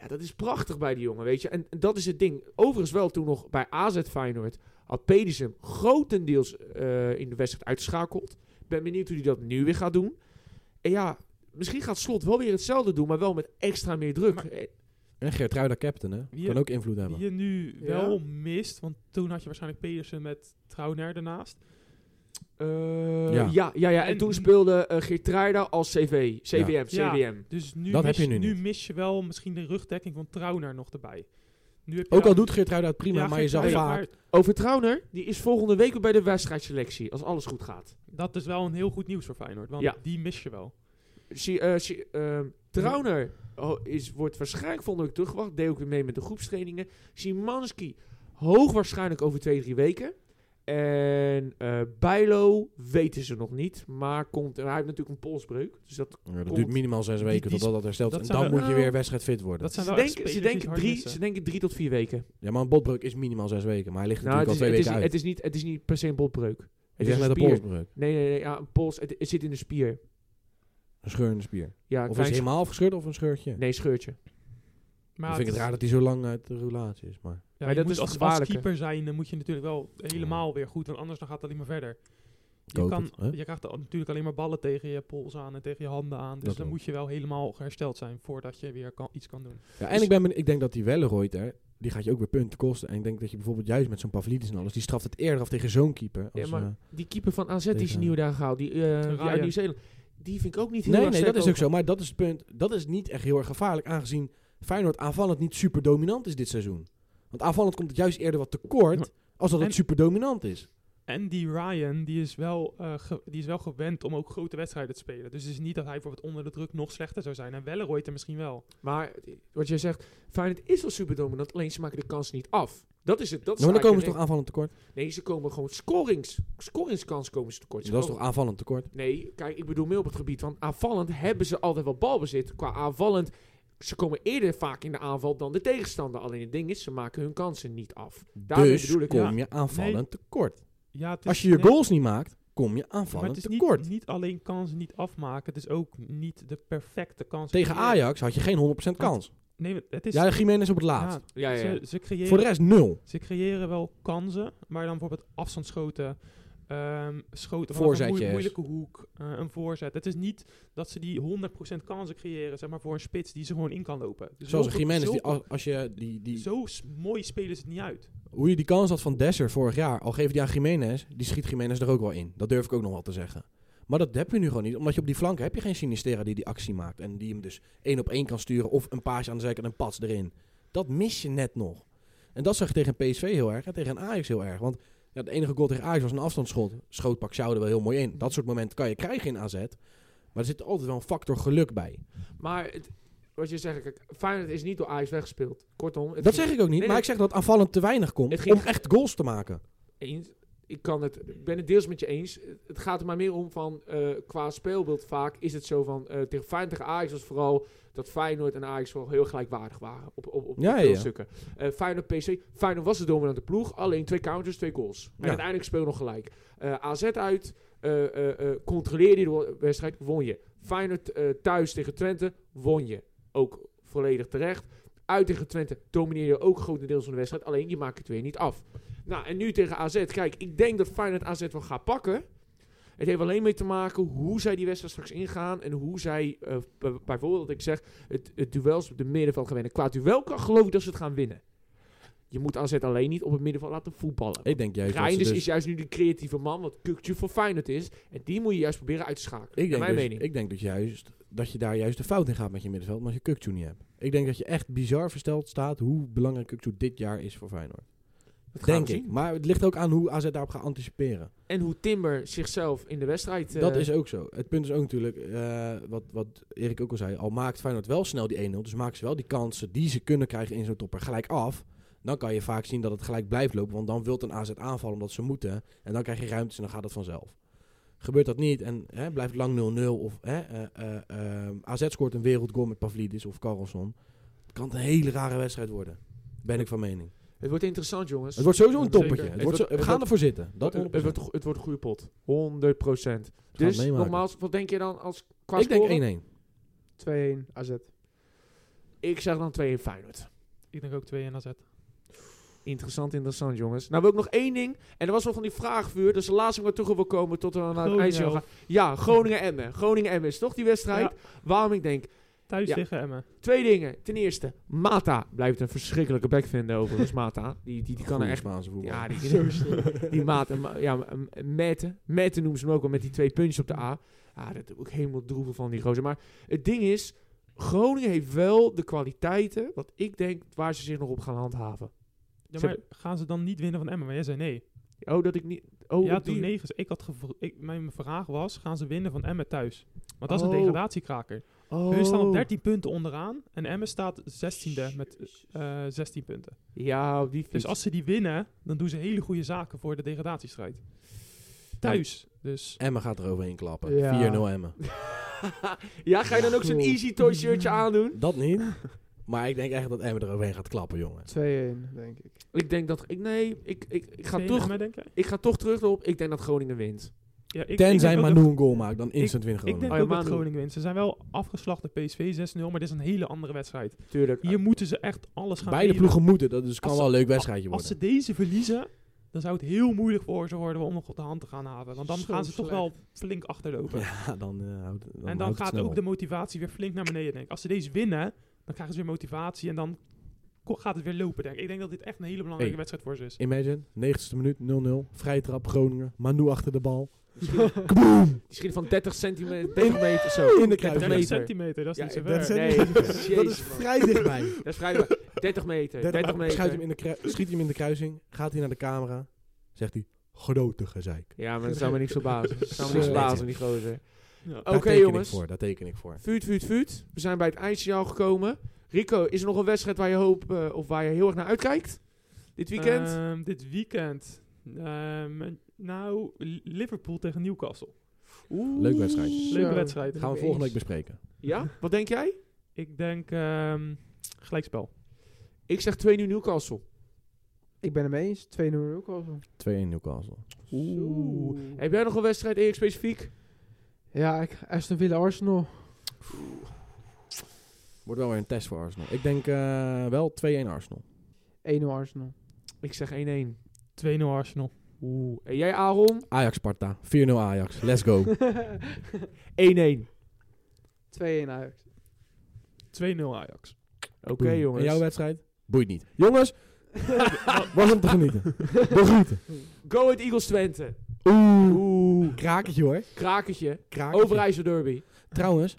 ja, dat is prachtig bij die jongen, weet je. En, en dat is het ding. Overigens wel toen nog bij AZ Feyenoord... had Pedersen grotendeels eh, in de wedstrijd uitschakeld. Ik ben benieuwd hoe hij dat nu weer gaat doen. En ja, misschien gaat Slot wel weer hetzelfde doen... maar wel met extra meer druk.
Maar-
Eh,
En Geertruida captain, hè?
Wie-
kan ook invloed hebben.
Die je nu
Ja.
wel mist, want toen had je waarschijnlijk Pedersen met Trauner ernaast.
eh,
Ja.
ja. Ja, ja, En
En-
toen speelde eh Geertruida als CV. CVM,
Ja.
CVM.
Dus nu,
Dat
mis,
heb je nu niet.
mis je wel misschien de rugdekking van Trauner nog erbij. Nu heb je
Ook al
dan-
doet Geertruida het prima,
Ja,
maar je zag
Geertruida,
vaak...
maar
Over Trauner, die is volgende week weer bij de wedstrijdselectie, als alles goed gaat.
Dat is wel een heel goed nieuws voor Feyenoord, want
Ja.
die mis je wel.
Zie- eh, zie- ehm, Trauner oh, is, wordt waarschijnlijk volgende week teruggewacht, deed ook weer mee met de groepstrainingen. Szymanski, hoogwaarschijnlijk over twee, drie weken. En eh Bijlo weten ze nog niet, maar komt, hij heeft natuurlijk een polsbreuk, dus dat
Ja, dat
Komt.
duurt minimaal zes weken
die-
totdat dat herstelt.
dat
en
zijn
dan
wel-
moet je
Nou.
weer wedstrijdfit worden.
Dat zijn
ze
wel echt
denken, ze,
spelers die
denken
hard
drie,
missen.
ze denken drie tot vier weken.
Ja, maar een botbreuk is minimaal zes weken. Maar hij ligt
Nou, het,
natuurlijk
is,
al
het,
twee
is,
weken
het,
uit.
is niet, het is niet per se een botbreuk. Het
Je
is
zegt
een
net een
spier.
polsbreuk.
Nee, nee, nee, ja, een pols, het, het zit in de spier.
Een scheur in de spier.
Ja, een
Of is
klein
het helemaal afgescheurd of een scheurtje?
Nee, scheurtje.
Maar
Dan vind ik het raar dat hij zo lang uit de roulatie is. Maar
ja,
Maar
je
dat
moet
is
als, als
gevaarlijker.
keeper zijn, dan moet je natuurlijk wel helemaal weer goed, want anders dan gaat het alleen maar verder.
ik
Je,
hoop
kan,
het, hè?
je krijgt al- natuurlijk alleen maar ballen tegen je pols aan en tegen je handen aan. Dus
Dat
dan
ook.
moet je wel helemaal hersteld zijn voordat je weer kan, iets kan doen.
Ja, en ik, ben, ben- ik denk dat die Welleroyter, die gaat je ook weer punten kosten. En ik denk dat je bijvoorbeeld juist met zo'n Pavlidis en alles, die straft het eerder af tegen zo'n keeper.
Ja,
als,
maar
eh,
die keeper van AZ die ze
Tegen-
nieuw daar gehaald, die, eh, die uit
Ryan.
Nieuw-Zeeland, die vind ik ook niet heel
Nee,
erg
nee, dat
sterk
is ook
over.
zo. Maar dat is het punt. Dat is niet echt heel erg gevaarlijk, aangezien Feyenoord aanvallend niet super dominant is dit seizoen. Want aanvallend komt het juist eerder wat
Maar-
tekort, als dat
en-
het super dominant is. Nou,
En die Ryan, die is, wel, eh, ge- die is wel gewend om ook grote wedstrijden te spelen. Dus het is niet dat hij bijvoorbeeld onder de druk nog slechter zou zijn. En Welleroyter misschien wel.
Maar eh, wat jij zegt, Feyenoord is wel super dominant, alleen ze maken de kans niet af. Dat is het. Dat is
Ja, Nou, maar dan komen ze toch
eigenlijk
aanvallend tekort?
een- Nee, ze komen gewoon scorings. Scoringskans komen ze tekort. Ze
dat is toch
komen-
aanvallend tekort?
Nee, kijk, ik bedoel meer op het gebied van aanvallend hebben ze altijd wel balbezit. Qua aanvallend, ze komen eerder vaak in de aanval dan de tegenstander. Alleen het ding is, ze maken hun kansen niet af. Daarmee
dus
bedoel ik,
kom
ja.
je aanvallend
Nee.
tekort.
Ja, het is-
Als je je
nee,
goals niet maakt, kom je
maar het
aanvallend
is
tekort.
niet, niet alleen kansen niet afmaken, het is ook niet de perfecte kans.
Tegen
creëren.
Ajax had je geen 100% kans.
Nee, het is...
Ja, Jiménez op het laatst.
Ja, ja, ja.
Ze, ze creëren,
Voor de rest nul.
ze creëren wel kansen, maar dan bijvoorbeeld afstandsschoten, ehm schoten vanaf een
Voorzetjes.
moe- moeilijke hoek, eh, een voorzet. Het is niet dat ze die 100% kansen creëren, zeg maar, voor een spits die ze gewoon in kan lopen. Dus
Zoals
zo-
Jiménez,
zo-
die, als, als je die, die,
Zo s- mooi spelen ze het niet uit.
hoe je die kans had van Desser vorig jaar, al geef je die aan Jiménez, die schiet Jiménez er ook wel in. Dat durf ik ook nog wel te zeggen. Maar dat heb je nu gewoon niet, omdat je op die flank heb je geen Sinistera die die actie maakt. En die hem dus één op één kan sturen of een paasje aan de zijkant en pas erin. Dat mis je net nog. En dat zag je tegen PSV heel erg en tegen Ajax heel erg. Want ja, de enige goal tegen Ajax was een afstandsschot. Schoot Pak er wel heel mooi in. Dat soort momenten kan je krijgen in AZ. Maar er zit altijd wel een factor geluk bij.
Maar het- wat je zegt, kijk, Feyenoord is niet door Ajax weggespeeld. Kortom, het
Dat
ging-
zeg ik ook niet,
nee,
maar ik zeg dat aanvallend te weinig
Het
komt
ging-
om echt goals te maken.
eens. Ik kan het, ik ben het deels met je eens. Het gaat er maar meer om van, eh, qua speelbeeld vaak is het zo van, eh, tegen Feyenoord tegen Ajax was vooral dat Feyenoord en Ajax vooral heel gelijkwaardig waren op, op, op
Ja,
veel
ja, ja.
stukken. Eh, Feyenoord PC, Feyenoord was de dominante ploeg, alleen twee counters, twee goals. En
Ja.
uiteindelijk speel nog gelijk. Eh, AZ uit, eh, eh, eh, controleer die wo- wedstrijd, won je. Feyenoord eh, thuis tegen Twente, won je. Ook volledig terecht. Uit tegen Twente domineer je ook grotendeels van de wedstrijd. Alleen je maakt het weer niet af. Nou, en nu tegen AZ. Kijk, ik denk dat Feyenoord AZ wel gaat pakken. Het heeft alleen mee te maken hoe zij die wedstrijd straks ingaan. En hoe zij, eh, b- bijvoorbeeld, wat ik zeg, het, het duels op de middenveld gaan winnen. Qua duelkracht geloof ik dat ze het gaan winnen. Je moet AZ alleen niet op het middenveld laten voetballen.
Ik denk juist dat ze
Reinders
dus-
is juist nu de creatieve man, wat Kukje voor Feyenoord is. En die moet je juist proberen uit te schakelen.
Ik
naar
denk,
mijn
dus-
mening.
ik denk dat, juist, dat je daar juist de fout in gaat met je middenveld, maar je Kukcu niet hebt. Ik denk dat je echt bizar versteld staat hoe belangrijk Kukcu dit jaar is voor Feyenoord.
Dat gaan
Denk
we
ik.
zien.
Maar het ligt ook aan hoe AZ daarop gaat anticiperen.
En hoe Timber zichzelf in de wedstrijd... eh,
dat is ook zo. Het punt is ook natuurlijk, eh, wat, wat Erik ook al zei, al maakt Feyenoord wel snel die 1-0, dus maken ze wel die kansen die ze kunnen krijgen in zo'n topper gelijk af. Dan kan je vaak zien dat het gelijk blijft lopen, want dan wilt een AZ aanvallen omdat ze moeten. En dan krijg je ruimtes en dan gaat het vanzelf. Gebeurt dat niet en hè, blijft het lang 0-0 of hè, eh, eh, eh, AZ scoort een wereldgoal met Pavlidis of Carlson. Het kan een hele rare wedstrijd worden, ben ik van mening.
Het wordt interessant, jongens.
Het wordt sowieso een
Zeker.
toppertje. Het
Het
wordt zo-
wordt-
we
het
gaan
wordt-
ervoor zitten. Dat
het,
100%.
wordt, het wordt een goede pot. 100
We gaan het
Dus,
meemaken.
nogmaals, wat denk je dan als qua
ik
score?
denk 1-1.
2-1 AZ.
Ik zeg dan 2 in Feyenoord.
Ik denk ook 2 en AZ.
Interessant, interessant, jongens. Nou wil ik nog één ding. En er was wel van die vraagvuur. Dus de laatste waar ik terug wil komen tot we naar het
Groningen
ijsje
of-
gaan. Ja, Groningen-Emmen. Groningen-Emmen is toch die wedstrijd? Waarom ik denk,
Thuis
Ja.
tegen Emmen.
twee dingen. Ten eerste, Mata blijft een verschrikkelijke back vinden overigens, Mata. Die, die, die kan er
Goeie
echt...
Spaanse voetbal.
Ja, die, die maat, en ma- ja, m- Mette, Mette noemen ze hem ook al met die twee puntjes op de A. Ah, dat doe ik helemaal droevig van die gozer. Maar het ding is, Groningen heeft wel de kwaliteiten, wat ik denk, waar ze zich nog op gaan handhaven.
Ja,
Ze
maar gaan ze dan niet winnen van Emmen? Maar jij zei nee.
Oh, dat ik niet... Oh,
ja,
op die-
toen negens. Ik had gevro- ik, mijn vraag was, gaan ze winnen van Emmen thuis? Want dat is
Oh.
een degradatiekraker.
Oh.
Hun staan op 13 punten onderaan en Emmen staat 16e met eh 16 punten.
Ja, op die fiets.
Dus als ze die winnen, dan doen ze hele goede zaken voor de degradatiestrijd. Thuis. Dus
Emma gaat er overheen klappen.
Ja.
4-0 Emma.
ja, ga je dan ook zo'n
Goh.
Easy Toy shirtje aandoen?
Dat niet. Maar ik denk echt dat Emma er overheen gaat klappen, jongen.
2-1, denk ik.
Ik denk dat... Ik, nee, ik, ik, ik, ga
Ga
toch,
Emmen, denk jij?
ik ga toch terug op, ik denk dat Groningen wint.
Ja, ik, ik
Tenzij
denk ook dat-
Manu een goal maakt, dan instant win
Ik denk
Groningen.
Oh ja,
ook dat
Manu.
Groningen wint. Ze zijn wel afgeslacht door PSV 6-0, maar dit is een hele andere wedstrijd.
Tuurlijk.
Hier moeten ze echt alles gaan
Beide
geven.
ploegen moeten, dat dus kan
Als
wel een leuk wedstrijdje
Als ze
worden.
deze verliezen, dan zou het heel moeilijk voor ze worden om nog op de hand te gaan halen. Want dan
Zo
gaan ze toch
slecht.
wel flink achterlopen.
Ja, dan eh, houdt dan
en
houdt
dan
het
gaat
snel
ook
op.
de motivatie weer flink naar beneden, denk ik. Als ze deze winnen, dan krijgen ze weer motivatie en dan ko- gaat het weer lopen, denk ik. Ik denk dat dit echt een hele belangrijke
Hey.
wedstrijd voor ze is.
Imagine, 90ste minuut, 0-0. Vrije trap, Groningen. Manu achter de bal.
Misschien, misschien van 30 centimeter, 30 meter zo.
In de
30
30
30
meter.
centimeter, dat is
Ja,
niet zo
dat
ver.
zijn-
Nee,
Dat is
jezus, man.
vrij dichtbij.
Dat is vrijdag. 30 meter. 30,
30
meter.
Schiet hem, in de kru- schiet hem in de kruising, gaat hij naar de camera, zegt hij, grote gezeik.
Ja, maar dat zou me niks verbazen. Dat zou me
Zo.
niks verbazen, die gozer.
Ja.
Oké,
Daar teken ik
jongens.
voor, daar teken ik voor.
Vuut, vuut, vuut. We zijn bij het eindsignaal gekomen. Rico, is er nog een wedstrijd waar je, hoop, eh, of waar je heel erg naar uitkijkt? Dit weekend?
Ehm, dit weekend. Ehm, nou, Liverpool tegen Newcastle.
Oeh.
leuk wedstrijdje.
Leuke
Zo.
wedstrijd.
Gaan we volgende week bespreken.
Ja? Wat denk jij?
Ik denk ehm, gelijkspel.
Ik zeg 2-0 Newcastle.
Ik ben het mee eens. 2-0 ook al zo.
2-1 Newcastle.
Oeh. Heb jij nog een wedstrijd, Erik, specifiek?
Ja, ik, Aston Villa Arsenal.
Wordt wel weer een test voor Arsenal. Ik denk eh, wel 2-1 Arsenal.
1-0 Arsenal.
Ik zeg 1-1.
2-0 Arsenal.
Oeh. En jij, Aaron?
Ajax Sparta. 4-0 Ajax. Let's go.
1-1.
2-1 Ajax.
2-0 Ajax.
Oké,
Boom.
jongens.
En jouw wedstrijd? Boeit niet. Jongens, was om te genieten. Begrieten.
Go Ahead Eagles Twente.
Oeh.
Oeh.
Krakertje hoor.
Krakertje.
Krakertje.
Overijssel Derby.
Trouwens,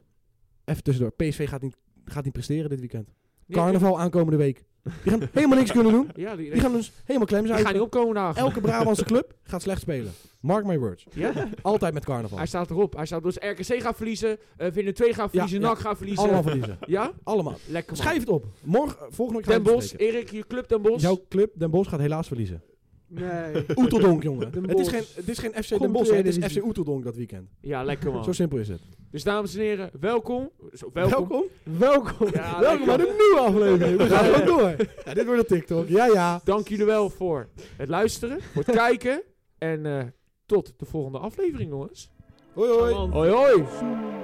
even tussendoor. PSV gaat niet, gaat niet presteren dit weekend.
Nee,
Carnaval aankomende week. Die gaan helemaal niks kunnen doen.
Ja, die,
Die gaan dus helemaal klem
die
zijn.
gaan niet opkomen dagen.
Elke Brabantse club gaat slecht spelen. Mark my words.
Ja?
Altijd met carnaval.
Hij staat erop. Hij staat dus RKC gaat verliezen, eh Vinnen 2 gaat verliezen,
ja.
NAC gaat verliezen.
Allemaal verliezen.
Ja?
Allemaal.
Lekker man.
Schrijf het op. Morgen, volgende week
Den
gaan we het
Bos,
bespreken.
Erik, je club Den Bos.
Jouw club Den Bos gaat helaas verliezen.
Nee.
Oeteldonk, jongen.
Den
Het is,
Bosch.
geen, het is geen FC
Komt
Den Bos,
weer
hè. het
de
is Oh.
divisie.
FC Oeteldonk dat weekend.
Ja, lekker man.
Zo simpel is het.
Dus dames en heren, welkom. Zo, welkom.
Welkom.
Ja,
Welkom bij
lekker.
de nieuwe aflevering. We gaan gewoon door. Ja, dit wordt een TikTok. Ja, ja.
Dank jullie wel voor het luisteren, voor het kijken. En eh, tot de volgende aflevering, jongens.
Hoi, hoi.
Hoi, hoi.
Zo.